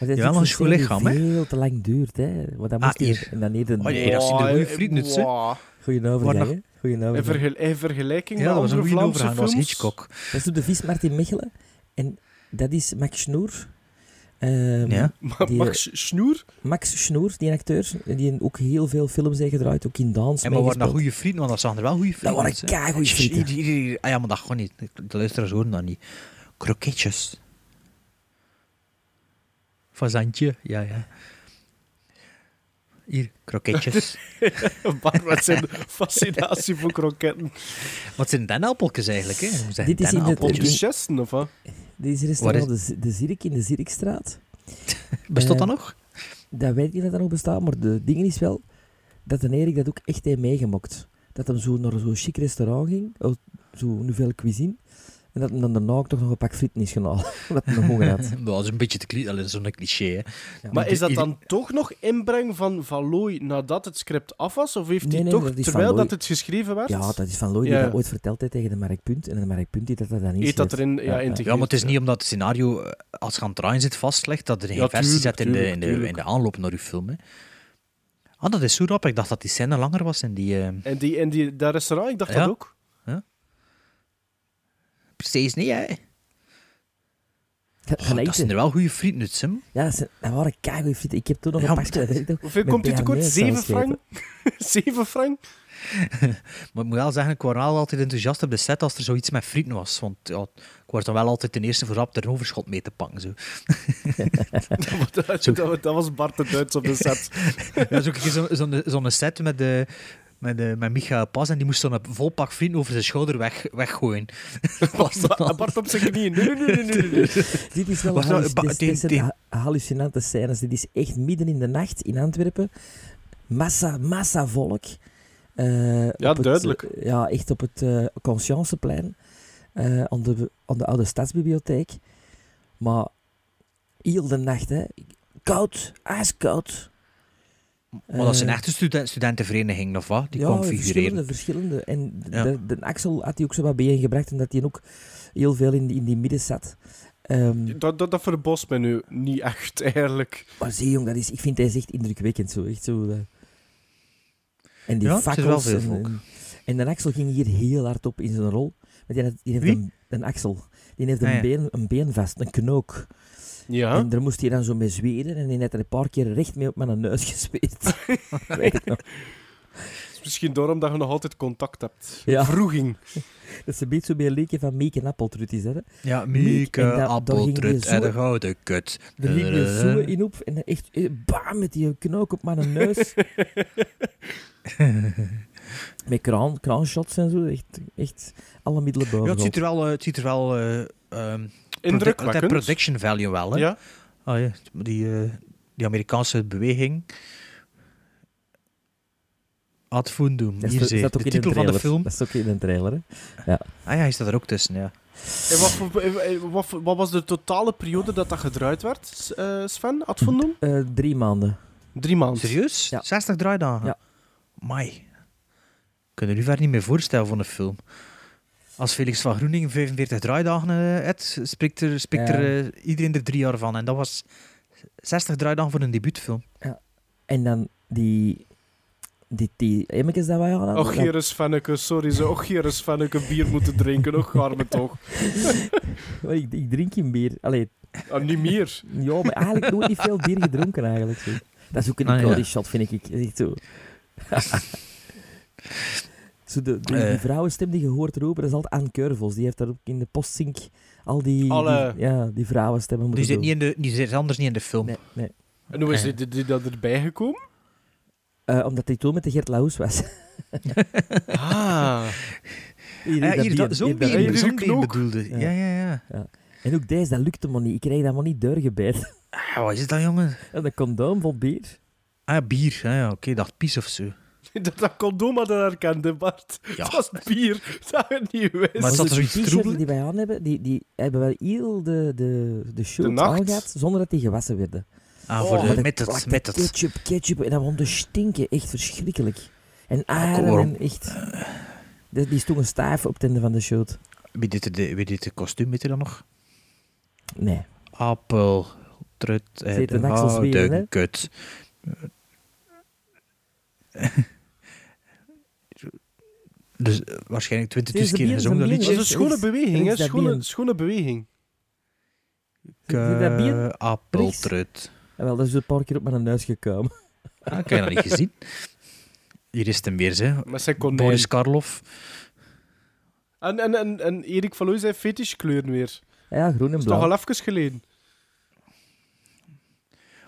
Speaker 7: Maar dat
Speaker 4: Jawel,
Speaker 7: ook
Speaker 4: een
Speaker 7: zo'n
Speaker 4: goed
Speaker 7: serie
Speaker 4: lichaam,
Speaker 7: die
Speaker 4: hè?
Speaker 7: veel te lang duurt, hè. Want dat
Speaker 4: Ah,
Speaker 7: moest hier.
Speaker 4: hier.
Speaker 7: En dan niet een...
Speaker 4: Oh, nee, dat is in de
Speaker 6: Wauw,
Speaker 4: goede
Speaker 6: hè.
Speaker 4: vrienden, hè.
Speaker 6: Wauw.
Speaker 7: Goeie
Speaker 4: Waar
Speaker 7: overgang,
Speaker 4: nog-
Speaker 7: hè. Goeie
Speaker 6: In,
Speaker 7: overgang.
Speaker 6: vergel- in vergelijking
Speaker 4: Ja, dat
Speaker 6: met
Speaker 4: was een
Speaker 6: andere
Speaker 4: goede
Speaker 6: Vlaamse
Speaker 4: overgang, dat was
Speaker 6: films.
Speaker 4: Hitchcock.
Speaker 7: Dat is op de Vies Martin Mechelen. En dat is Max Schnoer. Ehm,
Speaker 4: Ja.
Speaker 6: Maar
Speaker 7: Die-
Speaker 4: eh,
Speaker 6: Max Snoer?
Speaker 7: Max Schnoer, die acteur, die ook heel veel films heeft gedraaid, ook in dans.
Speaker 4: En we waren dat
Speaker 7: meegespeeld.
Speaker 4: goede vrienden, want dat zagen er wel goede
Speaker 7: Dat
Speaker 4: vrienden.
Speaker 7: waren keigoeie frieten.
Speaker 4: Hier, hier, hier. Ah ja, maar dat gewoon niet. De luisteraars horen dat niet. Kroketjes. Fazantje, ja, ja. Hier, kroketjes.
Speaker 6: Maar wat zijn de fascinatie voor kroketten?
Speaker 4: Wat zijn dennenappeltjes eigenlijk? Hè? Hoe zijn
Speaker 7: Dit is in het-
Speaker 6: Op
Speaker 4: dennenappeltjes?
Speaker 6: de chesten, of wat?
Speaker 7: Dit is restaurant de, de Zirk in de Zirkstraat.
Speaker 4: Bestond dat
Speaker 7: Eh,
Speaker 4: nog?
Speaker 7: Dat weet ik niet dat dat nog bestaat, maar de ding is wel dat de Erik dat ook echt heeft meegemokt. Dat hem zo naar zo'n chic restaurant ging, oh, zo nouvelle cuisine, en dat hem dan daarna ook toch nog een pak frieten is gehaald. Omdat hij nog honger had.
Speaker 4: Nou, Dat is een beetje te cli- allee, dat is zo'n cliché. Hè.
Speaker 6: Maar is dat
Speaker 4: Ieder-
Speaker 6: dan toch nog inbreng van Valooi nadat het script af was? Of heeft hij
Speaker 7: Nee, nee,
Speaker 6: toch,
Speaker 7: dat is Van
Speaker 6: terwijl
Speaker 7: Looy.
Speaker 6: dat het geschreven werd,
Speaker 7: Ja, dat is van Looy die
Speaker 6: Ja.
Speaker 7: dat ooit verteld heeft tegen de Mark Punt. En de Mark Punt die dat dat dan niet
Speaker 6: eet dat
Speaker 7: schreef.
Speaker 6: erin ja,
Speaker 4: Ja, maar het is niet omdat het scenario, eh, als je aan het draaien zit, vastlegt dat er geen
Speaker 6: Ja,
Speaker 4: versie
Speaker 6: tuurlijk,
Speaker 4: zit in de,
Speaker 6: tuurlijk,
Speaker 4: in, de,
Speaker 6: tuurlijk.
Speaker 4: in de aanloop naar uw film. Hè. Ah, dat is zo rap. Ik dacht dat die scène langer was en die... eh,
Speaker 6: En, die, en die, dat restaurant, ik dacht
Speaker 4: Ja.
Speaker 6: dat ook.
Speaker 4: Precies niet, hè.
Speaker 7: Ga- ga
Speaker 4: Oh,
Speaker 7: eten.
Speaker 4: dat zijn er wel goede vrienden, Sim.
Speaker 7: Ja, dat, zijn, dat waren keigoeie frieten. Ik heb toen nog
Speaker 4: Ja,
Speaker 7: een
Speaker 4: maar
Speaker 7: pakje... dat weet ik nog,
Speaker 6: Hoeveel
Speaker 7: met
Speaker 6: komt die tekort?
Speaker 7: bearnaise saus
Speaker 6: 7 frank? 7 frank?
Speaker 4: Maar ik moet wel zeggen, ik was wel altijd enthousiast op de set als er zoiets met frieten was. Want ja, ik was dan wel altijd de eerste verrap er een overschot mee te pakken. Zo.
Speaker 6: dat, dat- dat, dat was Bart de Duits op de set.
Speaker 4: Ja, dat is ook een keer zo- zo'n zo'n set met, de, met, de, met Michael Pas en die moest dan een vol pak vrienden over zijn schouder weg, weggooien. Was dat dan-
Speaker 6: Bart op zijn knieën. Nee, nee, nee, nee, nee, nee.
Speaker 7: Dit is wel
Speaker 4: Was dat-
Speaker 7: halluc-
Speaker 4: ba-
Speaker 7: dit-
Speaker 4: die-
Speaker 7: dit zijn
Speaker 4: die-
Speaker 7: ha- hallucinante scènes. Dit is echt midden in de nacht in Antwerpen. Massa, massa volk. Eh, op het,
Speaker 6: duidelijk.
Speaker 7: eh, ja, echt op het eh Conscienceplein. eh, aan, de, aan de oude stadsbibliotheek. Maar heel de nacht, hè. Koud, ijskoud.
Speaker 4: Maar dat zijn echte student, studentenverenigingen, of wat? Die
Speaker 7: ja,
Speaker 4: kwam figureren.
Speaker 7: verschillende, verschillende. En
Speaker 4: Ja.
Speaker 7: de, de Axel had die ook zo wat bijeengebracht, omdat hij ook heel veel in, die- in die midden zat. Ehm,
Speaker 6: Dat, dat, dat verbaast me nu niet echt, eigenlijk.
Speaker 7: Maar zie, jong, dat is, ik vind hij is echt indrukwekkend. Zo, echt zo, eh. En die
Speaker 4: Ja, het is wel
Speaker 7: fakkels.
Speaker 4: veel
Speaker 7: en-
Speaker 4: volk.
Speaker 7: en- En de Axel ging hier heel hard op in zijn rol. Want die, had, die heeft
Speaker 4: Wie?
Speaker 7: een, een Axel. Die heeft een,
Speaker 4: Ah, ja.
Speaker 7: been, een been vast, een knook.
Speaker 6: Ja.
Speaker 7: En daar moest hij dan zo mee zweren. En die heeft er een paar keer recht mee op mijn neus gespeeld.
Speaker 6: Het is misschien daarom dat je nog altijd contact hebt.
Speaker 7: Ja.
Speaker 6: Vroeging.
Speaker 7: dat is een beetje zo bij een leekje van Meek en Appeltrut is dat, hè.
Speaker 4: Ja,
Speaker 7: Mieke, en
Speaker 4: Mieke,
Speaker 7: daar- daar ging je
Speaker 4: appeltrut
Speaker 7: zo-
Speaker 4: en de gouden kut.
Speaker 7: Er ging een zoen in op en dan echt, eh, bam, met die knook op mijn neus. met kraan, kraanshots en zo, echt, echt alle middelen boven.
Speaker 4: Ja, het ziet er wel... eh, Het ziet er wel eh, ehm, produ- het heeft
Speaker 6: Indrukwekkend.
Speaker 4: production value wel, hè.
Speaker 6: Ja.
Speaker 4: Ah, ja. Die, eh, die Amerikaanse beweging. Ad fundum,
Speaker 7: Dat
Speaker 4: hier
Speaker 7: staat-
Speaker 4: zie je.
Speaker 7: staat
Speaker 4: De
Speaker 7: ook in
Speaker 4: titel van
Speaker 7: trailer.
Speaker 4: de film.
Speaker 7: Dat is ook in een trailer, hè.
Speaker 4: Ah ja, hij staat er ook tussen, ja.
Speaker 6: En wat, voor- en- en wat, voor- wat was de totale periode dat dat gedraaid werd, S- eh, Sven? Ad Fundum?
Speaker 7: Eh, drie maanden.
Speaker 6: Drie maanden.
Speaker 4: Serieus?
Speaker 7: Ja.
Speaker 4: 60 draaidagen?
Speaker 7: Ja.
Speaker 4: Mai. Kunnen jullie ver niet meer voorstellen van een film. Als Felix van Groening 45 draaidagen eh had, spreekt er, spreekt er eh, iedereen er drie jaar van. En dat was 60 draaidagen voor een debuutfilm.
Speaker 7: En dan die... Die, die emmekes dat wij hadden.
Speaker 6: Och, hier is Fenneke, sorry ze. Och, hier is Fenneke bier moeten drinken. Och, arme toch.
Speaker 7: Ja, ik, ik drink geen bier. Allee,
Speaker 6: Ah, niet meer.
Speaker 7: ja, maar eigenlijk nooit niet veel bier gedronken eigenlijk. Zo. Dat is ook een
Speaker 4: Ah, ja.
Speaker 7: iconisch shot, vind ik. Echt zo. zo de, de, die
Speaker 4: Eh.
Speaker 7: vrouwenstem die je hoort roepen, dat is altijd Anne Curvels. Die heeft daar ook in de postzink al die,
Speaker 6: Alle-
Speaker 7: die, ja, die vrouwenstemmen
Speaker 4: Dus Die
Speaker 7: moeten
Speaker 4: zit,
Speaker 7: doen.
Speaker 4: niet in de, die zit anders niet in de film.
Speaker 7: Nee, nee.
Speaker 6: En
Speaker 4: Eh.
Speaker 6: hoe is dit, dit, dit dat erbij gekomen?
Speaker 7: Eh, omdat hij toen met de Gert Laus was.
Speaker 6: Ah.
Speaker 7: Hier,
Speaker 4: Ja,
Speaker 7: dat
Speaker 4: hier,
Speaker 7: been,
Speaker 4: dat, zo'n
Speaker 7: hier, dat
Speaker 4: bier,
Speaker 6: hier
Speaker 7: been.
Speaker 6: is
Speaker 4: zo'n
Speaker 6: een
Speaker 4: bier
Speaker 6: knook.
Speaker 4: bedoelde.
Speaker 7: Ja.
Speaker 4: Ja, ja, ja.
Speaker 7: En ook deze, dat lukte me niet. Ik kreeg dat maar niet doorgebeten.
Speaker 4: Ah, wat is dat, jongen?
Speaker 7: En een condoom vol bier.
Speaker 4: Ah, bier. Ah, ja, oké, dacht pies of zo.
Speaker 6: Dat, dat condoom dat herkende, Bart.
Speaker 4: Ja.
Speaker 6: Het was bier. Dat je niet wist.
Speaker 4: Maar het zat er
Speaker 7: Want
Speaker 4: zoiets
Speaker 7: die t-shirt
Speaker 4: troebel.
Speaker 7: die wij aan hebben, die, die hebben wel heel de, de, de
Speaker 6: De
Speaker 7: shirt
Speaker 6: nacht.
Speaker 7: aangehad, zonder dat die gewassen werden.
Speaker 4: Ah,
Speaker 6: Oh,
Speaker 4: voor de,
Speaker 7: Maar dat
Speaker 4: met het,
Speaker 7: plakte
Speaker 4: met het.
Speaker 7: Ketchup, ketchup. En dat begon te stinken. Echt verschrikkelijk. En
Speaker 4: kom
Speaker 7: aren
Speaker 4: maar
Speaker 7: en echt... Die, die stond een staaf op het einde van de shirt.
Speaker 4: Wie deed de, wie deed de kostuum, weet je dat nog?
Speaker 7: Nee.
Speaker 4: Appel, trut
Speaker 7: Zit
Speaker 4: en
Speaker 7: een Axel Zweden, hè?
Speaker 4: houden kut. Dus eh, waarschijnlijk
Speaker 7: Dit is
Speaker 4: 20
Speaker 7: de
Speaker 4: keer
Speaker 7: bier,
Speaker 4: gezongen dat
Speaker 7: is een
Speaker 6: Dat is
Speaker 4: liedje.
Speaker 6: een schone beweging, hè?
Speaker 7: Links dat
Speaker 6: Schone,
Speaker 7: bier.
Speaker 6: schone beweging.
Speaker 7: Zit dat bier?
Speaker 4: Ke- Appeltrut.
Speaker 7: En wel, dat is een paar keer op mijn neus gekomen.
Speaker 4: Ah, ik heb je nog niet gezien. Hier is het hem weer, hè.
Speaker 6: Met zijn konijn.
Speaker 4: Boris Karloff.
Speaker 6: En, en, en, en Erik van Looy zei fetishkleuren weer.
Speaker 7: Ja, groen en
Speaker 6: Dat is toch
Speaker 7: blauw.
Speaker 6: al even geleden.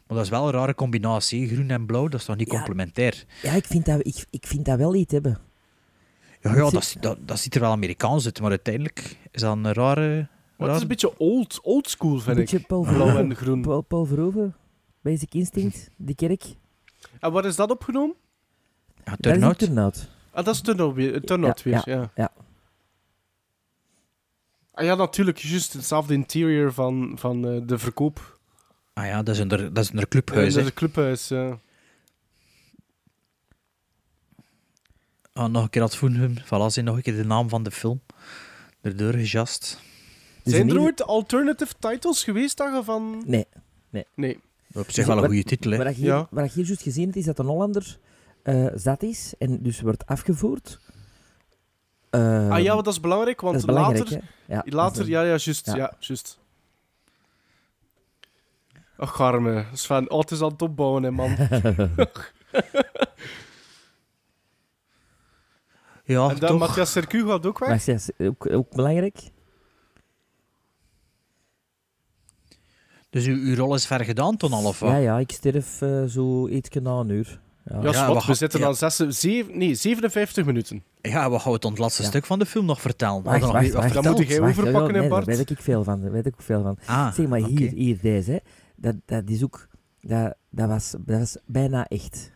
Speaker 4: Maar dat is wel een rare combinatie. hè. Groen en blauw, dat is toch niet
Speaker 7: Ja.
Speaker 4: complementair?
Speaker 7: Ja, ik vind, dat, we- ik, ik vind dat wel iets hebben.
Speaker 4: Ja,
Speaker 7: Ik
Speaker 4: ja
Speaker 7: zie-
Speaker 4: dat, zie- dat, dat ziet er wel Amerikaans uit, maar uiteindelijk is dat een rare...
Speaker 6: Maar het is
Speaker 4: rare-
Speaker 6: een beetje old, old school,
Speaker 7: Een
Speaker 6: vind
Speaker 7: beetje
Speaker 6: ik.
Speaker 7: Paul
Speaker 6: Blauw
Speaker 7: Verhoeven.
Speaker 6: en groen.
Speaker 7: Paul, Paul Verhoeven. Basic Instinct. Die kerk.
Speaker 6: En waar is dat opgenomen?
Speaker 4: Ja,
Speaker 7: Dat is een
Speaker 4: turnout.
Speaker 7: turnout.
Speaker 6: Ah, dat is Turnout weer. Turnout
Speaker 7: Ja,
Speaker 6: weer, ja.
Speaker 7: ja.
Speaker 6: Ah ja, natuurlijk. Juist hetzelfde interior van, van eh, de verkoop.
Speaker 4: Ah ja, dat is een, dat is een
Speaker 6: Eh,
Speaker 4: clubhuis, hè.
Speaker 6: het clubhuis.
Speaker 7: Dus
Speaker 6: ja.
Speaker 4: Ah, nog een keer dat Voenhum. Voilà, zijn nog een keer de naam van de film. Erdoor gejast.
Speaker 7: Dus
Speaker 6: Zijn
Speaker 7: een
Speaker 6: er
Speaker 7: hele-
Speaker 6: ooit alternative titles geweest dagen van...
Speaker 7: Nee.
Speaker 6: Nee.
Speaker 4: Op zich wel een
Speaker 7: Wat-
Speaker 4: goede titel, hè.
Speaker 7: Waar ik hier,
Speaker 6: Ja.
Speaker 7: waar ik hier juist gezien heb, is dat een Hollander eh, zat is en dus wordt afgevoerd. Eh,
Speaker 6: ah ja, want dat is belangrijk, want
Speaker 7: dat is belangrijk,
Speaker 6: later...
Speaker 7: hè? Ja, dat
Speaker 6: Later,
Speaker 7: is
Speaker 6: ja, ja, juist. Ja.
Speaker 7: Ja.
Speaker 6: juist. Ach, arme Sven. Oh, het is aan het opbouwen, hè, man.
Speaker 4: Ja,
Speaker 6: en dan
Speaker 4: toch.
Speaker 6: Matthias Sercu gaat ook
Speaker 7: een- Maar
Speaker 6: weg.
Speaker 7: ja, is ook, ook belangrijk.
Speaker 4: Dus uw, uw rol is ver gedaan, toen al, of wat?
Speaker 7: Ja, ja, ik sterf eh, zo ietsje na een uur. Ja.
Speaker 6: Ja,
Speaker 4: Ja,
Speaker 6: zwart,
Speaker 4: we
Speaker 6: we
Speaker 4: gaan-
Speaker 6: zitten
Speaker 4: ja.
Speaker 6: aan zes, zeven, nee, 57 minuten.
Speaker 4: Ja, we gaan het ontlaatste
Speaker 7: Ja.
Speaker 4: stuk van de film nog vertellen.
Speaker 7: Wacht,
Speaker 4: Hadden we
Speaker 7: wacht,
Speaker 4: nog
Speaker 7: wacht.
Speaker 4: niet wat
Speaker 6: Dan moet
Speaker 4: verteld?
Speaker 6: jij
Speaker 7: Wacht, ja,
Speaker 6: overpakken,
Speaker 7: ja,
Speaker 6: hè,
Speaker 7: nee,
Speaker 6: Bart?
Speaker 7: Daar weet ik veel van. Daar weet ik ook veel van.
Speaker 4: Ah,
Speaker 7: zeg maar, hier,
Speaker 4: oké.
Speaker 7: hier deze, hè. Dat, dat is ook... Dat, dat, was, dat was bijna echt.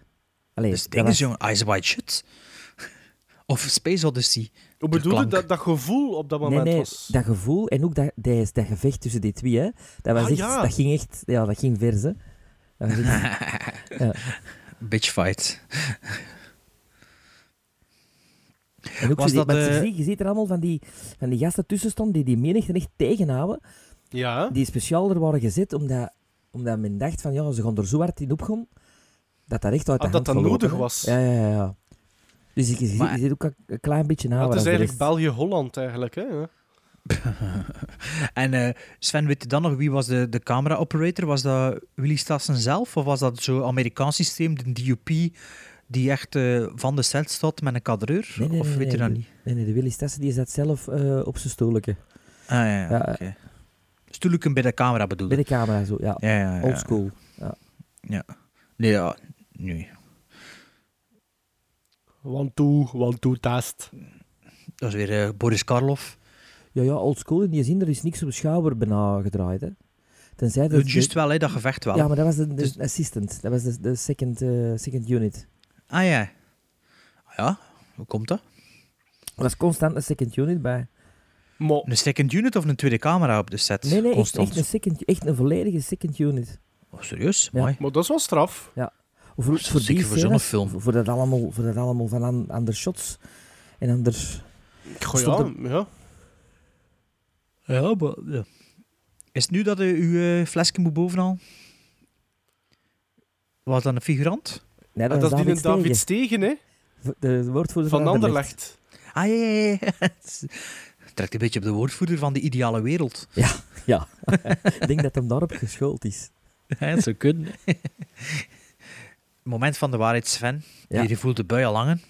Speaker 7: Allee,
Speaker 4: Dus het
Speaker 7: dat
Speaker 4: ding is,
Speaker 7: was-
Speaker 4: jongen, Eyes Wide Shut. Of Space Odyssey.
Speaker 6: Hoe bedoel je
Speaker 4: klank.
Speaker 6: dat, dat gevoel op dat
Speaker 7: Nee,
Speaker 6: moment
Speaker 7: nee,
Speaker 6: was?
Speaker 7: dat gevoel en ook dat, dat, dat gevecht tussen die twee, hè, dat, was
Speaker 6: Ah,
Speaker 7: echt,
Speaker 6: ja.
Speaker 7: dat ging echt, ja, dat ging vers, hè. Dat was echt-
Speaker 4: Bitch fight.
Speaker 7: en ook
Speaker 4: Was
Speaker 7: zo
Speaker 4: dat,
Speaker 7: die- want
Speaker 4: eh,
Speaker 7: je, ziet, je ziet er allemaal van die, van die gasten tussen stonden die die menigte echt tegenhouden,
Speaker 6: Ja,
Speaker 7: die speciaal er waren gezet omdat, omdat men dacht van, ja, ze gaan er zo hard in opgaan, dat dat echt uit de hand
Speaker 6: Ah, dat dat
Speaker 7: gelopen,
Speaker 6: nodig
Speaker 7: hè.
Speaker 6: was.
Speaker 7: Ja, ja, ja. ja. Dus ik, je, ziet-
Speaker 4: Maar-
Speaker 7: je ziet ook een- een klein beetje na.
Speaker 6: Dat
Speaker 7: Ah, waar
Speaker 6: is
Speaker 7: de
Speaker 6: eigenlijk
Speaker 7: rest-
Speaker 6: België-Holland eigenlijk, hè? Ja.
Speaker 4: En eh, Sven, weet je dan nog wie was de, de camera-operator? Was dat Willy Stassen zelf? Of was dat zo'n Amerikaans systeem, de DUP, die echt eh, van de set staat met een kadreur?
Speaker 7: Nee, nee,
Speaker 4: of
Speaker 7: nee,
Speaker 4: weet je
Speaker 7: nee,
Speaker 4: dat
Speaker 7: de-
Speaker 4: niet?
Speaker 7: Nee, nee, de Willy Stassen die zat zelf eh, op zijn stoeltje.
Speaker 4: Ah ja, ja,
Speaker 7: Ja,
Speaker 4: oké. Stoeleken bij de camera bedoel
Speaker 7: Bij
Speaker 4: ik.
Speaker 7: de camera zo, ja.
Speaker 4: Ja, ja, ja.
Speaker 7: Old school.
Speaker 4: Nee, ja, nee.
Speaker 6: One, two, one, two, test.
Speaker 4: Dat is weer eh, Boris Karloff.
Speaker 7: Ja, ja, old school in die zin, er is niks op schouder bijna gedraaid. Hè. Tenzij dat...
Speaker 4: Het juist wel, hè, dat gevecht wel.
Speaker 7: Ja, maar dat was de, de
Speaker 4: Dus-
Speaker 7: assistant. Dat was de, de second, eh, second unit.
Speaker 4: Ah ja. Ah, Ja, hoe komt dat?
Speaker 7: Er was constant een second unit bij.
Speaker 6: Maar
Speaker 4: Een second unit of een tweede camera op de set?
Speaker 7: Nee, nee, echt,
Speaker 4: constant.
Speaker 7: echt, een, second, echt een volledige second unit.
Speaker 4: Oh, serieus?
Speaker 7: Ja.
Speaker 4: Mooi.
Speaker 6: Maar dat is wel straf.
Speaker 7: Voor,
Speaker 4: Zeker voor zo'n
Speaker 7: scènes,
Speaker 4: film.
Speaker 7: Voor, voor dat allemaal, voor dat allemaal van aan, andere shots. En anders...
Speaker 6: Goh, ja,
Speaker 7: Stond
Speaker 6: ja.
Speaker 4: Ja, maar... ja. Is het nu dat u uw eh, flesje moet bovenal? Was dat een figurant?
Speaker 7: Nee,
Speaker 6: Ah, dat is die
Speaker 7: David
Speaker 6: een David
Speaker 7: Stegen.
Speaker 6: Stegen, hè?
Speaker 7: De woordvoerder
Speaker 6: Van Anderlecht.
Speaker 4: Ah, ja, ja, ja. Het trekt een beetje op de woordvoerder van de ideale wereld.
Speaker 7: Ik denk dat hem daarop geschuld is.
Speaker 4: Ja, zo kunnen. Moment van de waarheid, Sven.
Speaker 7: Ja.
Speaker 4: Je voelt de bui al hangen.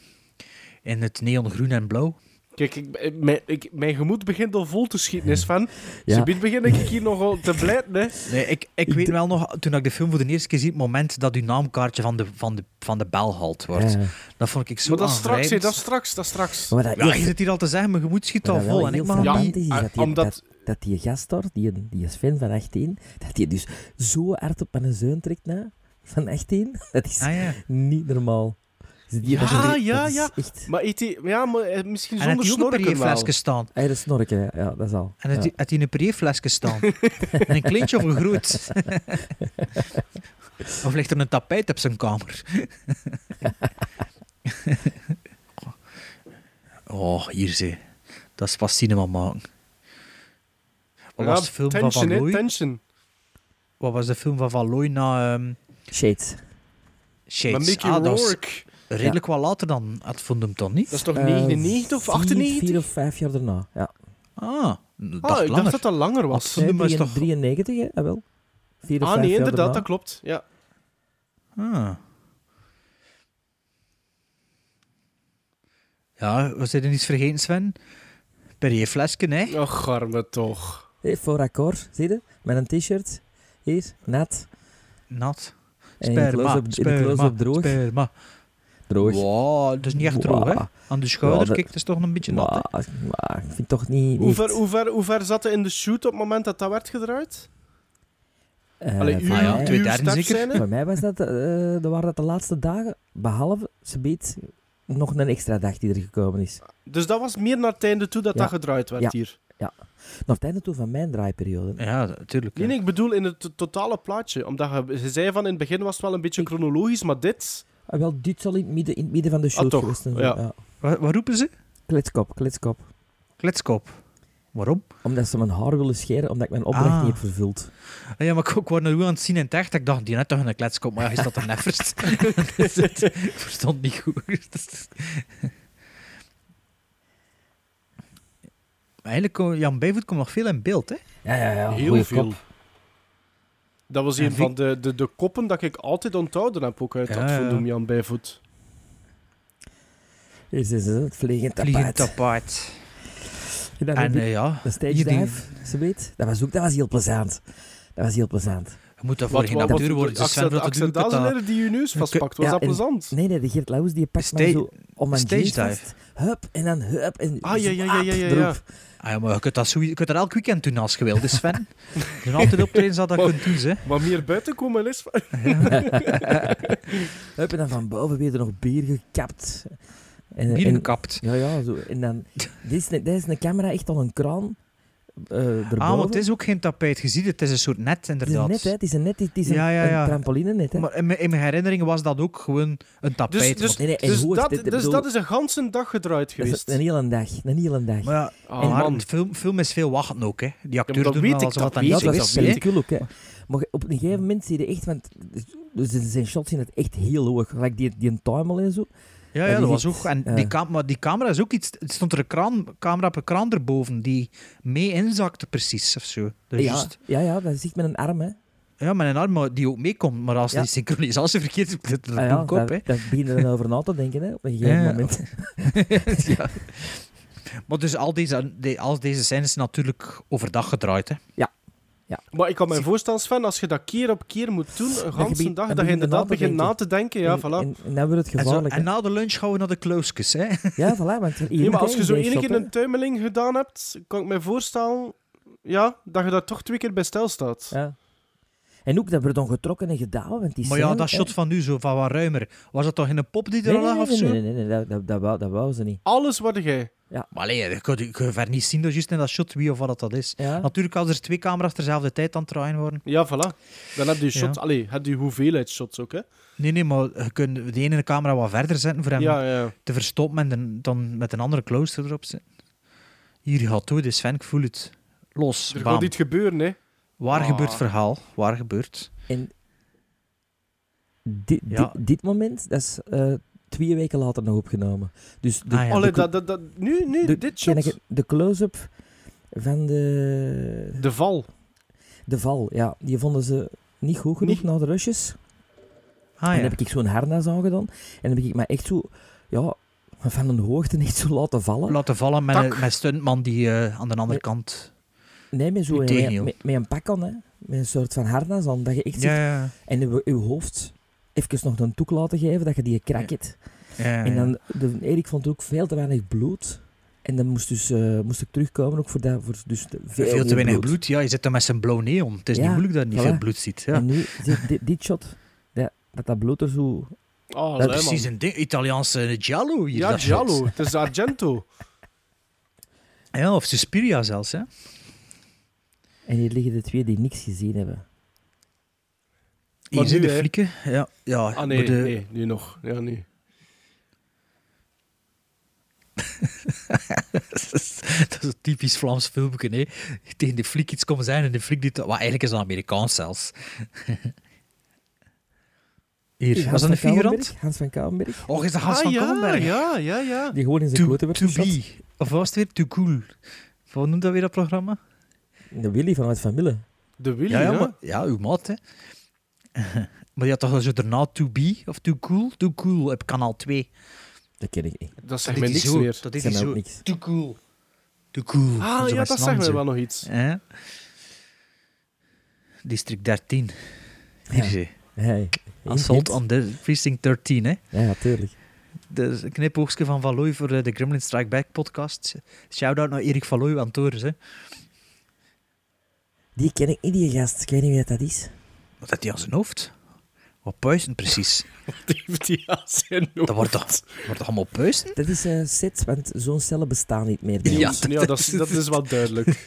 Speaker 4: In het neongroen en blauw.
Speaker 6: Kijk, ik, eh, mijn, ik, mijn gemoed begint al vol te schieten, hè, Sven.
Speaker 7: Ja.
Speaker 6: Ze begin ik hier nogal te blijten, hè.
Speaker 4: Nee, ik, ik
Speaker 7: Ik
Speaker 4: weet
Speaker 7: d-
Speaker 4: wel nog, toen ik de film voor de eerste keer zie, het moment dat uw naamkaartje van de, van de, van de bel gehaald wordt.
Speaker 7: Ja.
Speaker 4: Dat vond ik zo
Speaker 6: Maar dat is straks, hè.
Speaker 4: aangrijpend.
Speaker 6: Dat is straks, dat is straks.
Speaker 7: Maar dat
Speaker 4: Ja,
Speaker 7: eerste-
Speaker 4: je zit hier al te zeggen, mijn gemoed schiet
Speaker 7: Maar
Speaker 4: al
Speaker 7: dat wel
Speaker 4: vol. En ik
Speaker 7: heel
Speaker 4: mag hem
Speaker 6: frappant
Speaker 4: niet...
Speaker 7: frappant is, is
Speaker 6: eh,
Speaker 7: dat, die,
Speaker 6: omdat-
Speaker 7: dat, dat die gast daar, die, die Sven van 18, dat die dus zo hard op mijn zoon trekt na, van 18, dat is
Speaker 4: Ah, ja.
Speaker 7: niet normaal. Dus die,
Speaker 6: Ja,
Speaker 7: dat is- dat
Speaker 6: ja,
Speaker 7: is
Speaker 6: ja.
Speaker 7: Echt,
Speaker 6: Maar, eet die, ja, maar eh, misschien
Speaker 4: En had
Speaker 6: zonder
Speaker 4: die ook een
Speaker 6: snorken wel.
Speaker 4: Perrier-flesje staan.
Speaker 7: hij is snorken, ja, ja, dat is al.
Speaker 4: En had
Speaker 7: ja.
Speaker 4: die- had die een Perrier-flesje staan. en een kleintje of een groot. of ligt er een tapijt op zijn kamer. oh, hier zie. Dat is pas cinema maken. Wat was de film van
Speaker 6: tension,
Speaker 4: Van
Speaker 6: hè,
Speaker 4: Looy?
Speaker 6: tension.
Speaker 4: Wat was de film van Van Looy na ehm
Speaker 7: Shades.
Speaker 6: Maar
Speaker 4: Shades?
Speaker 6: Mickey
Speaker 4: Ah, dat is
Speaker 6: Rourke,
Speaker 4: redelijk wat later dan het Fundum dan niet?
Speaker 6: dat is toch
Speaker 7: Eh,
Speaker 6: 99 of
Speaker 7: vier-
Speaker 6: 98?
Speaker 7: Vier of vijf jaar daarna, ja.
Speaker 4: Ah,
Speaker 6: ah,
Speaker 4: dat langer.
Speaker 6: ik dacht dat dat langer was.
Speaker 4: Absoluut.
Speaker 7: Nee,
Speaker 4: Doe maar eens
Speaker 7: 93,
Speaker 4: toch-
Speaker 7: 93, hè, ah, wel. Vier of
Speaker 6: Ah
Speaker 7: vijf
Speaker 6: nee,
Speaker 7: jaar
Speaker 6: inderdaad,
Speaker 7: daarna.
Speaker 6: dat klopt. Ja.
Speaker 4: Ah. Ja, was er iets vergeten, Sven? Perrier flesken, hè?
Speaker 6: Och, arme toch.
Speaker 7: Hé, Eh, voor akkoord, zie je? Met een t-shirt. Hier, nat.
Speaker 4: Nat.
Speaker 7: En in de close-up in de close-up droog.
Speaker 4: Sperma.
Speaker 7: Droog.
Speaker 4: Wow, dat is niet echt droog, hè?
Speaker 7: Wow.
Speaker 4: Aan de schouder,
Speaker 7: Ja, dat-
Speaker 4: kijk, dat is toch een beetje nat, hè?
Speaker 7: Maar, maar ik vind het toch niet...
Speaker 6: Hoe
Speaker 7: niet
Speaker 6: ver, hoe, ver, hoe ver zat hij in de shoot op het moment dat dat werd gedraaid?
Speaker 7: eh,
Speaker 6: Allee, uw,
Speaker 7: voor
Speaker 4: ja,
Speaker 7: mij-
Speaker 4: twee
Speaker 6: uw
Speaker 4: derde zeker?
Speaker 6: startscène?
Speaker 7: Voor mij was dat, eh dat waren dat de laatste dagen, behalve ze beet nog een extra dag die er gekomen is.
Speaker 6: Dus dat was meer naar het einde toe dat
Speaker 7: Ja.
Speaker 6: dat gedraaid werd
Speaker 7: Ja.
Speaker 6: hier.
Speaker 7: Naar het einde toe van mijn draaiperiode.
Speaker 4: Ja, natuurlijk.
Speaker 6: Nee, nee, ik bedoel in het to- totale plaatje. Omdat je, je zei van in het begin was het wel een beetje chronologisch, maar dit...
Speaker 7: Ah, wel, dit zal in het midden, in het midden van de show
Speaker 6: Ah, toch,
Speaker 7: geweest zijn.
Speaker 6: ja.
Speaker 4: Wat, wat roepen ze?
Speaker 7: Kletskop, kletskop.
Speaker 4: Kletskop. Waarom?
Speaker 7: Omdat ze mijn haar willen scheren, omdat ik mijn opdracht
Speaker 4: Ah.
Speaker 7: niet heb vervuld.
Speaker 4: Ah Ja, maar ik, ik word nu aan het zien in het echt. Ik dacht, die net toch een kletskop, maar ja, is dat een neffers? ik verstond niet goed. Eigenlijk, eh, Jan Bijvoet komt nog veel in beeld, hè?
Speaker 7: Ja, ja, ja.
Speaker 6: Heel
Speaker 7: goeie
Speaker 6: veel.
Speaker 7: kop.
Speaker 6: Dat was
Speaker 4: En
Speaker 6: een
Speaker 4: wie-
Speaker 6: van de, de, de koppen dat ik altijd onthouden heb, ook uit
Speaker 4: Ja,
Speaker 6: dat
Speaker 4: ja.
Speaker 6: van Doem Jan Bijvoet.
Speaker 7: Hier zijn ze, het vliegend
Speaker 4: Vliegend
Speaker 7: tapijt.
Speaker 4: apart.
Speaker 7: En dan
Speaker 4: En
Speaker 7: heb je
Speaker 4: eh, ja,
Speaker 7: een stage
Speaker 4: hier die-
Speaker 7: dive, ze weet. Dat was ook, dat was heel plezant. Dat was heel plezant.
Speaker 4: je moet daarvoor geen
Speaker 6: wat-
Speaker 4: acteur
Speaker 6: wat-
Speaker 4: worden. Dus Sven,
Speaker 6: Axel-
Speaker 4: wat doe
Speaker 6: Axel
Speaker 4: ik dat dan?
Speaker 6: Dazeler die je neus vastpakt, was
Speaker 7: Ja,
Speaker 6: dat
Speaker 7: en-
Speaker 6: plezant?
Speaker 7: Nee, nee, de Geert Lauwers die pakt mij
Speaker 4: Sta-
Speaker 7: zo om mijn
Speaker 4: stage
Speaker 7: jeans
Speaker 4: dive.
Speaker 7: vast. Hup, en dan hup. En
Speaker 6: Ah, ja, ja, ja,
Speaker 7: hap,
Speaker 6: ja, ja, ja.
Speaker 7: erop.
Speaker 4: Ah, ja, maar je kunt, dat zo, je kunt dat elk weekend doen als je wilt, dus Sven. Er zijn altijd optredens dat dat
Speaker 6: Maar-
Speaker 4: kunt doen, hè.
Speaker 6: Maar meer buiten komen is...
Speaker 7: Hup, en dan van boven weer er nog bier gekapt. En,
Speaker 4: Bier
Speaker 7: en-
Speaker 4: gekapt.
Speaker 7: Ja, ja, zo. En dan... Dit is, een- dit is een camera echt al een kraan. eh erboven.
Speaker 4: Ah, want het is ook geen tapijt. Je ziet het, het is een soort net,
Speaker 7: Het is
Speaker 4: inderdaad.
Speaker 7: een net, hè. Het is een net, het is een,
Speaker 4: Ja, ja, ja.
Speaker 7: een trampoline net, hè.
Speaker 4: Maar in mijn, in mijn herinnering was dat ook gewoon een tapijt.
Speaker 6: Dus, dus,
Speaker 7: Nee, nee, en
Speaker 6: dus,
Speaker 7: hoe is
Speaker 6: dat,
Speaker 7: dit? Ik
Speaker 6: dus
Speaker 7: bedoel-
Speaker 6: dat is een ganse dag gedraaid
Speaker 7: Dat is
Speaker 6: geweest.
Speaker 7: een hele dag, een hele dag.
Speaker 4: Maar ja,
Speaker 6: Ah,
Speaker 4: en
Speaker 6: man.
Speaker 4: het film, film is veel wachten ook, hè. Die acteurs
Speaker 6: dat
Speaker 4: doen
Speaker 6: weet
Speaker 4: wel
Speaker 6: ik,
Speaker 4: alsof
Speaker 6: dat
Speaker 4: dat
Speaker 6: weet
Speaker 4: niet
Speaker 7: ja,
Speaker 4: zo
Speaker 7: dat
Speaker 4: is.
Speaker 7: is
Speaker 4: dat weet ik.
Speaker 7: pellicule ook, hè. Maar op een gegeven moment zie je echt, want dus er zijn shots in het echt heel hoog. Gelijk die, die een tuimel en zo.
Speaker 4: Ja,
Speaker 7: Ja,
Speaker 4: ja,
Speaker 7: die
Speaker 4: dat was
Speaker 7: zit-
Speaker 4: ook. En
Speaker 7: ja.
Speaker 4: die, kam- maar die camera is ook iets. Het stond er een kraan, camera op een kraan erboven die mee inzakte, precies of zo. Dat is
Speaker 7: Ja,
Speaker 4: juist.
Speaker 7: ja, ja, dat is echt met een arm, hè.
Speaker 4: Ja, met een arm maar die ook meekomt. Maar als
Speaker 7: Ja.
Speaker 4: die synchronisatie verkeerd is, dat dat
Speaker 7: Ah
Speaker 4: doe
Speaker 7: ja,
Speaker 4: ik op. hè.
Speaker 7: daar, daar begin je dan over na te denken, hè, op een gegeven
Speaker 4: Ja.
Speaker 7: moment.
Speaker 4: ja. Maar dus al deze, die- al deze scènes zijn natuurlijk overdag gedraaid. Hè.
Speaker 6: Maar ik kan me voorstellen, Sven, als je dat keer op keer moet doen, een
Speaker 7: begint-
Speaker 6: ganse
Speaker 7: dan
Speaker 6: dag, dat
Speaker 7: begin
Speaker 6: je
Speaker 7: je na
Speaker 6: inderdaad
Speaker 7: te
Speaker 6: begint
Speaker 7: denken.
Speaker 6: na te denken. Ja,
Speaker 7: en,
Speaker 6: voilà.
Speaker 7: en, en dan wordt het
Speaker 4: En, zo,
Speaker 7: gevaarlijk.
Speaker 4: en
Speaker 7: hè.
Speaker 4: na de lunch gaan we naar de kloosjes. Hè.
Speaker 7: Ja, voilà, want hier
Speaker 6: Nee,
Speaker 7: moet
Speaker 6: maar als
Speaker 7: hij
Speaker 6: je zo
Speaker 7: in
Speaker 6: één keer
Speaker 7: shoppen.
Speaker 6: een tuimeling gedaan hebt, kan ik me voorstellen ja, dat je daar toch twee keer bij stilstaat.
Speaker 7: Ja. En ook, dat wordt dan getrokken en gedaan, want die
Speaker 4: Maar ja,
Speaker 7: scène,
Speaker 4: dat
Speaker 7: hè.
Speaker 4: shot van nu, zo van wat ruimer. Was dat toch in een pop die er
Speaker 7: Nee,
Speaker 4: al
Speaker 7: nee,
Speaker 4: lag
Speaker 7: nee,
Speaker 4: of
Speaker 7: nee,
Speaker 4: zo?
Speaker 7: nee, nee, nee, dat, dat, dat, wou, dat wou ze niet.
Speaker 6: Alles wat jij.
Speaker 4: Maar allee, je kunt, je kunt ver niet zien dat juist in dat shot wie of wat dat is.
Speaker 7: Ja.
Speaker 4: Natuurlijk, als er twee camera's terzelfde tijd aan het draaien worden.
Speaker 6: Ja, voilà. Dan heb je
Speaker 4: Ja.
Speaker 6: shots, allee, heb je hoeveelheid shots ook, hè?
Speaker 4: Nee, nee, maar je kunt de ene camera wat verder zetten voor hem
Speaker 6: Ja, ja.
Speaker 4: te verstoppen en dan- dan met een andere close erop zetten. Hier gaat toe, dus Sven, ik voel het. Los,
Speaker 6: Er
Speaker 4: bam.
Speaker 6: gaat iets gebeuren, hè?
Speaker 4: Waar
Speaker 6: Ah.
Speaker 4: gebeurt verhaal? Waar gebeurt?
Speaker 7: En dit,
Speaker 4: Ja.
Speaker 7: dit, dit moment, dat is eh, twee weken later nog opgenomen. Dus de,
Speaker 4: Ah, ja.
Speaker 6: Allee,
Speaker 7: de-
Speaker 6: dat, dat, dat, nu, nu,
Speaker 7: de-
Speaker 6: dit
Speaker 7: ken
Speaker 6: shot.
Speaker 7: ik- de close-up van de,
Speaker 6: De val.
Speaker 7: de val, ja, die vonden ze niet goed genoeg
Speaker 6: Niet-
Speaker 7: na de rushes.
Speaker 4: Ah
Speaker 7: en
Speaker 4: ja.
Speaker 7: dan heb ik zo'n harnas aangedaan. En dan heb ik me echt zo, ja, van een hoogte echt zo laten vallen.
Speaker 4: Laten vallen met,
Speaker 6: Tak.
Speaker 4: een- met stuntman die eh, aan de andere
Speaker 7: Nee.
Speaker 4: kant...
Speaker 7: Nee, met, zo,
Speaker 4: Uw
Speaker 7: met,
Speaker 4: tegenhield.
Speaker 7: met, met een pak aan, hè. Met een soort van harnas aan, dat je echt
Speaker 4: Ja,
Speaker 7: zit.
Speaker 4: ja,
Speaker 7: En je je hoofd even nog een toek laten geven, dat je die krak hebt.
Speaker 4: ja, ja.
Speaker 7: En dan, de, Erik vond ook veel te weinig bloed. En dan moest, dus, eh, moest ik terugkomen ook voor, dat, voor dus te- veel,
Speaker 4: Veel te
Speaker 7: meer
Speaker 4: weinig bloed. ja. Je zit dan met zijn blauw neon. Het is
Speaker 7: Ja,
Speaker 4: niet moeilijk dat je niet
Speaker 7: voilà.
Speaker 4: veel bloed ziet. Ja.
Speaker 7: En nu, dit, dit, dit shot, dat, dat dat bloed er zo... Dat
Speaker 6: Oh, dat
Speaker 7: is
Speaker 6: man.
Speaker 4: Precies een ding. Italiaanse eh, giallo hier.
Speaker 6: Ja,
Speaker 4: dat shot.
Speaker 6: Giallo. Het is Argento.
Speaker 4: Ja, of Suspiria zelfs, hè.
Speaker 7: En hier liggen de twee die niks gezien hebben.
Speaker 4: Hier zijn
Speaker 6: nu,
Speaker 4: de
Speaker 6: hè.
Speaker 4: flikken. Ja, ja.
Speaker 6: Ah, nee,
Speaker 4: maar de-
Speaker 6: nee, nu nog. Ja, nu.
Speaker 4: dat is- dat is een typisch Vlaams filmpje, hè. Tegen de flik iets komen zijn en de flik dit... Wat eigenlijk is dat Amerikaans zelfs. Hier, was dat een
Speaker 7: van
Speaker 4: figurant?
Speaker 7: Kouwenberg, Hans van Kouwenberg.
Speaker 4: Oh, is dat Hans
Speaker 6: ah,
Speaker 4: van
Speaker 6: ja,
Speaker 4: Kolmberg?
Speaker 6: ja, ja, ja.
Speaker 7: Die gewoon in zijn
Speaker 4: To,
Speaker 7: klote werd
Speaker 4: to
Speaker 7: geschot.
Speaker 4: be. Of was het weer To Cool? Wat noemt dat weer, dat programma?
Speaker 7: De Willy vanuit Van Mille.
Speaker 6: De Willy,
Speaker 4: Ja, ja,
Speaker 6: hè?
Speaker 4: maar, ja uw maat, hè. maar je had toch al zo daarna To Be of To Cool? To Cool op kanaal 2.
Speaker 7: Dat ken ik niet.
Speaker 6: Dat
Speaker 4: Dat
Speaker 6: zegt
Speaker 4: deed
Speaker 6: mij
Speaker 4: hij
Speaker 6: niks
Speaker 4: zo,
Speaker 6: meer.
Speaker 4: Dat deed hij
Speaker 7: Zeg mij
Speaker 4: zo.
Speaker 7: ook niks.
Speaker 4: Too cool. Too cool.
Speaker 6: Ah, ja, dat zegt mij wel nog iets.
Speaker 4: wel. District 13. Hier zie je.
Speaker 7: Hey,
Speaker 4: Assault
Speaker 7: hint.
Speaker 4: on the Precinct 13, hè.
Speaker 7: Ja, natuurlijk.
Speaker 4: Dat is een knipoogstje van Valoy voor eh, de Gremlin Strike Back podcast. Shout-out naar Erik Valoy aan Torres, hè.
Speaker 7: Die ken ik niet, die gast. Ik weet niet wie dat, dat is.
Speaker 4: Wat had hij aan zijn hoofd? Wat puisten precies?
Speaker 6: Wat heeft die aan zijn hoofd?
Speaker 4: Dat wordt toch, wordt toch allemaal puisten?
Speaker 7: Dat is eh Seth, want zo'n cellen bestaan niet meer. bij
Speaker 4: Ja.
Speaker 7: ons.
Speaker 6: Ja, dat is, dat is wel duidelijk.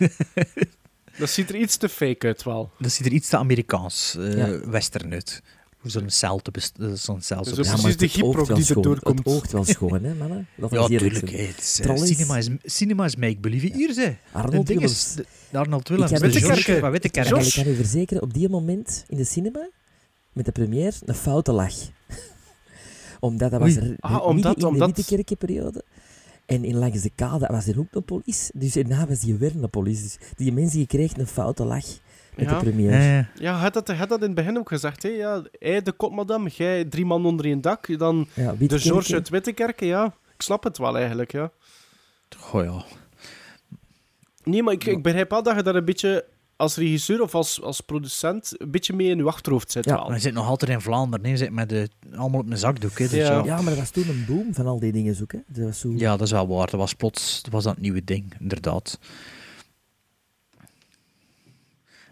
Speaker 6: dat ziet er iets te fake uit, wel.
Speaker 4: Dat ziet er iets te Amerikaans, eh,
Speaker 7: Ja.
Speaker 4: western uit. Hoe zo'n cel te best- eh, zo'n cel
Speaker 6: Dus
Speaker 4: zo
Speaker 6: op-
Speaker 4: best-
Speaker 6: precies
Speaker 7: maar het
Speaker 6: de
Speaker 7: oogt
Speaker 6: gyproc
Speaker 7: wel
Speaker 6: die er
Speaker 7: schoon.
Speaker 6: doorkomt.
Speaker 7: Het oogt wel schoon, hè, mannen? Dat
Speaker 4: Ja,
Speaker 7: is eerlijk
Speaker 4: tuurlijk.
Speaker 7: zo.
Speaker 4: hè. Het is, eh,
Speaker 7: Trolleys.
Speaker 4: cinema, is, cinema is make-believe. Hier, ze.
Speaker 7: Arnold
Speaker 4: ding
Speaker 7: Willems.
Speaker 4: is... de- de Arnold Willems.
Speaker 7: heb
Speaker 4: de
Speaker 7: het
Speaker 4: George
Speaker 6: Wittekerke.
Speaker 4: van Wittekerke.
Speaker 7: En
Speaker 6: Jos.
Speaker 7: ik kan u verzekeren, op die moment in de cinema, met de première, een foute lach. omdat dat was
Speaker 4: Oei.
Speaker 7: er
Speaker 6: Ah,
Speaker 7: midden
Speaker 6: omdat-
Speaker 7: in de
Speaker 6: omdat-
Speaker 7: Wittekerkenperiode. En in Langs de Kade was er ook een police. Dus daarna was die weer een police. Dus die mensen die kregen een foute lach met
Speaker 6: Ja.
Speaker 7: de première.
Speaker 4: Ja, ja.
Speaker 6: Ja, had dat, had dat in het begin ook gezegd. Hè? Ja, hij de kopmadam, jij drie man onder één dak. Dan
Speaker 7: Ja,
Speaker 6: de
Speaker 7: Wittekerken.
Speaker 6: George uit Wittekerken, ja. Ik snap het wel eigenlijk, ja.
Speaker 4: Goh, ja.
Speaker 6: Nee, maar ik, ik begrijp wel dat je daar een beetje als regisseur of als, als producent een beetje mee in je achterhoofd zit.
Speaker 7: Ja.
Speaker 6: wel.
Speaker 4: Maar hij zit nog altijd in Vlaanderen. hè. Hij zit met de, allemaal op mijn zakdoek. Hè. Dus
Speaker 6: Ja.
Speaker 4: ja. Ja.
Speaker 7: Ja, maar dat was toen een boom van al die dingen zoeken. Dat was zo...
Speaker 4: dat is wel waar. Dat was plots dat was dat nieuwe ding, inderdaad.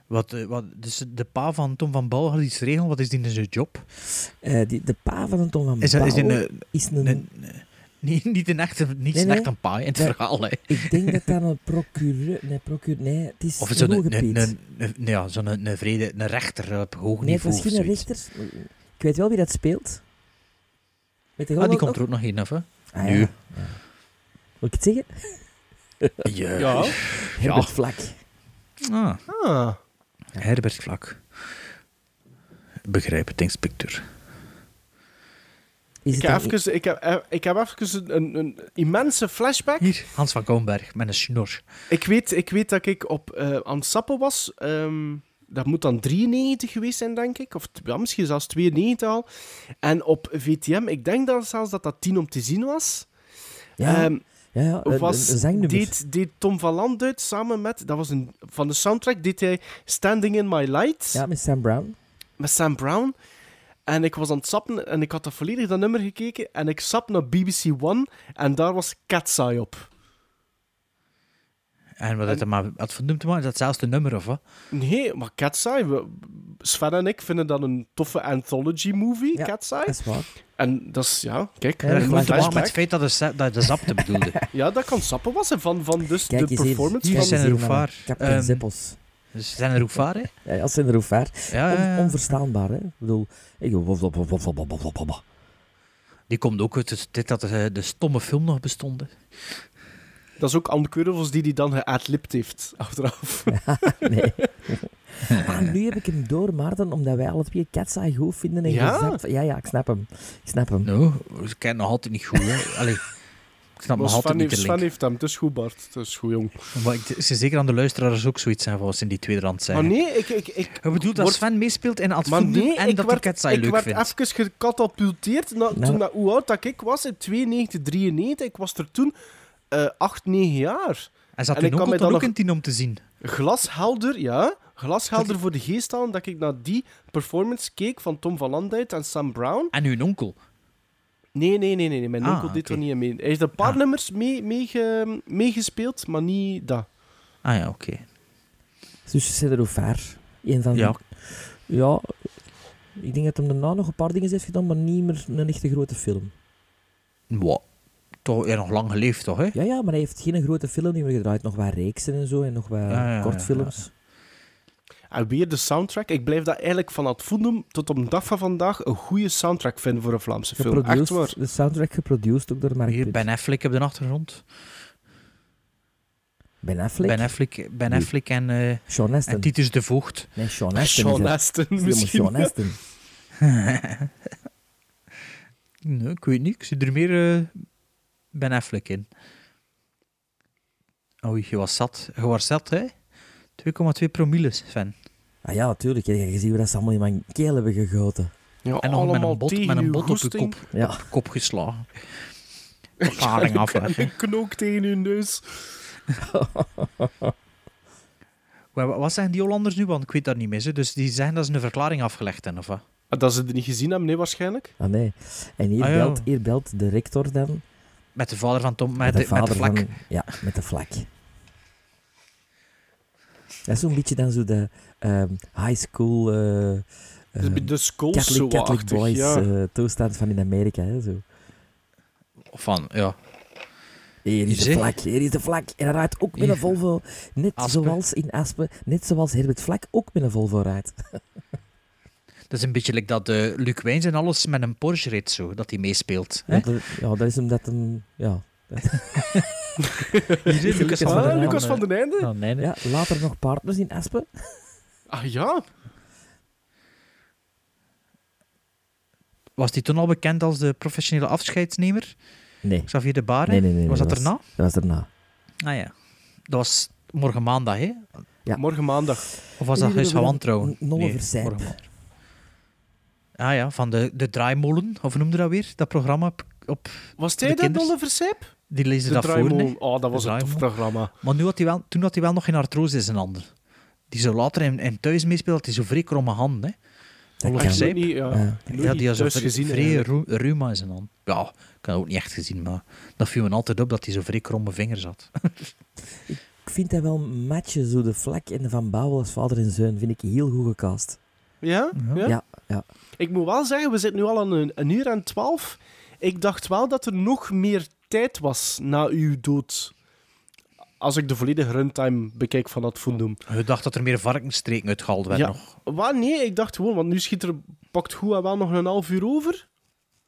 Speaker 4: Wat, eh, wat, dus de pa van Tom van Bal had iets regelen. Wat is die in zijn job?
Speaker 7: Eh, die, de pa van Anton van
Speaker 4: Is, dat- is die
Speaker 7: Bouw
Speaker 4: een, eh,
Speaker 7: is een...
Speaker 4: een- Nee, niet een echte, niet
Speaker 7: Nee,
Speaker 4: een
Speaker 7: nee.
Speaker 4: echte paai in het
Speaker 7: Nee.
Speaker 4: verhaal. Hè.
Speaker 7: Ik denk dat dat een procureur... Nee, procureur... Nee, het is
Speaker 4: Of
Speaker 7: een
Speaker 4: zo'n een,
Speaker 7: hoge
Speaker 4: een,
Speaker 7: piet.
Speaker 4: een, een- ja, zo'n een, een vrede, een rechter op hoog
Speaker 7: Nee, het
Speaker 4: niveau.
Speaker 7: was
Speaker 4: of
Speaker 7: geen
Speaker 4: zoiets.
Speaker 7: rechter. Ik weet wel wie dat speelt. Weet je
Speaker 4: Ah,
Speaker 7: wel
Speaker 4: die
Speaker 7: wat-
Speaker 4: komt er ook nog in af, hè?
Speaker 7: Ah,
Speaker 4: nu.
Speaker 7: Ja. Wil ik het zeggen?
Speaker 4: Ja.
Speaker 6: Ja.
Speaker 7: Herbert Vlak.
Speaker 4: Ah,
Speaker 6: Ah.
Speaker 4: Herbert Vlak. Begrijp het, inspecteur.
Speaker 7: Is
Speaker 6: Ik
Speaker 7: het
Speaker 6: heb
Speaker 7: dan-
Speaker 6: even, ik heb, eh, ik heb even een, een immense flashback.
Speaker 4: Hier, Hans van Koonberg met een snor.
Speaker 6: Ik weet, ik weet dat ik op, eh aan het sappen was. ehm, dat moet dan 93 geweest zijn, denk ik. Of t- ja, misschien zelfs 92 al. En op VTM, ik denk dan zelfs dat dat 10 om te zien was.
Speaker 7: Ja, eh,
Speaker 6: ehm,
Speaker 7: ja, ja, een,
Speaker 6: was
Speaker 7: een zangnummer.
Speaker 6: deed, deed Tom van Landuit samen met... Dat was een, van de soundtrack deed hij Standing in My Lights
Speaker 7: Ja, met Sam Brown.
Speaker 6: met Sam Brown. En ik was aan het sappen en ik had dat volledig dat nummer gekeken. En ik sap naar BBC One en daar was Cat's Eye op.
Speaker 4: En wat had hij maar had van doen te maken? Is dat zelfs de nummer of wat?
Speaker 6: Nee, maar Cat's Eye... we- Sven en ik vinden dat een toffe anthology-movie,
Speaker 7: Ja.
Speaker 6: Cat's
Speaker 7: Dat
Speaker 6: Eye.
Speaker 7: is waar.
Speaker 6: En dat is, ja, kijk,
Speaker 7: Ja,
Speaker 4: Ja,
Speaker 7: dat
Speaker 4: dat moet
Speaker 7: is
Speaker 6: een
Speaker 4: te maken
Speaker 6: flashback.
Speaker 4: met het feit dat de, sa- dat de zapte bedoelde.
Speaker 6: Ja, dat kan sappen was hè, van, van dus
Speaker 7: Kijk
Speaker 6: de
Speaker 7: eens hier.
Speaker 6: performance
Speaker 4: Hier
Speaker 7: Kijk
Speaker 6: van...
Speaker 4: zijn
Speaker 7: eens
Speaker 4: er
Speaker 7: hier,
Speaker 4: Roefaar.
Speaker 7: mannen. Captain
Speaker 4: Ehm,
Speaker 7: Zippels.
Speaker 4: Dus ze zijn er ook vaar, hè?
Speaker 7: Ja, dat zijn er Roefaar.
Speaker 4: Ja,
Speaker 7: On-
Speaker 4: ja, ja.
Speaker 7: onverstaanbaar, hè. Ik bedoel... Ik, wof, wof, wof, wof, wof, wof, wof, wof.
Speaker 4: Die komt ook uit het tijd dat eh, de, de stomme film nog bestond. hè.
Speaker 6: Dat is ook Anne Curvels die die dan geadlipt heeft, achteraf.
Speaker 7: Nee. ah, nu heb ik hem door, Maarten, omdat wij alle twee Cat's Eye goed vinden. En
Speaker 6: Ja?
Speaker 7: gezapt- Ja, ja, ik snap hem. Ik snap hem.
Speaker 4: Nou, ik ken nog altijd niet goed. Hè. Allee, ik snap
Speaker 6: Maar
Speaker 4: nog altijd
Speaker 6: Sven,
Speaker 4: niet
Speaker 6: heeft,
Speaker 4: de
Speaker 6: Sven
Speaker 4: link.
Speaker 6: heeft hem, het is goed, Bart. Het is goed, jong.
Speaker 4: Maar ik, ze zeker aan de luisteraars ook zoiets zijn van wat ze in die tweede rand zijn.
Speaker 6: Maar nee, ik... ik, ik
Speaker 4: Je bedoelt dat
Speaker 6: Wordt-
Speaker 4: Sven meespeelt in het
Speaker 6: Maar
Speaker 4: film
Speaker 6: nee,
Speaker 4: en
Speaker 6: ik
Speaker 4: dat
Speaker 6: werd,
Speaker 4: hij Cat's Eye
Speaker 6: ik
Speaker 4: leuk
Speaker 6: werd
Speaker 4: vindt.
Speaker 6: even gecatapulteerd na,
Speaker 7: Nou.
Speaker 6: toen dat, hoe oud dat ik was, in 92, 93. Ik was er toen eh 8, 9 jaar.
Speaker 4: En zat
Speaker 6: en
Speaker 4: toen
Speaker 6: ik kan
Speaker 4: ook,
Speaker 6: mij
Speaker 4: dan
Speaker 6: dan
Speaker 4: ook
Speaker 6: nog-
Speaker 4: in tien om te zien.
Speaker 6: Glashelder, ja. Glashelder voor de geest halen dat ik naar die performance keek van Tom van Landuit en Sam Brown.
Speaker 4: En hun onkel.
Speaker 6: Nee, nee, nee, nee. nee, Mijn
Speaker 4: Ah,
Speaker 6: onkel deed
Speaker 4: oké.
Speaker 6: er niet aan mee. Hij heeft een paar
Speaker 4: Ah.
Speaker 6: nummers mee- meege- meegespeeld, maar niet dat.
Speaker 4: Ah ja, oké.
Speaker 7: Dus ze er ver. Een van
Speaker 4: Ja,
Speaker 7: die- ja, ik denk dat hem daarna nog een paar dingen heeft gedaan, maar niet meer een echte grote film.
Speaker 4: mwah. Toch, ja, nog lang geleefd toch, hè?
Speaker 7: Ja, ja, maar hij heeft geen grote film niet meer gedraaid. Nog wat reeksen en zo en nog wat
Speaker 4: Ah, ja, ja,
Speaker 7: kortfilms.
Speaker 6: En weer de soundtrack. Ik blijf dat eigenlijk van het voeden tot op de dag van vandaag een goede soundtrack vinden voor een Vlaamse film. Echt waar.
Speaker 7: Geproduced, de soundtrack geproduced ook door Mark
Speaker 4: Hier,
Speaker 7: Pitt.
Speaker 4: Ben Affleck op de achtergrond.
Speaker 7: Ben Affleck.
Speaker 4: Ben Affleck, ben Affleck en, eh,
Speaker 7: Sean Astin.
Speaker 4: en Titus de Voogd.
Speaker 7: Nee, Sean Astin. is
Speaker 6: Sean
Speaker 7: er.
Speaker 6: Astin
Speaker 7: Het is helemaal
Speaker 6: misschien.
Speaker 7: Sean Astin.
Speaker 4: Nee, ik weet niet. Ik zie er meer eh, Ben Affleck in. Oei, je was zat. Je was zat, hè? 2,2 promille, Sven.
Speaker 7: Ah ja, tuurlijk. Je hebt gezien hoe dat ze allemaal in mijn keel hebben gegoten.
Speaker 6: Ja,
Speaker 4: En nog met een bot,
Speaker 6: tegen
Speaker 4: met een
Speaker 6: uw
Speaker 4: bot op je
Speaker 6: goesting.
Speaker 4: kop,
Speaker 7: Ja.
Speaker 4: kop geslagen. Verklaring af. hè.
Speaker 6: Een knook tegen uw neus.
Speaker 4: Wa- wa- Wat zeggen die Hollanders nu? Want ik weet dat niet meer. ze. Dus die zeggen dat ze een verklaring afgelegd hebben, of wat?
Speaker 6: Ah, Dat ze het niet gezien hebben, nee, waarschijnlijk.
Speaker 7: Ah nee. En hier,
Speaker 4: Ah, ja.
Speaker 7: belt, hier belt de rector dan.
Speaker 4: Met de vader van Tom, met, de, met de vlak.
Speaker 7: van- ja, met de vlak. Dat is zo'n beetje dan zo de ehm, high school eh, ehm,
Speaker 6: de school zo
Speaker 7: Catholic, Catholic
Speaker 6: achtig,
Speaker 7: boys
Speaker 6: ja.
Speaker 7: eh, toestand van in Amerika. Hè, zo.
Speaker 4: Van, ja.
Speaker 7: Hier is de
Speaker 4: Zeg.
Speaker 7: vlak, hier is de vlak. En hij rijdt ook met een
Speaker 4: Ja.
Speaker 7: Volvo. Net
Speaker 4: Aspen.
Speaker 7: zoals in Aspen, net zoals Herbert Vlak ook met een Volvo rijdt.
Speaker 4: Dat is een beetje like dat eh, Luc Wijns en alles met een Porsche reed zo, dat hij meespeelt. hè?
Speaker 7: Ja, dat, ja, dat is omdat een... Ja,
Speaker 4: Hier zit
Speaker 7: Lucas van
Speaker 6: Ah,
Speaker 7: der
Speaker 4: Einde.
Speaker 6: Lucas van den Einde.
Speaker 4: Oh, nee, nee.
Speaker 7: ja, later nog partners in Aspen.
Speaker 6: Ah ja,
Speaker 4: Was die toen al bekend als de professionele afscheidsnemer?
Speaker 7: Nee,
Speaker 4: Xavier de Baren?
Speaker 7: nee, nee. nee
Speaker 4: was dat
Speaker 7: nee,
Speaker 4: erna?
Speaker 7: Dat was daarna.
Speaker 4: Ah ja. Dat was morgen maandag, hè?
Speaker 7: Ja.
Speaker 6: morgen maandag.
Speaker 4: Of was dat
Speaker 7: Hier
Speaker 4: Guus
Speaker 7: hebben we
Speaker 4: Hawan trouwen?
Speaker 7: een nolle verzijp.
Speaker 4: morgen maandag. Ah ja, van de, de draaimolen, of hoe noemde dat weer? Dat programma op... op
Speaker 6: Was jij
Speaker 4: De
Speaker 6: dat,
Speaker 4: kinders?
Speaker 6: Dolle Verseep?
Speaker 4: die lezen
Speaker 6: De
Speaker 4: dat voor, hè?
Speaker 6: Draaimolen. Oh, dat was
Speaker 4: De
Speaker 6: een tof
Speaker 4: Draaimolen.
Speaker 6: programma.
Speaker 4: Maar nu had hij wel, toen had hij wel nog geen artrose in zijn handen. Die zo later in, in thuis meespeelt, had hij zo vrij kromme handen, hè?
Speaker 7: Dat
Speaker 4: Olaf
Speaker 7: kan.
Speaker 6: Ik
Speaker 4: Verseep.
Speaker 6: weet niet, ja.
Speaker 7: Ja.
Speaker 6: Nooit
Speaker 4: Ja, die had zo
Speaker 6: thuis
Speaker 4: vri-
Speaker 6: gezien,
Speaker 4: vrij
Speaker 6: eigenlijk.
Speaker 4: ru- reuma in zijn hand. Ja, ik had dat ook niet echt gezien, maar dat viel me altijd op dat hij zo vrij kromme vingers had.
Speaker 7: Ik vind dat wel matchen, zo de vlak en de Van Bouwel als vader en zoon, vind ik heel goed gecast.
Speaker 6: Ja? Ja?
Speaker 7: Ja, ja.
Speaker 6: Ik moet wel zeggen, we zitten nu al aan een, een uur en twaalf. Ik dacht wel dat er nog meer tijd was na uw dood. Als ik de volledige runtime bekijk van dat fundum.
Speaker 4: Je dacht dat er meer varkensstreken uitgehaald werden
Speaker 6: Ja.
Speaker 4: nog.
Speaker 6: Waar? Nee, ik dacht gewoon, want nu schiet er pakt goed en wel nog een half uur over.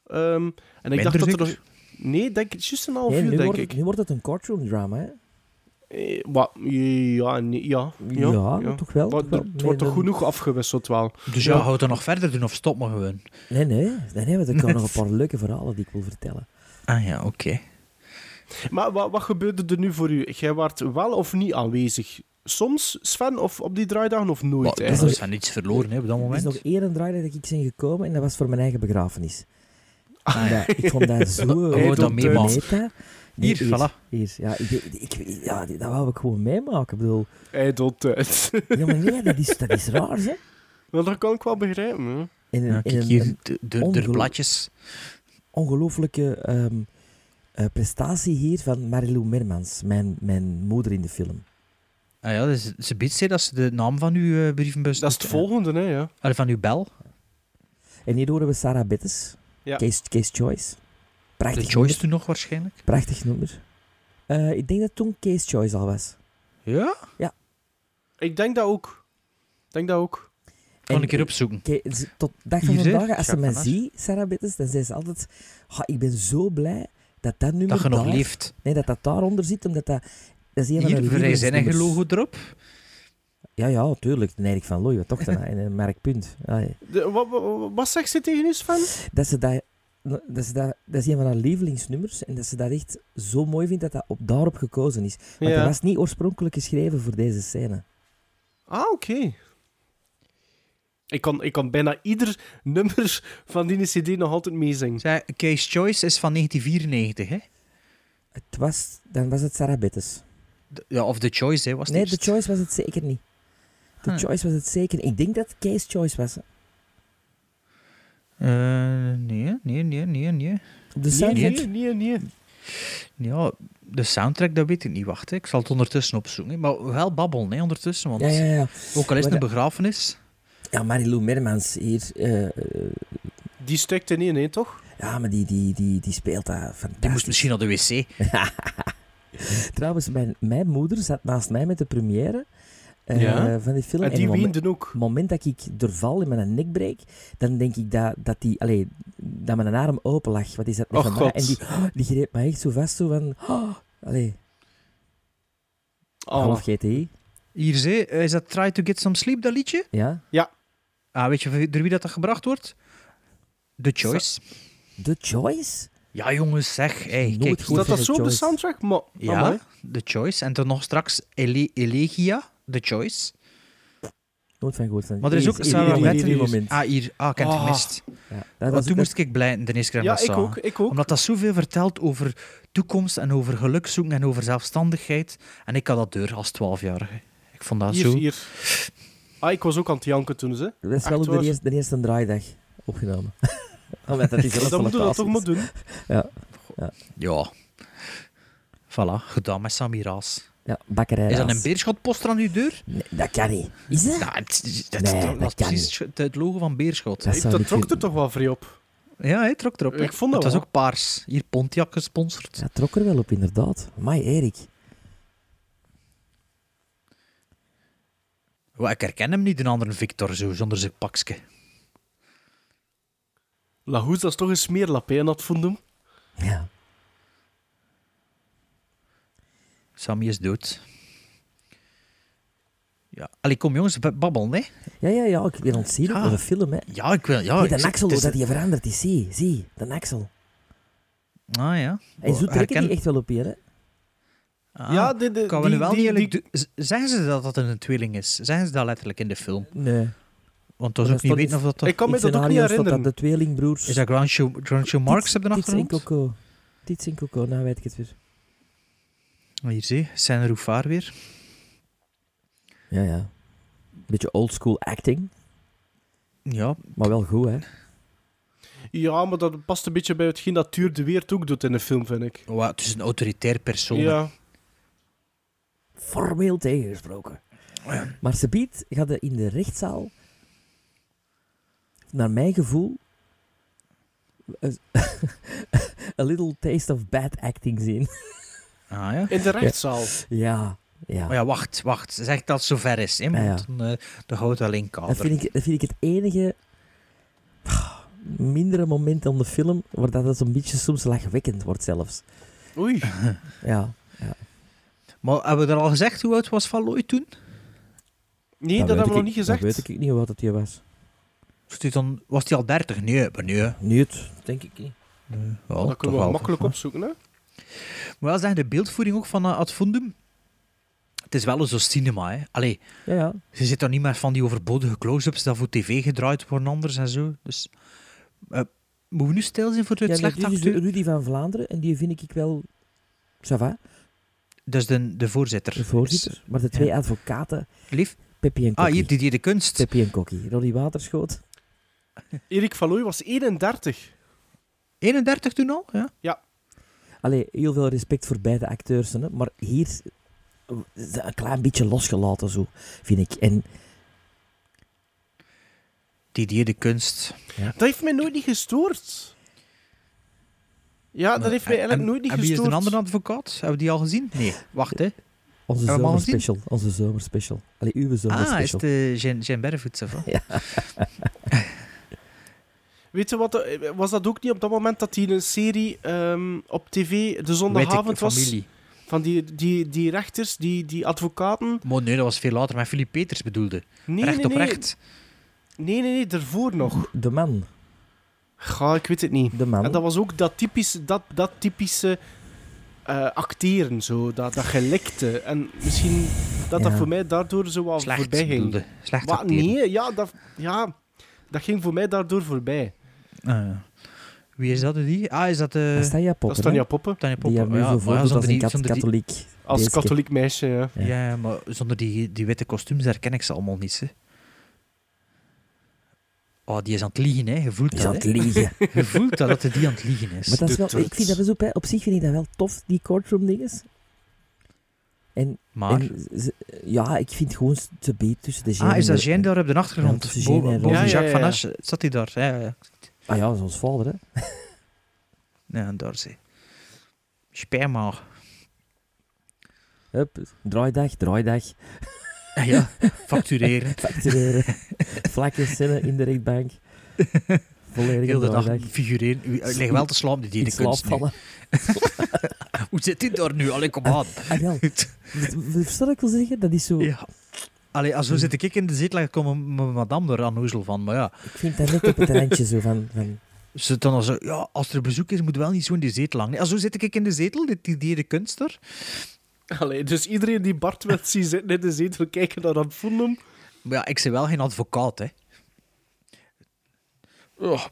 Speaker 6: Ehm, en ik dacht
Speaker 4: Minder
Speaker 6: dat er nog...
Speaker 4: zeker?
Speaker 6: Nee, denk ik, juist een half
Speaker 7: Nee,
Speaker 6: uur,
Speaker 7: nu,
Speaker 6: denk
Speaker 7: wordt
Speaker 6: ik.
Speaker 7: het, nu wordt het een courtroom drama, hè?
Speaker 6: Eh, wat? Ja, nee, ja, ja,
Speaker 7: Ja, toch wel,
Speaker 6: Maar
Speaker 7: toch wel.
Speaker 6: er- Het
Speaker 7: Nee,
Speaker 6: wordt toch
Speaker 7: dan-
Speaker 6: genoeg afgewisseld wel.
Speaker 4: Dus ja,
Speaker 6: Ja.
Speaker 4: hou het dan nog verder doen of stop maar gewoon.
Speaker 7: Nee, nee, nee, nee, want ik kan nog een paar leuke verhalen die ik wil vertellen.
Speaker 4: Ah ja, oké.
Speaker 6: Maar wat, wat gebeurde er nu voor u? Jij werd wel of niet aanwezig? Soms, Sven, of op die draaidagen of
Speaker 4: Maar
Speaker 6: nooit?
Speaker 4: Er
Speaker 6: eigenlijk?
Speaker 4: is van niets verloren hè, op dat
Speaker 7: Er is
Speaker 4: moment.
Speaker 7: nog één draaidag dat ik ben gekomen en dat was voor mijn eigen begrafenis.
Speaker 4: Ah, ja.
Speaker 7: Dat- ik vond dat zo...
Speaker 4: Hey, dat meemaken.
Speaker 7: meta.
Speaker 4: Hier, voilà.
Speaker 7: Hier, ja, ik, ik, ja, dat wou ik gewoon meemaken. Ik bedoel,
Speaker 6: Hij doet uit.
Speaker 7: ja, maar nee, dat is, dat is raar, hè.
Speaker 6: Maar dat kan ik wel begrijpen. Hè.
Speaker 7: In een,
Speaker 4: Ja,
Speaker 7: in
Speaker 4: kijk
Speaker 7: een,
Speaker 4: hier,
Speaker 7: een
Speaker 4: de, de, de
Speaker 7: ongeloo-
Speaker 4: bladjes.
Speaker 7: ongelooflijke ehm, eh, prestatie hier van Marilou Mermans, mijn, mijn moeder in de film.
Speaker 4: Ah ja, dus, ze biedt zei dat ze de naam van uw eh, brievenbus...
Speaker 6: Dus Dat is het volgende, hè? Ja.
Speaker 4: Ah, van uw bel.
Speaker 7: En hier horen we Sarah Bettes,
Speaker 6: Ja.
Speaker 7: Case, Case Choice.
Speaker 4: De
Speaker 7: Prachtig
Speaker 4: Joyce toen nog waarschijnlijk.
Speaker 7: nummer. Prachtig nummer. Eh, ik denk dat toen Case Choice al was.
Speaker 4: Ja?
Speaker 6: Ik denk dat ook. Ik denk dat ook.
Speaker 4: Kan
Speaker 7: En-
Speaker 4: ik keer opzoeken.
Speaker 7: Ke- ze- tot dag van
Speaker 4: Hier, hè?
Speaker 7: vandaag, als ze
Speaker 4: Jacques
Speaker 7: mij
Speaker 4: Van As.
Speaker 7: ziet, Sarah Bittes, dan zei ze altijd... "Ah, ik ben zo blij dat dat nummer
Speaker 4: Dat je nog
Speaker 7: daar-
Speaker 4: leeft.
Speaker 7: Nee, dat dat daaronder zit, omdat dat... Dat is een van haar
Speaker 4: Hier, vrijzinnige
Speaker 7: lievelingsnummers.
Speaker 4: logo erop.
Speaker 7: Ja, ja, tuurlijk. De Erik van Looy, wat toch dan? En een Mark Punt. Allee.
Speaker 6: De- wat, wat, wat zegt ze tegen u, Sven?
Speaker 7: Dat, ze dat, dat, ze dat, dat is een van haar lievelingsnummers. En dat ze dat echt zo mooi vindt dat dat op, daarop gekozen is. Maar
Speaker 6: Ja.
Speaker 7: dat was niet oorspronkelijk geschreven voor deze scène.
Speaker 6: Ah, oké. Ik, kan, ik kan bijna ieder nummer van die CD nog altijd meezingen.
Speaker 4: Zij, Case Choice is van 1994, hè?
Speaker 7: Het was, dan was het Sarah Bittes.
Speaker 4: De- ja, of The Choice, hè, was het
Speaker 7: Nee, The
Speaker 4: eerst.
Speaker 7: Choice was het zeker niet. The
Speaker 4: Ah.
Speaker 7: Choice was het zeker niet. Ik denk dat Case Choice was.
Speaker 4: Eh, nee, nee, nee, nee, nee.
Speaker 7: Op de
Speaker 6: Nee,
Speaker 7: soundtrack.
Speaker 6: nee, nee, nee.
Speaker 4: Ja, de soundtrack, dat weet ik niet. Wacht, hè. ik zal het ondertussen opzoeken. hè. Maar wel babbelen, hè, ondertussen. Want
Speaker 7: Ja, ja, ja.
Speaker 4: ook al is het
Speaker 7: Maar
Speaker 4: een begrafenis...
Speaker 7: Ja, Marilou Mermans hier. eh, eh,
Speaker 6: Die stikt in één, hè, toch?
Speaker 7: ja, maar die, die, die, die speelt dat fantastisch.
Speaker 4: Die moest misschien naar de wc.
Speaker 7: Trouwens, mijn, mijn moeder zat naast mij met de première eh,
Speaker 6: Ja?
Speaker 7: van die film.
Speaker 4: Ah,
Speaker 6: En
Speaker 7: En
Speaker 6: die
Speaker 7: op het momen-
Speaker 6: weenden ook.
Speaker 7: op het moment dat ik doorval in mijn nek breek, dan denk ik dat, dat die... Allee, dat mijn arm open lag. Wat is dat? nog
Speaker 4: Oh,
Speaker 6: Och,
Speaker 7: van mij?
Speaker 6: God.
Speaker 7: En die, oh, die greep mij echt zo vast, zo van... Oh, allee, half
Speaker 6: Oh.
Speaker 7: GTI.
Speaker 4: Hier, zie, eh, is dat Try to Get Some Sleep, dat liedje?
Speaker 7: Ja.
Speaker 4: Ah, weet je van wie- door wie dat, dat gebracht wordt? The Choice.
Speaker 7: The Choice?
Speaker 4: Ja, jongens, zeg. Hey,
Speaker 7: Nooit
Speaker 4: kijk,
Speaker 7: gehoord.
Speaker 6: Staat dat
Speaker 7: The
Speaker 6: zo op de
Speaker 7: Choice.
Speaker 6: soundtrack? Maar,
Speaker 4: Ja,
Speaker 6: amai.
Speaker 4: The Choice. En dan nog straks Ele- Elegia, The Choice.
Speaker 7: Nooit van gehoord. Van.
Speaker 4: Maar er is
Speaker 7: Hier,
Speaker 4: ook
Speaker 7: hier,
Speaker 4: Sarah
Speaker 7: hier, hier, hier,
Speaker 6: Bettes.
Speaker 7: hier, moment.
Speaker 4: Ah, hier. Ah, ik heb het
Speaker 6: Ah.
Speaker 4: gemist.
Speaker 7: Ja, dat was-
Speaker 4: Want toen
Speaker 7: dat-
Speaker 4: moest ik blijden de eerste keer
Speaker 6: ja
Speaker 4: dat
Speaker 6: ik
Speaker 4: zag.
Speaker 6: ook. Ik ook.
Speaker 4: Omdat dat zoveel vertelt over toekomst en over geluk zoeken en over zelfstandigheid. En ik had dat deur als 12-jarige. Ik vond dat
Speaker 6: Hier,
Speaker 4: zo.
Speaker 6: hier. Ah, ik was ook aan het janken toen, ze.
Speaker 7: Dat is wel
Speaker 6: Echt
Speaker 7: op de
Speaker 6: waar?
Speaker 7: eerste, de eerste draaidag opgenomen. Omdat dat is
Speaker 6: Dan moeten we dat toch maar doen.
Speaker 4: Ja. Voilà, gedaan met Samira's.
Speaker 7: Ja, bakkerij.
Speaker 4: Is dat
Speaker 7: Raas.
Speaker 4: een beerschotposter aan uw deur?
Speaker 7: Nee, dat kan niet. Is dat?
Speaker 4: Ja, het, het- het-
Speaker 7: Nee,
Speaker 4: dat
Speaker 7: dat
Speaker 4: was
Speaker 7: kan
Speaker 4: precies het, het logo van Beerschot.
Speaker 7: Dat zou
Speaker 6: Dat
Speaker 7: ik
Speaker 6: trok
Speaker 7: vinden.
Speaker 6: er toch wel vrij op.
Speaker 4: Ja, hij trok erop. hè.
Speaker 6: Ik vond dat
Speaker 4: het was
Speaker 6: wel.
Speaker 4: ook paars. Hier Pontiac gesponsord.
Speaker 7: Dat trok er wel op, inderdaad. Mai Erik.
Speaker 4: Wel, Ik herken hem niet, een andere Victor, zo, zonder zijn pakje.
Speaker 6: Lahoes, dat is toch een smeerlap, hè, dat vond hem.
Speaker 7: Ja.
Speaker 4: Sammy is dood. Ja. Allee, kom jongens, b- babbelen, hè.
Speaker 7: Ja, ja, ja. Ik ben ontzien
Speaker 4: Ja.
Speaker 7: op een film, hè.
Speaker 4: Ja, ik wil... Ja,
Speaker 7: Hey,
Speaker 4: ik
Speaker 7: de
Speaker 4: zeg-
Speaker 7: Axel,
Speaker 4: het
Speaker 7: hoe
Speaker 4: is-
Speaker 7: dat hij veranderd is. Zie, zie. De Axel.
Speaker 4: Ah, ja.
Speaker 7: En zo trekken
Speaker 4: herken-
Speaker 7: die echt wel op hier, hè.
Speaker 4: Ah,
Speaker 6: ja, de, de,
Speaker 4: kan we
Speaker 6: die,
Speaker 4: nu wel
Speaker 6: die,
Speaker 4: niet eerlijk
Speaker 6: die-
Speaker 4: doen. Z- Zeggen ze dat dat een tweeling is? Zeggen ze dat letterlijk in de film?
Speaker 7: Nee.
Speaker 4: Want dat is ook niet
Speaker 7: Maar dat stond
Speaker 4: weten
Speaker 7: in-
Speaker 4: of dat... dat-
Speaker 6: Ik kan me
Speaker 7: In
Speaker 6: dat ook niet
Speaker 7: scenario's dat
Speaker 6: herinneren.
Speaker 7: dat de tweelingbroers...
Speaker 4: Is dat Groucho, Groucho Marx op de
Speaker 7: Tits- Tits en
Speaker 4: achtergrond?
Speaker 7: Coco. Tits en Coco, nou weet ik het weer.
Speaker 4: Ah, Hier zie, zijn Roefaar weer.
Speaker 7: Ja, ja. Beetje oldschool acting,
Speaker 4: Ja,
Speaker 7: maar wel goed, hè.
Speaker 6: Ja, maar dat past een beetje bij hetgeen dat Tuur de Weert ook doet in de film, vind ik.
Speaker 4: wa- het is een autoritair persoon. hè.
Speaker 6: Ja.
Speaker 7: Formeel tegengesproken. Maar ze biedt, gaat er in de rechtszaal, naar mijn gevoel, a little taste of bad acting zien.
Speaker 4: Ah, ja.
Speaker 6: In de rechtszaal.
Speaker 7: Ja, ja.
Speaker 4: Maar ja, wacht, wacht. Zeg dat het zover is, hè.
Speaker 7: Ja, ja.
Speaker 4: Want dan, eh, dan houdt wel in kader.
Speaker 7: Dat vind, ik, dat vind ik het enige ah, mindere moment aan de film waar dat het zo'n beetje soms lachwekkend wordt zelfs.
Speaker 6: Oei.
Speaker 7: Ja.
Speaker 4: Maar hebben we er al gezegd hoe oud was Van Looy toen?
Speaker 6: Nee,
Speaker 7: weet
Speaker 6: dat, hebben we
Speaker 7: ik-
Speaker 6: nog niet
Speaker 7: Dat
Speaker 6: gezegd.
Speaker 7: weet ik niet wat het hier was.
Speaker 4: Was die, dan, was die al 30? Nee, maar nee.
Speaker 7: Niet, denk ik niet.
Speaker 4: Wel,
Speaker 6: dat
Speaker 4: toch
Speaker 6: kunnen we
Speaker 4: wel.
Speaker 6: makkelijk opzoeken, hè?
Speaker 4: Maar wel zeggen, de beeldvoering ook van eh, Ad Fundum. Het is wel een zo cinema, hè. Allee,
Speaker 7: Ja, ja.
Speaker 4: ze zit dan niet meer van die overbodige close-ups dat voor tv gedraaid worden anders en zo. Dus eh, moeten we nu stil zijn voor het
Speaker 7: ja
Speaker 4: slecht
Speaker 7: dit is
Speaker 4: acteur?
Speaker 7: de Rudy van Vlaanderen en die vind ik wel... Ça va,
Speaker 4: Dus de, de voorzitter.
Speaker 7: de voorzitter. Maar de twee advocaten,
Speaker 4: Is- Lief.
Speaker 7: Peppi en
Speaker 4: Ah,
Speaker 7: Kokkie.
Speaker 4: hier, die, die de kunst.
Speaker 7: Peppi en Kokkie. Roddy Waterschoot.
Speaker 6: Erik Valooi was 31.
Speaker 4: 31 toen al? Ja.
Speaker 7: Allee, heel veel respect voor beide acteurs, hè, maar hier eh, is dat een klein beetje losgelaten, zo, vind ik. En
Speaker 4: Die, die de kunst.
Speaker 6: Dat heeft mij nooit niet gestoord. Ja, dat heeft mij eigenlijk
Speaker 4: En-
Speaker 6: nooit niet
Speaker 4: Hebben jullie
Speaker 6: gestoord.
Speaker 4: eens een andere advocaat? Hebben we die al gezien? Nee, wacht hè.
Speaker 7: onze
Speaker 4: Hebben we hem al
Speaker 7: zomerspecial. Onze zomerspecial. Allee, uw
Speaker 4: Ah, is
Speaker 7: zomerspecial.
Speaker 4: het eh, Jean, Jean Berrevoets of wat?
Speaker 6: Weet je wat? eh, Was dat ook niet op dat moment dat hij een serie ehm, op tv de
Speaker 4: Weet ik,
Speaker 6: zondagavond was?
Speaker 4: familie.
Speaker 6: Van die, die, die rechters, die, die advocaten.
Speaker 4: Maar nee, dat was veel later. Maar Philip Peters bedoelde.
Speaker 6: Nee,
Speaker 4: recht
Speaker 6: nee,
Speaker 4: op
Speaker 6: nee.
Speaker 4: recht.
Speaker 6: Nee, nee, nee, daarvoor nog.
Speaker 4: eh,
Speaker 7: De man.
Speaker 6: Ga, ik weet het niet.
Speaker 7: De man.
Speaker 6: En dat was ook dat typische, dat, dat typische eh, acteren, zo, dat, dat gelikte. En misschien dat dat
Speaker 7: Ja.
Speaker 6: voor mij daardoor zo wat
Speaker 4: Slecht
Speaker 6: voorbij ging.
Speaker 4: bedoelde. Slecht
Speaker 6: Wat?
Speaker 4: acteren.
Speaker 6: Nee, ja dat, ja, dat ging voor mij daardoor voorbij.
Speaker 4: Ah, ja. wie is dat? Die? Ah, is dat... eh
Speaker 7: Dat is Tanja Poppen,
Speaker 6: dat is Tanja
Speaker 7: hè,
Speaker 6: Poppen,
Speaker 4: Tanja
Speaker 7: Die
Speaker 4: Poppen? Oh
Speaker 7: hebben nu
Speaker 4: Ja,
Speaker 7: zo
Speaker 4: maar ja,
Speaker 7: voordoet als
Speaker 4: zonder
Speaker 7: een
Speaker 4: die-
Speaker 7: kat-
Speaker 4: zonder die-
Speaker 7: katholiek.
Speaker 6: als
Speaker 7: Deze keer.
Speaker 6: katholiek meisje. Ja.
Speaker 7: Ja.
Speaker 4: Ja, maar zonder die, die witte kostuums herken ik ze allemaal niet. Hè. Oh, die is aan het liegen, hè. Je voelt
Speaker 7: Die is aan
Speaker 4: dat,
Speaker 7: het
Speaker 4: hè.
Speaker 7: liegen.
Speaker 4: Je voelt dat, dat die aan het liegen is.
Speaker 7: Maar dat is
Speaker 6: De
Speaker 7: wel, ik
Speaker 6: Turks.
Speaker 7: vind dat wel zo, bij- op zich vind ik dat wel tof, die courtroom dinges. En,
Speaker 4: Maar...
Speaker 7: en ze- ja, ik vind gewoon te beet tussen de
Speaker 4: Ah, is dat
Speaker 7: genre-
Speaker 4: Jean daar op de achtergrond?
Speaker 7: Ja, tussen Jean en
Speaker 4: boven
Speaker 7: Ron.
Speaker 4: boven
Speaker 6: Ja, ja,
Speaker 4: Jacques
Speaker 6: ja,
Speaker 4: Van
Speaker 6: ja.
Speaker 4: Asch zat hij daar. Ja, ja.
Speaker 7: Ah ja, dat is ons vader, hè.
Speaker 4: ja en daar zie Sperma.
Speaker 7: Hup, draaidag, draaidag. Ah,
Speaker 4: Ja, factureren.
Speaker 7: factureren. Vlakke cellen in de rechtbank. Volledig
Speaker 4: Heel de dag
Speaker 7: draaidag.
Speaker 4: figureren. U- Ik lig wel te slapen, die
Speaker 7: In
Speaker 4: dierenkunst.
Speaker 7: slaap
Speaker 4: nu.
Speaker 7: vallen.
Speaker 4: Hoe zit dit daar nu? Allee, kom aan.
Speaker 7: Ah, wel. Verstel ik wil zeggen, dat is zo...
Speaker 4: Ja. Allee, als zo zit ik in de zetel, dan komt mijn- mijn madame er aan hoezel van. Maar ja,
Speaker 7: Ik vind dat net op het randje zo van... van
Speaker 4: ze dan al zo, ja, als er bezoek is, moet wel niet zo in de zetel hangen. Ja, zo zit ik in de zetel, dit- die dierenkunst er.
Speaker 6: Allee, dus iedereen die Bart wil zien zitten in de zetel kijken naar dat voelen.
Speaker 4: Maar ja, ik ben wel geen advocaat, hè. Oh.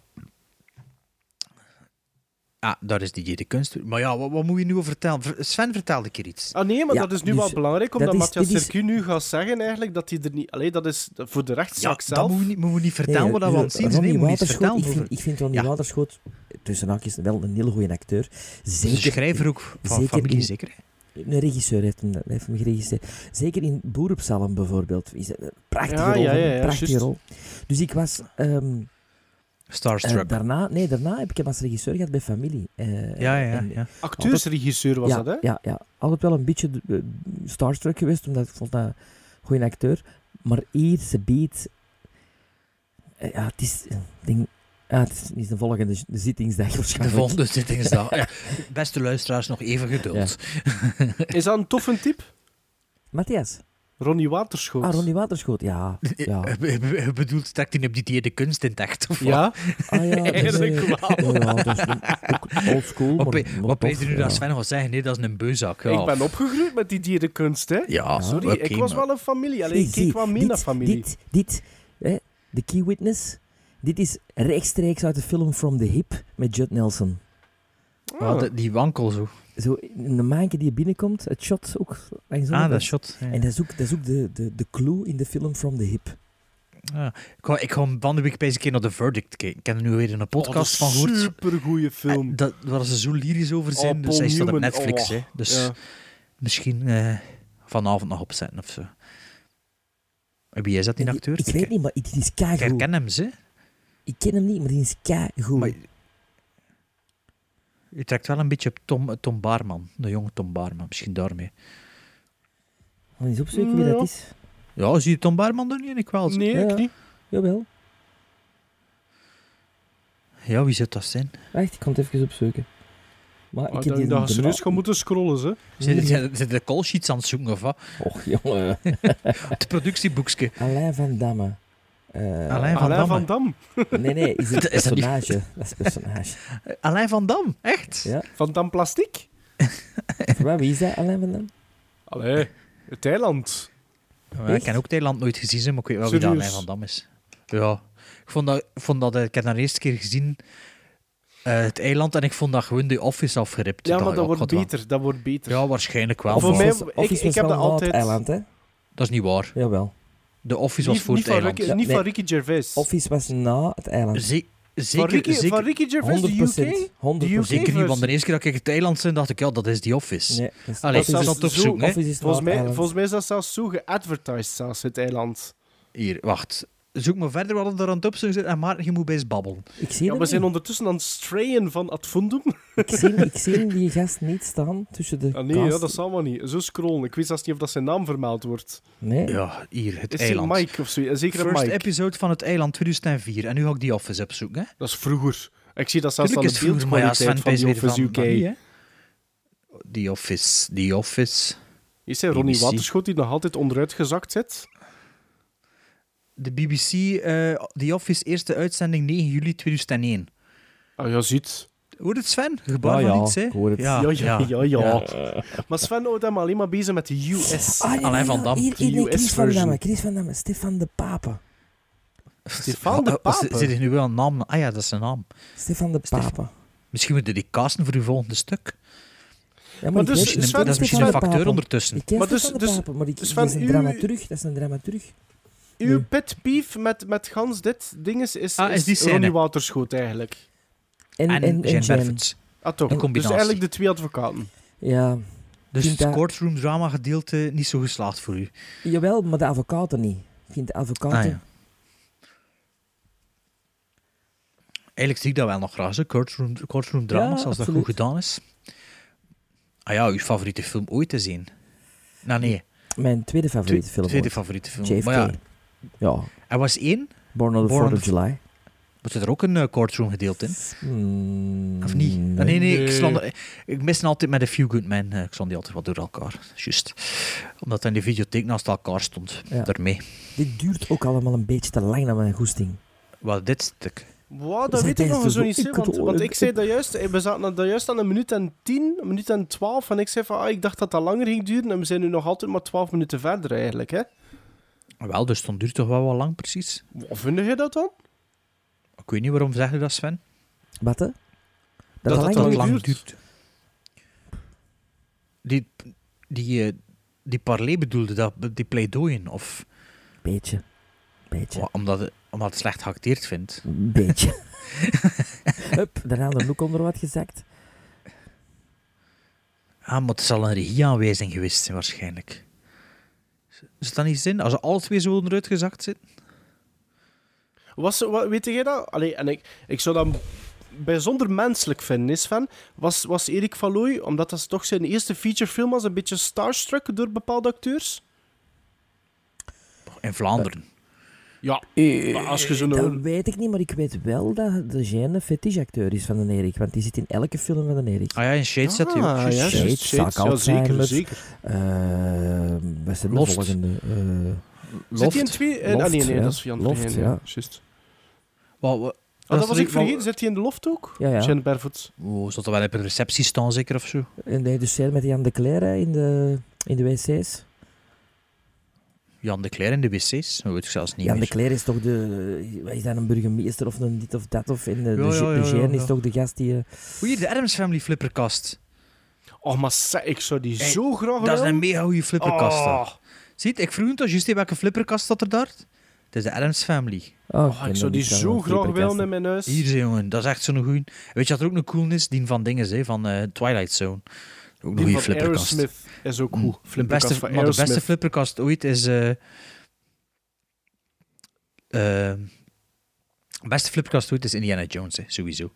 Speaker 4: Ah, daar is die de kunst. Maar ja, wat, wat moet je nu over vertellen? Ver- Sven vertelde een keer iets.
Speaker 6: Ah nee, maar
Speaker 7: Ja,
Speaker 6: dat is nu
Speaker 7: dus
Speaker 6: wel belangrijk,
Speaker 7: dat
Speaker 6: omdat
Speaker 7: is-
Speaker 6: Matthias
Speaker 7: dit is-
Speaker 6: Sercu nu gaat zeggen eigenlijk dat hij er niet... Allee, dat is voor de rechtszaak
Speaker 4: dat
Speaker 6: zelf.
Speaker 4: moeten we niet, moeten we niet vertellen wat we aan het zien zijn.
Speaker 7: dus, eh, Ronnie
Speaker 4: Nee, moet niet
Speaker 7: Waterschoot,
Speaker 4: vertellen.
Speaker 7: ik
Speaker 4: over-
Speaker 7: vind, ik vind Ronnie
Speaker 4: Ja.
Speaker 7: Waterschoot, tussen haakjes, wel een heel goede acteur.
Speaker 4: Dus De
Speaker 7: Zeker,
Speaker 4: schrijver ook van
Speaker 7: zeker
Speaker 4: familie,
Speaker 7: in-
Speaker 4: zeker. hè?
Speaker 7: Een regisseur heeft hem, heeft hem geregisseerd. Zeker in Boerenpsalm bijvoorbeeld. Is dat een prachtige
Speaker 6: Ja,
Speaker 7: rol.
Speaker 6: ja,
Speaker 7: van hem,
Speaker 6: ja, ja,
Speaker 7: prachtige
Speaker 6: juist.
Speaker 7: rol. Dus ik was... ehm, Eh,
Speaker 4: Starstruck.
Speaker 7: daarna, nee, daarna heb ik hem als regisseur gehad bij Familie. Eh,
Speaker 4: ja, ja,
Speaker 7: en-
Speaker 4: ja.
Speaker 6: Acteursregisseur was
Speaker 7: ja,
Speaker 6: dat, hè?
Speaker 7: Ja, ja. Altijd wel een beetje eh, starstruck geweest, omdat ik vond dat een goede acteur. Maar hier, ze beet... eh, ja, het is... eh, ik denk, ah, het is niet de volgende z- de zittingsdag
Speaker 4: De
Speaker 7: waarschijnlijk.
Speaker 4: volgende zitting is dat. Ja. Beste luisteraars, nog even geduld.
Speaker 6: Is dat een toffe type?
Speaker 7: Matthias.
Speaker 6: Ronnie Waterschoot.
Speaker 7: Ah, Ronnie Waterschoot. Ja, ja.
Speaker 4: Je je bedoelt, trekt hij op die dier de kunst intact? of wat?
Speaker 6: Ja?
Speaker 7: Ah, ja dat is, eh,
Speaker 6: Eigenlijk
Speaker 7: ja, ja, dat is ook old school,
Speaker 4: Wat,
Speaker 7: maar,
Speaker 4: pe-
Speaker 7: maar
Speaker 4: wat
Speaker 7: tof,
Speaker 4: pees je nu
Speaker 7: ja.
Speaker 4: dat Sven gaat zeggen? Nee, dat is een beuzak. Ja.
Speaker 6: Ik ben opgegroeid met die dierenkunst, hè?
Speaker 4: Ja,
Speaker 6: Sorry,
Speaker 4: oké,
Speaker 6: ik was
Speaker 4: maar-
Speaker 6: wel een familie. Alleen
Speaker 7: Zie,
Speaker 6: ik
Speaker 7: zie,
Speaker 6: keek wel mee
Speaker 7: dit,
Speaker 6: naar familie.
Speaker 7: Dit, dit, hè, de key witness, dit is rechtstreeks uit de film From the Hip met Judd Nelson.
Speaker 6: Ah.
Speaker 4: Ah, de- die wankel zo.
Speaker 7: Zo, een maanke die binnenkomt, het shot ook. langs de
Speaker 4: Ah, dat
Speaker 7: onderkant.
Speaker 4: shot. Ja.
Speaker 7: En dat is ook, dat is ook de, de, de clue in de film From the Hip.
Speaker 4: Ik, ga, ik ga van de week bij eens een keer naar The Verdict kijken. Ik heb er nu weer in een
Speaker 6: Oh, dat
Speaker 4: podcast
Speaker 6: is
Speaker 4: van gehoord.
Speaker 6: Supergoeie film.
Speaker 4: Eh, Dat, waar ze zo lyrisch over zijn.
Speaker 6: Oh,
Speaker 4: dus
Speaker 6: Paul
Speaker 4: hij staat op
Speaker 6: Newman,
Speaker 4: Netflix.
Speaker 6: oh.
Speaker 4: hè. Dus
Speaker 6: Ja.
Speaker 4: misschien eh, vanavond nog opzetten of zo. En Wie is dat, die
Speaker 7: En die-
Speaker 4: acteur?
Speaker 7: Ik weet niet, maar die is
Speaker 4: Ik
Speaker 7: keigoed.
Speaker 4: herken hem, ze.
Speaker 7: Ik ken hem niet, maar die is keigoed.
Speaker 4: Maar- Je trekt wel een beetje op Tom, eh, Tom Baarman. De jonge Tom Baarman, misschien daarmee.
Speaker 7: Gaan we eens opzoeken wie dat
Speaker 6: Ja.
Speaker 7: is?
Speaker 4: Ja, zie je Tom Baarman er niet in? Ik wel.
Speaker 6: Nee,
Speaker 7: Ja.
Speaker 6: ik niet.
Speaker 7: Jawel.
Speaker 4: Ja, wie zou dat zijn?
Speaker 7: Wacht, ik kan het even opzoeken. Maar
Speaker 6: Maar
Speaker 7: ik
Speaker 6: ik
Speaker 7: heb die
Speaker 6: denk Ah, dat je
Speaker 7: de
Speaker 6: serieus
Speaker 7: na-
Speaker 6: gaan moeten scrollen, hè.
Speaker 4: Zijn zijn- zijn de call sheets aan het zoeken of wat?
Speaker 7: Och, jongen.
Speaker 4: Het productieboekje.
Speaker 7: Alain van Damme. Eh,
Speaker 4: Alain van Damme.
Speaker 6: Alain van Dam.
Speaker 7: Nee, nee, is het
Speaker 4: Ah. Dat is dat niet.
Speaker 7: personage. Dat is het personage.
Speaker 4: Alain van Dam, echt?
Speaker 7: Ja.
Speaker 6: Van Dam Plastic.
Speaker 7: Wat, wie is dat, Alain van Damme?
Speaker 6: Allee, het eiland.
Speaker 4: Ja, ik heb ook Thailand nooit gezien, hè, maar ik weet wel wie dat
Speaker 6: Serieus?
Speaker 4: Alain van Dam is. Ja, ik vond dat, ik vond dat eh, ik heb dat de eerste keer gezien, eh, het eiland, en ik vond dat gewoon de office afgeript.
Speaker 6: Ja,
Speaker 4: Ik
Speaker 6: maar
Speaker 4: dacht,
Speaker 6: dat wordt
Speaker 4: ik had wel-
Speaker 6: beter. Dat wordt beter.
Speaker 4: Ja, waarschijnlijk wel.
Speaker 6: Voor
Speaker 4: maar
Speaker 6: mij-
Speaker 7: Office-
Speaker 6: ik-
Speaker 7: Office
Speaker 6: ik
Speaker 7: was
Speaker 6: heb
Speaker 7: wel na
Speaker 6: dat altijd-
Speaker 7: Het eiland, hè?
Speaker 4: Dat is niet waar.
Speaker 7: Jawel.
Speaker 4: De office was
Speaker 6: niet,
Speaker 4: voor
Speaker 6: niet,
Speaker 4: het
Speaker 6: van
Speaker 4: eiland.
Speaker 6: Ricky,
Speaker 7: Ja,
Speaker 6: niet
Speaker 7: nee.
Speaker 6: van Ricky Gervais.
Speaker 7: Office was na het eiland.
Speaker 4: Ze-
Speaker 6: van,
Speaker 4: zeker,
Speaker 6: Ricky,
Speaker 4: zeker,
Speaker 6: van Ricky Gervais,
Speaker 7: 100
Speaker 6: de UK? Die UK?
Speaker 4: zeker niet, want de
Speaker 6: versie.
Speaker 4: eerste keer dat ik het eiland zag, dacht ik, ja, dat is die office.
Speaker 7: Nee, dat is-
Speaker 4: Allee,
Speaker 6: Office
Speaker 4: ik
Speaker 6: is
Speaker 4: zal het
Speaker 6: zo-
Speaker 4: opzoeken, hè.
Speaker 7: Office is na
Speaker 6: Volgens
Speaker 7: het
Speaker 6: mij,
Speaker 7: eiland.
Speaker 6: volgens mij is dat zelfs zo geadvertised, zelfs het eiland.
Speaker 4: Hier, wacht. Zoek maar verder wat er aan het opzoeken zit. En Maarten, je moet best babbelen.
Speaker 7: Ik zie
Speaker 6: Ja,
Speaker 7: hem
Speaker 6: we zijn
Speaker 7: niet.
Speaker 6: ondertussen aan het strayen van Advundum.
Speaker 7: ik, zie, ik zie die gast niet staan tussen de
Speaker 6: Ah, nee, ja,
Speaker 7: cast-
Speaker 6: dat zal maar niet. Zo scrollen. Ik wist zelfs niet of dat zijn naam vermeld wordt.
Speaker 7: Nee,
Speaker 4: Ja, hier, het
Speaker 6: Is hij
Speaker 4: eiland.
Speaker 6: Mike of zo? Eh, Zeker een
Speaker 4: First
Speaker 6: Mike.
Speaker 4: episode van het eiland 2004. En nu ga ik die office opzoeken, hè.
Speaker 6: Dat is vroeger. Ik zie dat zelfs aan
Speaker 4: Tuurlijk is
Speaker 6: de
Speaker 4: het vroeger, maar ja,
Speaker 6: beeldkwaliteit
Speaker 4: Sven
Speaker 6: van
Speaker 4: Pees
Speaker 6: die
Speaker 4: weer
Speaker 6: Office
Speaker 4: van
Speaker 6: UK.
Speaker 4: van die, hè. Die office, die office.
Speaker 6: Is hij Ronnie
Speaker 4: BBC?
Speaker 6: Waterschot die nog altijd onderuitgezakt zit?
Speaker 4: De BBC, eh die office, eerste uitzending 9 juli 2001.
Speaker 6: Ah ja, ziet.
Speaker 4: Hoor het Sven? Gebaar
Speaker 7: Ja,
Speaker 4: van
Speaker 7: ja,
Speaker 4: iets, hè?
Speaker 7: ik hoor het.
Speaker 6: Ja, ja, ja, ja. Maar Sven houdt hem alleen maar bezig met de US.
Speaker 7: Ah, nee, nee,
Speaker 4: Alain van
Speaker 7: nee,
Speaker 4: Damme,
Speaker 7: hier,
Speaker 6: de
Speaker 7: hier, nee,
Speaker 6: US
Speaker 7: Chris van Damme,
Speaker 6: version.
Speaker 7: Chris van Damme, Stefan de Pape.
Speaker 6: Stefan
Speaker 4: Oh,
Speaker 6: de
Speaker 4: oh, oh, Zit
Speaker 6: Pape.
Speaker 4: er nu wel een naam? Ah ja, dat is een naam.
Speaker 7: Stefan de
Speaker 4: Stef-
Speaker 7: Pape.
Speaker 4: Misschien moeten we die casten voor uw volgende stuk.
Speaker 7: Ja,
Speaker 6: Maar
Speaker 7: ik weet
Speaker 6: dus
Speaker 4: Misschien een-
Speaker 7: niet
Speaker 6: Sven-
Speaker 7: wie
Speaker 4: dat is misschien een
Speaker 7: Stefan de
Speaker 4: facteur
Speaker 7: Pape.
Speaker 4: ondertussen.
Speaker 7: Ik ken
Speaker 6: Maar dus-
Speaker 7: Stefan de
Speaker 6: dus-
Speaker 7: Pape, maar ik,
Speaker 6: dus
Speaker 7: dat is
Speaker 6: van
Speaker 7: een
Speaker 6: u-
Speaker 7: dramaturg. Dat is een dramaturg.
Speaker 6: Uw pet peeve met, met gans dit ding is, is,
Speaker 4: Ah, is die scène.
Speaker 6: Ronnie Waterschot eigenlijk.
Speaker 7: En,
Speaker 4: En,
Speaker 7: en, en
Speaker 4: Jane
Speaker 7: Jane.
Speaker 4: Berfens.
Speaker 6: Ah, toch.
Speaker 4: Een
Speaker 6: Dus
Speaker 4: combinatie.
Speaker 6: eigenlijk de twee advocaten.
Speaker 7: Ja,
Speaker 4: Dus het
Speaker 7: vind dat-
Speaker 4: courtroom drama gedeelte niet zo geslaagd voor u.
Speaker 7: jawel, maar de advocaten niet. Ik vind de advocaten...
Speaker 4: Ah, ja. Eigenlijk zie ik dat wel nog graag, zo. Courtroom, courtroom drama's,
Speaker 7: Ja,
Speaker 4: als dat
Speaker 7: absoluut.
Speaker 4: goed gedaan is. Ah ja, uw favoriete film ooit te zien? Nou nee,
Speaker 7: Mijn tweede favoriete film
Speaker 4: tweede
Speaker 7: ooit.
Speaker 4: favoriete film.
Speaker 7: JFK.
Speaker 4: Maar ja,
Speaker 7: Ja,
Speaker 4: er was één,
Speaker 7: Born on the
Speaker 4: Born on
Speaker 7: 4th of
Speaker 4: the-
Speaker 7: July.
Speaker 4: maar zit er ook een eh, courtroom gedeelte in?
Speaker 7: Hmm,
Speaker 4: Of niet? Ah, nee, nee, Ik,
Speaker 6: Nee.
Speaker 4: slan, ik mis altijd met de Few Good Men. eh, Ik stond die altijd wat door elkaar. Juist. Omdat dat in de videotheek naast elkaar stond.
Speaker 7: Ja.
Speaker 4: Daarmee.
Speaker 7: Dit duurt ook allemaal een beetje te lang naar mijn goesting.
Speaker 4: Wel, dit stuk.
Speaker 6: Wow, dat
Speaker 7: Zij
Speaker 6: weet ik nog
Speaker 7: tijdens
Speaker 6: zo
Speaker 7: de
Speaker 6: niet. hè, Want,
Speaker 7: hoeken
Speaker 6: want
Speaker 7: door-
Speaker 6: ik zei dat juist, eh, we zaten na- dat juist aan een minuut en tien, een minuut en twaalf. En ik zei van, ah, ik dacht dat dat langer ging duren. En we zijn nu nog altijd maar twaalf minuten verder eigenlijk. Hè?
Speaker 4: Wel, dus dan duurt toch wel wat lang precies?
Speaker 6: Wat vind je dat dan?
Speaker 4: Ik weet niet waarom zeg je dat, Sven.
Speaker 7: Wat, hè? Dat,
Speaker 6: Dat
Speaker 7: dat
Speaker 6: het
Speaker 7: lang
Speaker 6: wel
Speaker 7: duurt.
Speaker 6: lang
Speaker 4: Die, die, eh, die parley bedoelde dat, die pleidooien. Of
Speaker 7: Beetje. Beetje.
Speaker 4: wa- omdat, het, omdat het slecht geacteerd vindt.
Speaker 7: Beetje. Hup, daarna de look onder wat gezakt.
Speaker 4: Ah, maar het zal een regieaanwijzing geweest zijn, waarschijnlijk. Is dat niet zin? Als ze alle twee zo onderuit gezakt zitten?
Speaker 6: Was, wat, weet jij dat? Allee, en ik, ik zou dat bijzonder menselijk vinden, is van. Was, was Erik van Looy, omdat dat toch zijn eerste featurefilm was, een beetje starstruck door bepaalde acteurs?
Speaker 4: In Vlaanderen.
Speaker 6: Eh. Ja, maar als je zo'n...
Speaker 7: Dat weet ik niet, maar ik weet wel dat de Jeanne fetischacteur is van de Erik. Want die zit in elke film van de Erik.
Speaker 4: Ah ja, in Shades zat hij ook.
Speaker 6: Ah,
Speaker 4: juist.
Speaker 6: ja,
Speaker 7: Shades,
Speaker 6: juist, Shades. Ja, zeker,
Speaker 7: Alzheimer's.
Speaker 6: zeker.
Speaker 7: Eh wat zijn de
Speaker 4: Lost.
Speaker 7: volgende? Eh,
Speaker 6: Zit
Speaker 4: Loft.
Speaker 6: hij in twee? eh,
Speaker 7: Loft,
Speaker 6: ah, nee, nee,
Speaker 7: ja.
Speaker 6: dat is Jan
Speaker 7: Loft,
Speaker 6: Verheyen,
Speaker 7: ja.
Speaker 6: Juist.
Speaker 4: Wat, wat,
Speaker 6: Ah, dat
Speaker 4: is
Speaker 6: was
Speaker 4: er-
Speaker 6: ik vergeten. Zit hij in de loft ook?
Speaker 7: Ja, ja.
Speaker 6: Zijn Barefoot.
Speaker 4: Oh, zat er wel op een receptie staan, zeker of zo?
Speaker 7: en nee, de scène met Jan de Cler hè, in de, in de wc's.
Speaker 4: Jan de Cler in de wc's? Dat weet ik zelfs niet
Speaker 7: Jan de
Speaker 4: meer.
Speaker 7: Cler is toch de... Wat is dat, een burgemeester of een dit of dat? Of, en de, de,
Speaker 4: Ja,
Speaker 7: Je-
Speaker 4: ja, ja,
Speaker 7: de Jeanne
Speaker 4: ja,
Speaker 7: is
Speaker 4: ja.
Speaker 7: toch de gast die... eh,
Speaker 4: Hoe hier de Adams Family flipperkast.
Speaker 6: Oh, maar zeg, ik zou die
Speaker 4: Hey,
Speaker 6: zo graag
Speaker 4: Dat is
Speaker 6: willen.
Speaker 4: een mega goede flipperkast.
Speaker 6: Oh.
Speaker 4: dat. Ziet, ik vroeg het al, juist welke flipperkast dat er daar? Het is de Adams Family.
Speaker 7: Oh,
Speaker 6: Oh, ik zou die zo graag willen in mijn huis.
Speaker 4: Hier, zie, jongen, dat is echt zo'n goeie. Weet je wat er ook een cool is? Die van dingen, hè, van eh, Twilight Zone. Ook een
Speaker 6: Die
Speaker 4: goede
Speaker 6: van
Speaker 4: flipperkast.
Speaker 6: Aerosmith is ook goed.
Speaker 4: De
Speaker 6: Flipperkast
Speaker 4: beste,
Speaker 6: van
Speaker 4: maar de beste
Speaker 6: Aerosmith.
Speaker 4: flipperkast ooit is. eh eh, de beste flipperkast ooit is Indiana Jones, hè, sowieso.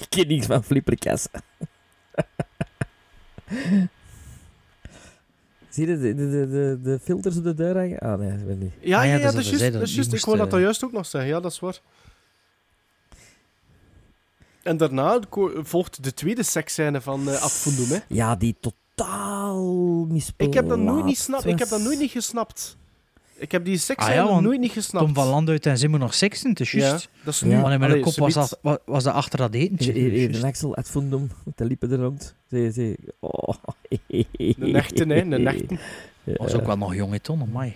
Speaker 7: Ik ken niks van flipperkassen. Zie je de, de, de, de, de filters op de deur hangen? Ah nee, dat weet ik niet.
Speaker 6: Ja,
Speaker 4: Ah ja,
Speaker 6: ja,
Speaker 4: dat
Speaker 6: ja,
Speaker 4: is wat we
Speaker 6: dat is juist.
Speaker 4: zeiden,
Speaker 6: Dat is
Speaker 4: die eh,
Speaker 6: juist. Ik
Speaker 4: moest,
Speaker 6: wou dat
Speaker 4: eh,
Speaker 6: dat juist ook nog zeggen. Ja, dat is waar. En daarna ko- volgt de tweede seksscène van eh Ab Fundum, hè.
Speaker 7: Ja, die totaal misplaatst
Speaker 6: Ik heb dat nooit niet snap,
Speaker 7: snapt.
Speaker 6: ik heb dat nooit niet gesnapt. Ik heb die
Speaker 4: Ah
Speaker 6: seksscène
Speaker 4: ja, want
Speaker 6: nooit niet gesnapt.
Speaker 4: Tom van Landuit en Zimmer nog seksen, het is
Speaker 6: ja,
Speaker 4: juist.
Speaker 6: dat is nu.
Speaker 7: Ja.
Speaker 4: Want in mijn
Speaker 6: Allee,
Speaker 4: kop was
Speaker 6: subiet.
Speaker 4: dat, wa- was dat achter dat etentje.
Speaker 7: Even
Speaker 4: Juist.
Speaker 7: Axel, het fundum, de liepen er rond. Ze, ze, oh.
Speaker 6: De nechten, hè, de nechten.
Speaker 4: was ook wel nog jong, hè, Ton, amai.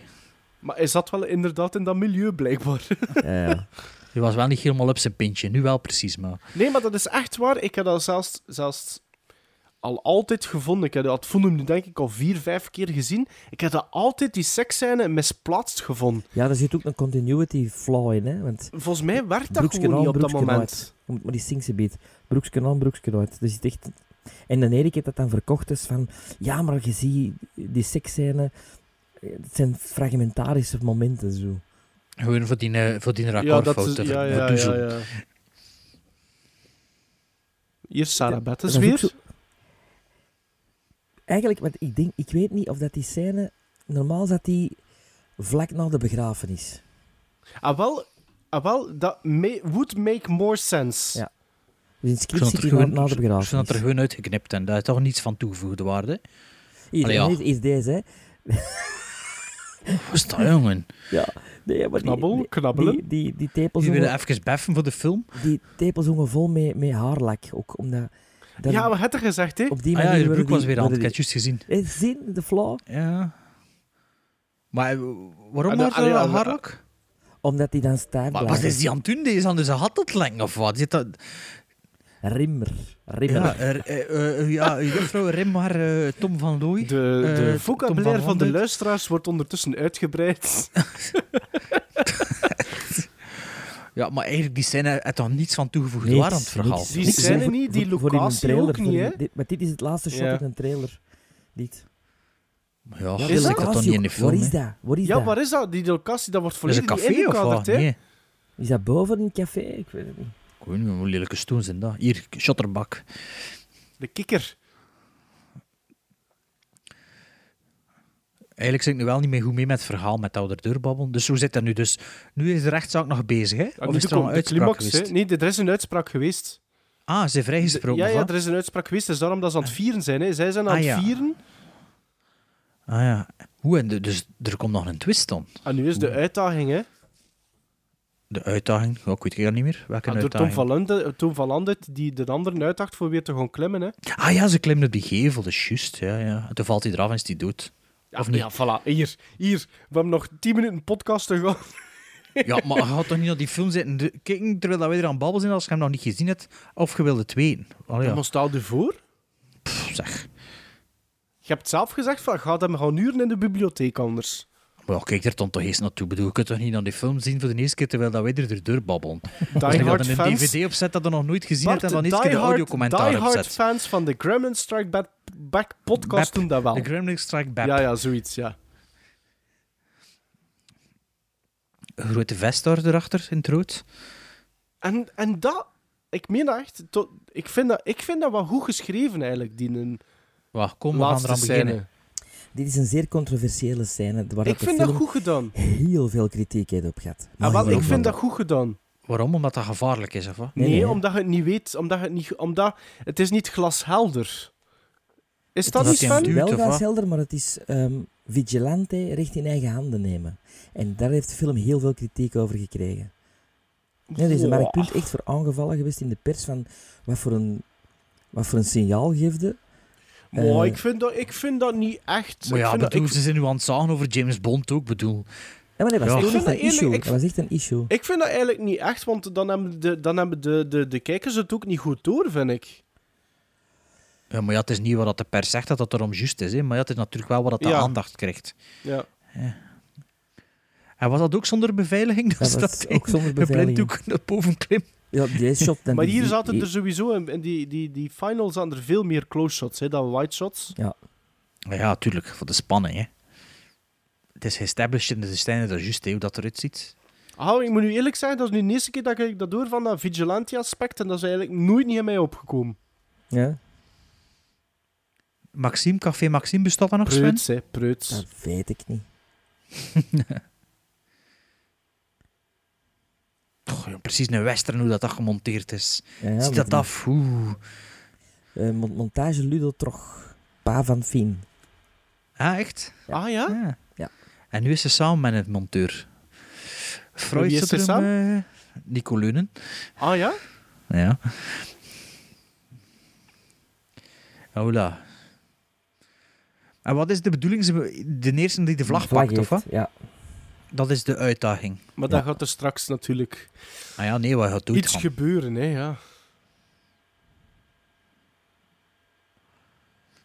Speaker 6: Maar hij zat wel inderdaad in dat milieu, blijkbaar.
Speaker 7: Ja, ja.
Speaker 4: Die was wel niet helemaal op zijn pintje, nu wel precies, maar...
Speaker 6: Nee, maar dat is echt waar. Ik heb dat zelfs, zelfs al altijd gevonden. Ik heb dat Fundum nu denk ik al vier, vijf keer gezien. Ik heb dat altijd, die seksscène, misplaatst gevonden.
Speaker 7: ja, daar zit ook een continuity flaw in, hè. Want
Speaker 6: Volgens mij werkt dat
Speaker 7: Broeksken
Speaker 6: gewoon niet
Speaker 7: aan,
Speaker 6: op dat
Speaker 7: broeksken
Speaker 6: moment.
Speaker 7: Je moet maar die Singse beat. Broeksken aan, broeksken uit. Dus het is echt... En dan Erik heeft dat dan verkocht is van... Ja, maar je ziet die seksscène... Het zijn fragmentarische momenten, zo.
Speaker 4: Gewoon voor die, eh, voor die
Speaker 6: Ja, dat
Speaker 4: recordfout
Speaker 6: is...
Speaker 4: te
Speaker 6: Ja, ja,
Speaker 4: verdoezelen.
Speaker 6: ja, ja. Hier is Sarah Bettes
Speaker 7: Dat is ook
Speaker 6: weer.
Speaker 7: zo- Eigenlijk, want ik denk... Ik weet niet of dat die scène... Normaal zat die vlak na de begrafenis.
Speaker 6: Ah, wel... Ah, wel, dat may- would make more sense.
Speaker 7: Ja. Dus in
Speaker 4: Ik
Speaker 7: het script
Speaker 4: zou
Speaker 7: zit
Speaker 4: het er
Speaker 7: die na,
Speaker 4: gewoon,
Speaker 7: na de
Speaker 4: ik zou
Speaker 7: begrafenis.
Speaker 4: het er gewoon uitgeknipt en daar is toch niets van toegevoegde waarde.
Speaker 7: Hier,
Speaker 4: Allee, ja.
Speaker 7: hier is deze, hè.
Speaker 4: Wat is dat, jongen?
Speaker 7: Ja. Nee, maar die-
Speaker 6: Knabbel,
Speaker 7: die,
Speaker 6: knabbelen.
Speaker 7: Die, die, die tepels
Speaker 4: Die
Speaker 7: jongen-
Speaker 4: willen even beffen voor de film.
Speaker 7: die tepels zongen vol met, met haarlak ook. Omdat dan
Speaker 6: Ja, we hadden gezegd, hè.
Speaker 7: op die
Speaker 4: Ah
Speaker 7: manier.
Speaker 4: ja, je
Speaker 7: worden
Speaker 4: broek
Speaker 7: die-
Speaker 4: was weer aan,
Speaker 7: worden
Speaker 4: ik had
Speaker 7: die-
Speaker 4: het juist gezien.
Speaker 7: Eh, Zin, de flaw.
Speaker 4: Ja. Maar eh, waarom
Speaker 6: Ah, de-
Speaker 4: had
Speaker 6: allee,
Speaker 4: hij
Speaker 6: al-
Speaker 4: harlak?
Speaker 7: Omdat die dan staat
Speaker 4: Maar wat
Speaker 7: blijft.
Speaker 4: is die aan het doen? Die is aan dus een hat dat leng of wat? Zit dat...
Speaker 7: Rimmer. Rimmer.
Speaker 4: Ja, er, eh, eh, ja, juffrouw Rim, maar eh, Tom van Looy.
Speaker 6: De, de
Speaker 4: Eh, Tom
Speaker 6: vocabulaire van, de
Speaker 4: Landuit.
Speaker 6: luisteraars wordt ondertussen uitgebreid.
Speaker 4: Ja, maar eigenlijk, die scène had toch niets van toegevoegde
Speaker 7: Niks,
Speaker 4: waarde aan het verhaal.
Speaker 7: niks.
Speaker 6: Die
Speaker 7: Niks.
Speaker 6: scène
Speaker 7: Voor-
Speaker 6: niet, die
Speaker 7: voor- voor in een
Speaker 6: locatie
Speaker 7: trailer,
Speaker 6: ook
Speaker 7: voor
Speaker 6: niet,
Speaker 7: in-
Speaker 6: hè.
Speaker 7: dit- Maar dit is het laatste shot
Speaker 6: Ja.
Speaker 7: in een trailer. Dit.
Speaker 4: Ja,
Speaker 7: Ja,
Speaker 4: dat
Speaker 7: de
Speaker 4: is
Speaker 6: dat?
Speaker 4: dat toch
Speaker 7: locatie
Speaker 4: niet in
Speaker 7: ook.
Speaker 4: de film,
Speaker 7: Waar
Speaker 4: hè?
Speaker 7: is dat? Waar is
Speaker 6: Ja,
Speaker 7: dat?
Speaker 6: waar is dat? Die locatie, dat wordt
Speaker 4: Is
Speaker 6: volledig
Speaker 4: een café of
Speaker 6: ingekaderd,
Speaker 4: wat?
Speaker 6: hè.
Speaker 4: Nee,
Speaker 7: Is dat boven een café? Ik weet het niet.
Speaker 4: Ik weet niet, hoe lelijke stoelen zijn dat. Hier, shotterbak.
Speaker 6: De kikker.
Speaker 4: Eigenlijk zit ik nu wel niet meer goed mee met het verhaal met ouder deurbabbelen. Dus hoe zit dat nu? Dus nu is de rechtszaak nog bezig, hè?
Speaker 6: Ah,
Speaker 4: of
Speaker 6: nu
Speaker 4: is er
Speaker 6: komt
Speaker 4: al een
Speaker 6: de
Speaker 4: uitspraak
Speaker 6: climax, hè.
Speaker 4: geweest?
Speaker 6: Nee, er is een uitspraak geweest.
Speaker 4: Ah, ze zijn vrijgesproken,
Speaker 6: Ja,
Speaker 4: of
Speaker 6: ja,
Speaker 4: wat?
Speaker 6: er is een uitspraak geweest. Dat is daarom dat ze aan het vieren zijn. Hè. Zij zijn aan
Speaker 4: Ah,
Speaker 6: het
Speaker 4: ja.
Speaker 6: vieren.
Speaker 4: Ah ja. Hoe, en de- dus er komt nog een twist dan?
Speaker 6: En Ah, nu is de uitdaging, hè.
Speaker 4: De uitdaging? Ja, ik weet het niet meer. Welke
Speaker 6: Ah, door Tom
Speaker 4: uitdaging?
Speaker 6: van, Lande, Tom van Landet, die de anderen uitdacht voor weer te gaan klimmen, hè.
Speaker 4: Ah ja, ze klimmen op die gevel, dat is juist. Ja, ja. En toen valt hij eraf en is hij dood.
Speaker 6: Ja, ja, voilà. Hier, hier. We hebben nog 10 minuten podcast te gaan.
Speaker 4: Ja, maar je gaat toch niet naar die film zitten de- kijken terwijl dat wij er aan babbel zijn als je hem nog niet gezien hebt? Of je wilde twee. Allee, ja,
Speaker 6: Maar stel je voor...
Speaker 4: pff, zeg.
Speaker 6: Je hebt zelf gezegd, van, ga dan gaan uren in de bibliotheek anders.
Speaker 4: Maar ja, kijk er dan toch eens naartoe. Ik bedoel, je kunt toch niet naar die film zien voor de eerste keer terwijl dat wij er de deur babbelen? Als je
Speaker 6: Hard
Speaker 4: dan een
Speaker 6: fans.
Speaker 4: dvd opzet dat je nog nooit gezien
Speaker 6: Bart,
Speaker 4: hebt en dan eerst keer de audiocommentaar
Speaker 6: die hard
Speaker 4: opzet.
Speaker 6: fans van de Gremlin Strike Back, Back podcast
Speaker 4: Bep.
Speaker 6: doen dat wel.
Speaker 4: De Gremlin Strike Back.
Speaker 6: Ja, ja, zoiets, ja.
Speaker 4: Een grote vest daar erachter in het rood.
Speaker 6: En, en dat, ik meen dat echt, tot, ik, vind dat, ik vind dat wel goed geschreven eigenlijk, die een
Speaker 4: Wacht, kom, we gaan
Speaker 6: laatste
Speaker 4: eraan beginnen.
Speaker 6: scène.
Speaker 7: Dit is een zeer controversiële scène waar
Speaker 6: Ik
Speaker 7: dat de
Speaker 6: vind dat
Speaker 7: film
Speaker 6: goed gedaan.
Speaker 7: heel veel kritiek heeft op gehad.
Speaker 6: En wel, ik
Speaker 7: heel
Speaker 6: vind
Speaker 7: veel.
Speaker 6: dat goed gedaan.
Speaker 4: Waarom? Omdat dat gevaarlijk is, of wat?
Speaker 6: Nee,
Speaker 7: Nee, nee.
Speaker 6: omdat je het niet weet, omdat je het niet, omdat het is niet glashelder. Is dat
Speaker 4: is
Speaker 6: niet,
Speaker 4: geen
Speaker 6: Sven?
Speaker 4: duur.
Speaker 7: wel
Speaker 4: duwt, of wat?
Speaker 7: gashelder, maar het is ehm, vigilante recht in eigen handen nemen. En daar heeft de film heel veel kritiek over gekregen. Nee, er is een
Speaker 6: Wow.
Speaker 7: Mark Punt echt voor aangevallen geweest in de pers van wat voor een, wat voor een signaal geefde.
Speaker 6: Maar
Speaker 7: Eh.
Speaker 6: ik vind dat, ik vind dat niet echt.
Speaker 4: Maar
Speaker 6: ik
Speaker 4: ja,
Speaker 6: vind dat,
Speaker 4: bedoel,
Speaker 6: ik,
Speaker 4: ze zijn nu aan het zagen over James Bond ook, bedoel.
Speaker 7: Ja, maar dat was
Speaker 4: Ja.
Speaker 7: toen
Speaker 6: Ik
Speaker 7: echt
Speaker 6: vind dat
Speaker 7: een
Speaker 6: eerlijk-
Speaker 7: issue.
Speaker 6: ik-
Speaker 7: Dat was echt een issue.
Speaker 6: Ik vind dat eigenlijk niet echt, want dan hebben, de, dan hebben de, de, de kijkers het ook niet goed door, vind ik.
Speaker 4: Ja, maar ja, het is niet wat dat de pers zegt dat dat erom juist is, hè. maar ja, het is natuurlijk wel wat dat de
Speaker 6: Ja.
Speaker 4: aandacht krijgt.
Speaker 6: Ja.
Speaker 4: En was dat ook zonder beveiliging? Dus
Speaker 7: Dat was
Speaker 4: dat
Speaker 7: ook zonder
Speaker 4: Een
Speaker 7: beveiliging.
Speaker 4: blinddoek naar boven klim.
Speaker 7: Ja, die shot, dan
Speaker 6: Maar
Speaker 7: die-
Speaker 6: hier
Speaker 7: die-
Speaker 6: zaten
Speaker 7: die-
Speaker 6: er sowieso, in, in die, die, die finals zaten er veel meer close shots hè, dan wide shots.
Speaker 4: Ja, tuurlijk, voor de spanning, hè. Het is established in de stijnen dat juist, hè, hoe dat eruit ziet.
Speaker 6: Ah, ik moet nu eerlijk zijn, dat is nu de eerste keer dat ik dat door van dat vigilante aspect en dat is eigenlijk nooit niet in mij opgekomen.
Speaker 7: Ja,
Speaker 4: Maxime, Café Maxime, bestaat dat nog, Sven?
Speaker 6: Preuts, hè, preuts.
Speaker 7: dat weet ik niet.
Speaker 4: toch, ja, precies een western hoe dat, dat gemonteerd is.
Speaker 7: Ja, ja,
Speaker 4: Ziet
Speaker 7: met
Speaker 4: dat af? Oeh.
Speaker 7: een, eh, mon- montage Ludo Troch. Pa van Fien.
Speaker 4: Ah, echt?
Speaker 6: Ah ja?
Speaker 4: Ja.
Speaker 7: Ja.
Speaker 4: En nu is ze samen met een monteur. Freud
Speaker 6: Wie is
Speaker 4: zit
Speaker 6: ze
Speaker 4: er hem, eh, Nico Leunen.
Speaker 6: Ah ja?
Speaker 4: Ja. Hola. En wat is de bedoeling? Ze- De eerste die de vlag, pakt, of wat?
Speaker 7: heeft, Ja.
Speaker 4: Dat is de uitdaging.
Speaker 6: Maar dan gaat er straks natuurlijk
Speaker 4: Ah ja, nee, wat gaat doen?
Speaker 6: iets gebeuren, hè? Ja.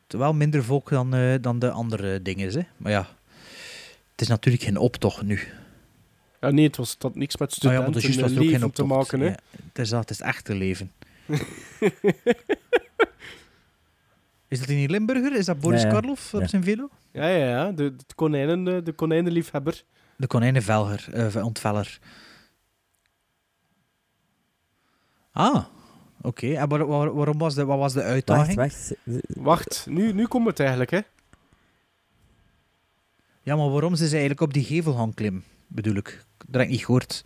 Speaker 4: Wel minder volk dan, eh, dan de andere dingen, hè? Maar ja, het is natuurlijk geen optocht nu.
Speaker 6: ja. Nee, het was dat had niks met
Speaker 4: Ah ja,
Speaker 6: studenten
Speaker 4: maar dat is juist
Speaker 6: en
Speaker 4: was er ook
Speaker 6: leven
Speaker 4: geen
Speaker 6: te
Speaker 4: optocht.
Speaker 6: maken, hè?
Speaker 4: Ja, het is dat, het is het echte leven. is dat die niet Limburger? Is dat Boris
Speaker 7: Ja, ja.
Speaker 4: Karloff op
Speaker 7: Ja.
Speaker 4: zijn velo?
Speaker 6: Ja, ja, ja. De, de, konijnen, eh, de konijnenliefhebber.
Speaker 4: De konijnenvelger, eh ontveller. Ah, oké. En waar- waar- waarom was de, wat was de
Speaker 7: Wacht,
Speaker 4: uitdaging?
Speaker 7: wacht. Ze-
Speaker 6: Wacht, nu, nu komt het eigenlijk, hè?
Speaker 4: Ja, maar waarom ze ze eigenlijk op die gevel gaan klimmen, bedoel ik. Dat heb ik niet gehoord.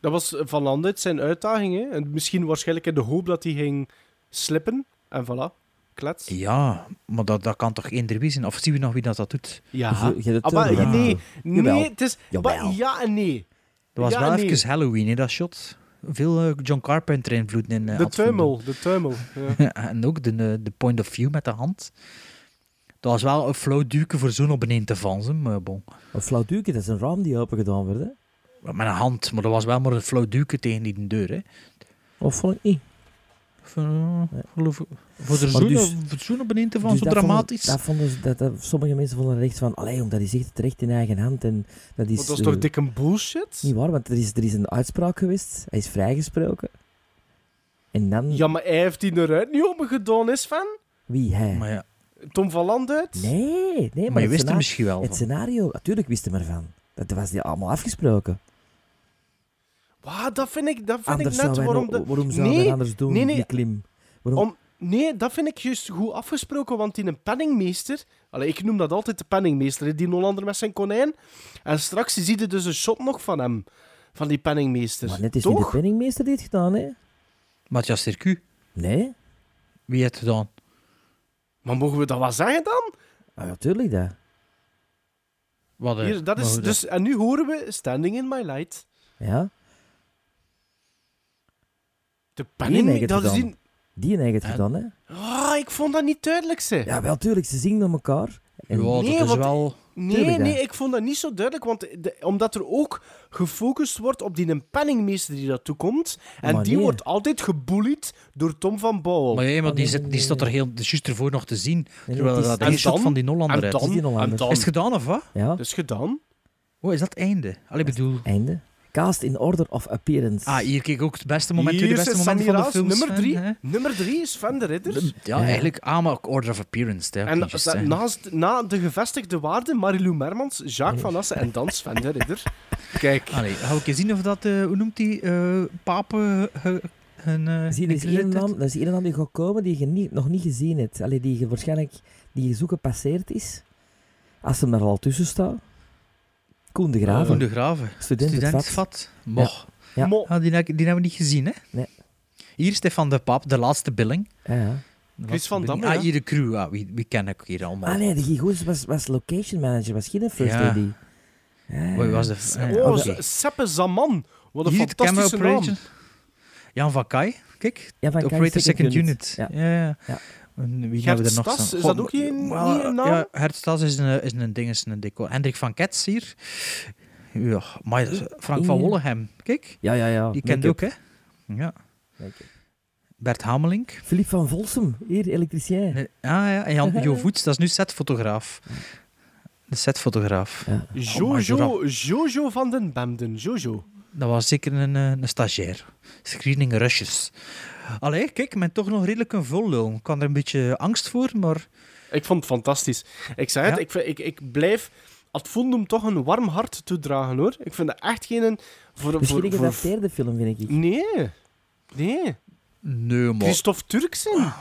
Speaker 6: Dat was van Landet zijn uitdaging, hè? En misschien waarschijnlijk in de hoop dat hij ging slippen. En voilà, klets.
Speaker 4: Ja, maar dat, dat kan toch eender wie zijn? Of zien we nog wie dat, dat doet?
Speaker 6: Ja.
Speaker 7: je de
Speaker 6: Ah, maar
Speaker 7: turbo-
Speaker 6: nee,
Speaker 7: Jawel.
Speaker 6: nee, het is...
Speaker 7: Jawel.
Speaker 6: maar ja en nee.
Speaker 4: Dat was
Speaker 6: Ja,
Speaker 4: wel
Speaker 6: nee.
Speaker 4: even Halloween, hè, dat shot. Veel eh, John Carpenter invloeden in. eh,
Speaker 6: De
Speaker 4: had gevonden.
Speaker 6: tuimel, de tuimel. Ja.
Speaker 4: Ja, en ook de, eh, de point of view met de hand. Dat was wel een flauw duiken voor zo'n op een te vallen, hè, maar bon.
Speaker 7: Een flauw duwke, dat is een raam die open gedaan werd. Hè?
Speaker 4: Met een hand, maar dat was wel maar een flauw duiken tegen die deur, hè.
Speaker 7: Of vond ik niet?
Speaker 4: Voor, eh, geloof ik- voor de
Speaker 7: Maar
Speaker 4: zoen,
Speaker 7: dus-
Speaker 4: voor het zoenen beneden van
Speaker 7: Dus
Speaker 4: zo
Speaker 7: dat vonden-
Speaker 4: dramatisch.
Speaker 7: dat vonden ze- dat, dat- sommige mensen vonden recht van, allee, omdat hij zegt terecht in eigen hand. En dat is,
Speaker 6: Maar dat is
Speaker 7: eh,
Speaker 6: toch dikke bullshit?
Speaker 7: niet waar, want er is, er is een uitspraak geweest. Hij is vrijgesproken. En dan,
Speaker 6: Ja, maar hij heeft die eruit niet omgedaan, is van
Speaker 7: wie hij?
Speaker 4: maar, ja,
Speaker 6: Tom van Landet?
Speaker 7: Nee, nee, maar,
Speaker 4: maar, je
Speaker 7: het
Speaker 4: wist er
Speaker 7: scena-
Speaker 4: misschien wel
Speaker 7: Het
Speaker 4: van.
Speaker 7: scenario, natuurlijk wist hij ervan. Dat was die allemaal afgesproken.
Speaker 6: Wauw, dat vind ik, dat vind
Speaker 7: Anders
Speaker 6: ik net
Speaker 7: zou wij
Speaker 6: waarom...
Speaker 7: nog-
Speaker 6: de-
Speaker 7: waarom zouden
Speaker 6: Nee,
Speaker 7: we anders doen,
Speaker 6: nee, nee.
Speaker 7: die klim? Waarom?
Speaker 6: Om- Nee, dat vind ik juist goed afgesproken, want die een penningmeester... Allee, ik noem dat altijd de penningmeester, hè, die Hollander met zijn konijn. En straks zie je dus een shot nog van hem, van die penningmeester.
Speaker 7: maar net is niet de
Speaker 6: toch?
Speaker 7: penningmeester die het gedaan, hè?
Speaker 4: Matthias Circu,
Speaker 7: Nee?
Speaker 4: wie heeft het gedaan?
Speaker 6: Maar mogen we dat wel zeggen dan?
Speaker 7: Ah, natuurlijk dat.
Speaker 4: Wat, eh,
Speaker 6: Hier, dat
Speaker 4: maar
Speaker 6: is,
Speaker 4: goed,
Speaker 6: dus, en nu horen we Standing in My Light.
Speaker 7: Ja?
Speaker 6: De
Speaker 7: Nee, nee,
Speaker 6: penningmeester...
Speaker 7: dat
Speaker 6: Dat is
Speaker 7: dan.
Speaker 6: die...
Speaker 7: Die en hij het
Speaker 4: En-
Speaker 7: gedaan, hè?
Speaker 6: Ah, ik vond dat niet duidelijk, zeg.
Speaker 7: Ja, wel, tuurlijk, ze zingen naar elkaar.
Speaker 4: Ja,
Speaker 7: En
Speaker 4: dat
Speaker 6: Nee,
Speaker 4: is
Speaker 6: want-
Speaker 4: wel...
Speaker 6: Nee,
Speaker 7: Tuurlijk, hè.
Speaker 6: nee, ik vond dat niet zo duidelijk, want de- omdat er ook gefocust wordt op die een penningmeester die daartoe komt. En
Speaker 7: Maar
Speaker 6: die
Speaker 7: nee.
Speaker 6: wordt altijd geboelied door Tom van Bouwel.
Speaker 4: Maar, ja, maar die,
Speaker 7: nee,
Speaker 4: zit, die
Speaker 7: nee, nee,
Speaker 4: staat er
Speaker 7: nee.
Speaker 4: heel... Dus juist ervoor nog te zien.
Speaker 7: nee,
Speaker 4: Terwijl
Speaker 7: het is-
Speaker 4: dat
Speaker 6: en
Speaker 4: een shot
Speaker 6: dan-
Speaker 4: van die Hollander
Speaker 6: en
Speaker 4: uit.
Speaker 6: dan,
Speaker 7: is die nog
Speaker 6: en
Speaker 7: anders.
Speaker 6: dan.
Speaker 4: Is het gedaan of wat?
Speaker 7: Ja,
Speaker 6: Dus gedaan.
Speaker 4: Oh, is dat het einde? Allee, bedoel...
Speaker 7: einde. Cast in order of appearance.
Speaker 4: Ah, hier kijk ook het beste moment,
Speaker 6: Hier
Speaker 4: tweede
Speaker 6: is
Speaker 4: beste moment van de
Speaker 6: Samira's,
Speaker 4: film.
Speaker 6: nummer drie. nummer drie is Van de Ridders.
Speaker 4: Ja, eigenlijk Ama ook Order of Appearance. Hè,
Speaker 6: en
Speaker 4: oké, juist,
Speaker 6: dat-
Speaker 4: hè.
Speaker 6: naast, na de gevestigde waarden Marilou Mermans, Jacques Van Assen en dan Sven de Ridder. Kijk.
Speaker 4: Allee, ga ik eens zien of dat... eh, hoe noemt die? eh papen... eh, hun, eh,
Speaker 7: Zie, er is één naam, er is één naam die gaat komen die je niet, nog niet gezien hebt. Allee, die je waarschijnlijk die je zo gepasseerd is. Als hem er al tussen staat. Koen de Graven.
Speaker 4: Graven. De Graven.
Speaker 7: student, het
Speaker 4: Student
Speaker 7: vat.
Speaker 4: vat. Moch.
Speaker 7: Ja.
Speaker 6: Mo-
Speaker 4: Ah, die, heb ik- die hebben we niet gezien, hè?
Speaker 7: Nee.
Speaker 4: Hier Stefan de Paap, de laatste billing.
Speaker 7: Ja, ja.
Speaker 4: De
Speaker 6: Chris
Speaker 4: laatste
Speaker 6: van
Speaker 4: billing.
Speaker 6: Damme,
Speaker 4: Ah,
Speaker 6: ja.
Speaker 4: hier de crew. Ah, wie, wie ken ik hier allemaal?
Speaker 7: Ah nee, de Gigoes was, was location manager, was geen first
Speaker 4: Ja.
Speaker 7: lady. Ja.
Speaker 4: Wie was de... eh,
Speaker 6: oh,
Speaker 4: oké.
Speaker 6: S- Seppe Zaman. Wat een
Speaker 4: Hier de camera
Speaker 6: fantastische naam.
Speaker 4: operation. Jan van Kai. Kijk.
Speaker 7: Ja, van
Speaker 4: de
Speaker 7: Kai
Speaker 4: operator second unit.
Speaker 7: Ja.
Speaker 4: Ja. ja.
Speaker 7: Ja.
Speaker 4: En Wie
Speaker 6: Gert
Speaker 4: hebben we er nog
Speaker 6: Stas,
Speaker 4: staan?
Speaker 6: is
Speaker 4: Goh,
Speaker 6: dat ook niet een-
Speaker 4: wel,
Speaker 6: niet een naam?
Speaker 4: Ja, Gert Stas is een, is een ding, is een decor. Hendrik van Kets hier. Ja, maar Frank van
Speaker 7: Ja.
Speaker 4: Wollegem. Kijk,
Speaker 7: Ja, ja, ja.
Speaker 4: die kent ook,
Speaker 7: Make-up.
Speaker 4: hè? Ja.
Speaker 7: Make-up.
Speaker 4: Bert Hamelink.
Speaker 7: Philippe van Volsem, hier, elektricien.
Speaker 4: Ah ja, en Jan Jo Voets, dat is nu setfotograaf. De setfotograaf.
Speaker 7: Ja.
Speaker 4: Oh,
Speaker 6: Jojo, Jojo van den Bemden. Jojo.
Speaker 4: Dat was zeker een, eh, een stagiair. Screening rushes. Allee, kijk, men toch nog redelijk een vol lul. Ik kan er een beetje angst voor, maar...
Speaker 6: Ik vond het fantastisch. Ik zeg het,
Speaker 4: Ja.
Speaker 6: ik, vind- ik, ik blijf Advondum toch een warm hart toedragen, hoor. Ik vind dat echt geen... Voor,
Speaker 7: Misschien een
Speaker 6: voor, voor,
Speaker 7: gedateerde film, vind ik.
Speaker 6: Nee. Nee.
Speaker 4: Nee, maar...
Speaker 6: Christophe Turksen.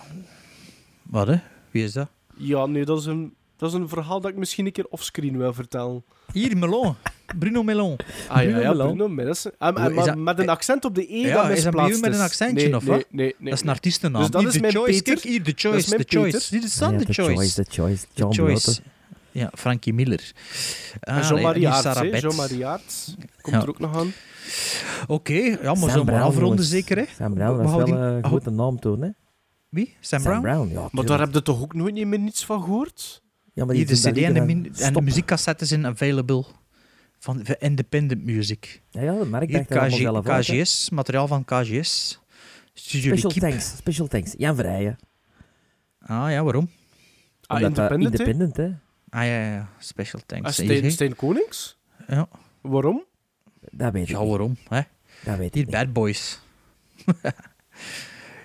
Speaker 4: Wat, hè? Wie is dat?
Speaker 6: Ja, nee, dat is, een, dat is een verhaal dat ik misschien een keer offscreen wil vertellen.
Speaker 4: Hier, Melon. Bruno Melon.
Speaker 6: Ah ja,
Speaker 7: Bruno
Speaker 6: ja,
Speaker 7: Melon.
Speaker 6: Bruno Mendes. Ah,
Speaker 4: Hoe
Speaker 6: maar-
Speaker 4: is
Speaker 6: maar
Speaker 4: dat- eh,
Speaker 6: met een accent op de E,
Speaker 4: Ja,
Speaker 6: dat
Speaker 4: is dat bij
Speaker 6: misplaatst
Speaker 4: u met een accentje,
Speaker 6: nee,
Speaker 4: of
Speaker 6: nee,
Speaker 4: wat?
Speaker 6: Nee, nee, nee.
Speaker 4: dat is een artiestennaam.
Speaker 6: Dus dat
Speaker 4: Hier
Speaker 6: is
Speaker 4: de
Speaker 6: mijn
Speaker 4: choice.
Speaker 6: Peter.
Speaker 4: Kijk, hier de
Speaker 6: Dat is
Speaker 4: choice.
Speaker 6: mijn
Speaker 4: De choice.
Speaker 6: Peter.
Speaker 4: Dit is dan
Speaker 7: Ja,
Speaker 4: de choice.
Speaker 7: de choice.
Speaker 4: De
Speaker 7: John
Speaker 4: choice.
Speaker 7: Brotte.
Speaker 4: Ja, Frankie Miller. Ah,
Speaker 6: En Jean-Marie
Speaker 4: allee, en die
Speaker 6: Aerts,
Speaker 4: Sarah
Speaker 6: hè.
Speaker 4: Betts.
Speaker 6: Jean-Marie Aerts. Komt
Speaker 4: Ja.
Speaker 6: er ook nog aan.
Speaker 4: Oké, ja, maar
Speaker 7: Sam
Speaker 4: zo maar
Speaker 7: Brown,
Speaker 4: afronden
Speaker 7: jongens.
Speaker 4: zeker, hè?
Speaker 7: Sam Brown
Speaker 4: We
Speaker 7: was wel
Speaker 4: houden
Speaker 7: eh,
Speaker 4: die-
Speaker 7: een grote naam toen, hè?
Speaker 4: Wie? Sam, Brown?
Speaker 7: Sam Brown, ja.
Speaker 6: Maar
Speaker 7: tuurlijk.
Speaker 6: daar heb je toch ook nooit meer niets van gehoord?
Speaker 7: ja, maar
Speaker 4: Hier de
Speaker 7: doen dat
Speaker 4: CD en de,
Speaker 7: liederen
Speaker 4: min-
Speaker 7: aan-
Speaker 4: en de
Speaker 7: Stop.
Speaker 4: muziekcassettes zijn available. Van van independent music.
Speaker 7: Ja, ja, maar ik
Speaker 4: Hier
Speaker 7: dacht dat allemaal zelf
Speaker 4: KG,
Speaker 7: uit, hè.
Speaker 4: KGS, materiaal van KGS. Studio
Speaker 7: Special
Speaker 4: L'Equipe.
Speaker 7: thanks, special thanks. Jan Vrijen.
Speaker 4: Ah ja, waarom?
Speaker 6: Ah,
Speaker 7: Omdat dat
Speaker 6: independent, hè?
Speaker 7: independent, hè?
Speaker 4: Ah ja, ja, ja. Special
Speaker 6: Ah,
Speaker 4: thanks. Hier, hè.
Speaker 6: Stijn, Stijn Konings?
Speaker 4: Ja.
Speaker 6: Waarom?
Speaker 7: Dat weet ik
Speaker 4: ja,
Speaker 7: niet.
Speaker 4: waarom? Hè?
Speaker 7: Dat weet
Speaker 4: Die
Speaker 7: ik niet.
Speaker 4: bad boys.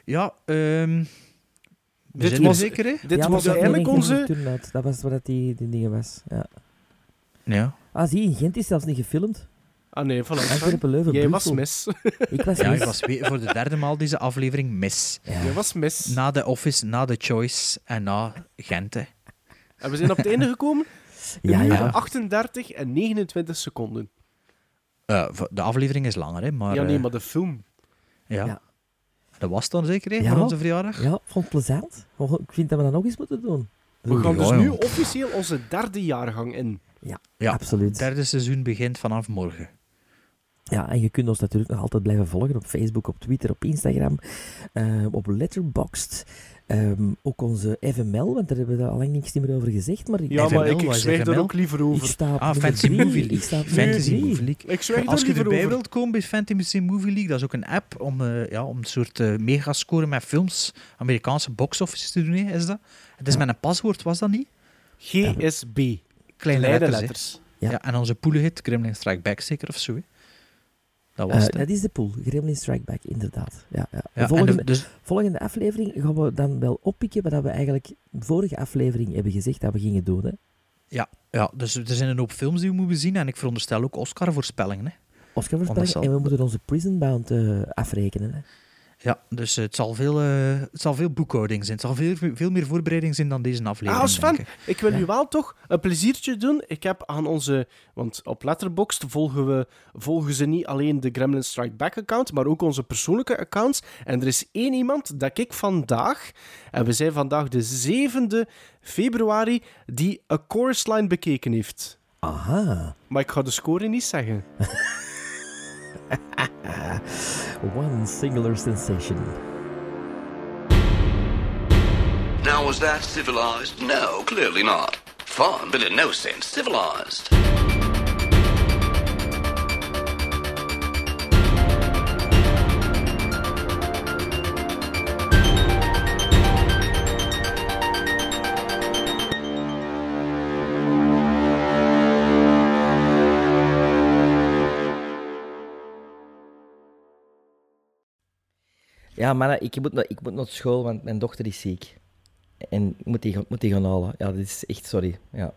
Speaker 4: ja, ehm we
Speaker 6: Dit
Speaker 4: zijn er
Speaker 6: was-
Speaker 4: zeker, hè?
Speaker 6: Dit
Speaker 7: Ja, maar
Speaker 6: was
Speaker 7: dat
Speaker 6: eigenlijk
Speaker 7: ging
Speaker 6: onze...
Speaker 7: toen uit. Dat was wat die, die dingen was. Ja.
Speaker 4: Ja.
Speaker 7: Ah, zie, in Gent is zelfs niet gefilmd.
Speaker 6: Ah nee, voilà.
Speaker 7: Antwerpen, Leuven,
Speaker 6: Jij was
Speaker 7: Brussel.
Speaker 6: mis.
Speaker 7: Ik was
Speaker 4: Ja,
Speaker 7: mis.
Speaker 4: ik was weer voor de derde maal deze aflevering mis.
Speaker 7: Ja.
Speaker 6: Jij was mis.
Speaker 4: Na de Office, na de Choice en na Gent. hè.
Speaker 6: En we zijn op het einde gekomen.
Speaker 7: Ja,
Speaker 6: Een uur
Speaker 7: ja.
Speaker 6: 38 en 29 seconden.
Speaker 4: Eh, v- de aflevering is langer, hè? Maar,
Speaker 6: ja, nee,
Speaker 4: eh,
Speaker 6: maar de film.
Speaker 4: ja.
Speaker 7: Ja.
Speaker 4: Dat was het dan zeker, hè?
Speaker 7: Ja.
Speaker 4: Voor onze verjaardag.
Speaker 7: Ja, vond het plezant. Mogen- Ik vind dat we dat nog eens moeten doen.
Speaker 6: We gaan dus
Speaker 4: oh, Ja,
Speaker 6: nu
Speaker 4: joh.
Speaker 6: officieel onze derde jaargang in.
Speaker 4: Ja.
Speaker 7: Absoluut.
Speaker 4: derde seizoen begint vanaf morgen.
Speaker 7: Ja, en je kunt ons natuurlijk nog altijd blijven volgen op Facebook, op Twitter, op Instagram, eh, op Letterboxd. Ehm, ook onze FML, want daar hebben we al lang niks meer over gezegd. Maar ik,
Speaker 6: Ja,
Speaker 4: FML,
Speaker 6: maar ik, ik
Speaker 4: wat is
Speaker 6: zwijg daar
Speaker 4: FML?
Speaker 6: ook liever
Speaker 7: ik
Speaker 6: over.
Speaker 7: sta
Speaker 4: Ah,
Speaker 7: op nummer
Speaker 4: Fantasy
Speaker 7: drie.
Speaker 4: Movie
Speaker 7: Ik sta
Speaker 4: League.
Speaker 7: op nummer
Speaker 4: Fantasy
Speaker 7: drie.
Speaker 4: Movie League.
Speaker 6: Ik zwijg daar
Speaker 4: Als je
Speaker 6: liever
Speaker 4: erbij
Speaker 6: over.
Speaker 4: wilt komen bij Fantasy Movie League, dat is ook een app om, eh, ja, om een soort eh, megascore met films, Amerikaanse box-office te doen, hè, is dat? Het is met een paswoord, was dat niet?
Speaker 6: GSB.
Speaker 4: Kleine,
Speaker 6: Kleine
Speaker 4: letters. hè.
Speaker 6: letters.
Speaker 7: Ja.
Speaker 4: Ja. en onze poelenhit, Gremlin Strike Back zeker of zo. hè. Dat was
Speaker 7: Eh,
Speaker 4: het. hè.
Speaker 7: dat is de pool, Gremlin Strike Back, inderdaad. Ja, ja.
Speaker 4: Ja, en
Speaker 7: volgende,
Speaker 4: de- dus,
Speaker 7: volgende aflevering gaan we dan wel oppikken wat we eigenlijk de vorige aflevering hebben gezegd dat we gingen doen. Hè?
Speaker 4: ja, dus er zijn een hoop films die we moeten zien en ik veronderstel ook Oscar-voorspellingen. Hè.
Speaker 7: Oscar
Speaker 4: dat zal-
Speaker 7: voorspelling en we moeten onze Prison Bound eh, afrekenen. Hè?
Speaker 4: Ja, dus eh, het zal, veel, eh, het zal veel boekhouding zijn. Het zal veel, veel meer voorbereiding zijn dan deze aflevering.
Speaker 6: Ah, Sven,
Speaker 4: denk ik.
Speaker 6: ik wil
Speaker 7: Ja.
Speaker 6: u wel toch een pleziertje doen. Ik heb aan onze... Want op Letterboxd volgen, we, volgen ze niet alleen de Gremlin Strike Back account, maar ook onze persoonlijke accounts. En er is één iemand dat ik vandaag... En we zijn vandaag de 7e februari, die A Chorus Line bekeken heeft.
Speaker 7: Aha,
Speaker 6: Maar ik ga de score niet zeggen.
Speaker 7: one singular sensation.
Speaker 9: Now, was that civilized? No, clearly not. Fun, but in no sense civilized.
Speaker 5: Ja, maar ik moet, naar- ik moet naar school, want mijn dochter is ziek. En ik moet die, gaan- moet die gaan halen. Ja, dat is echt sorry. Ja.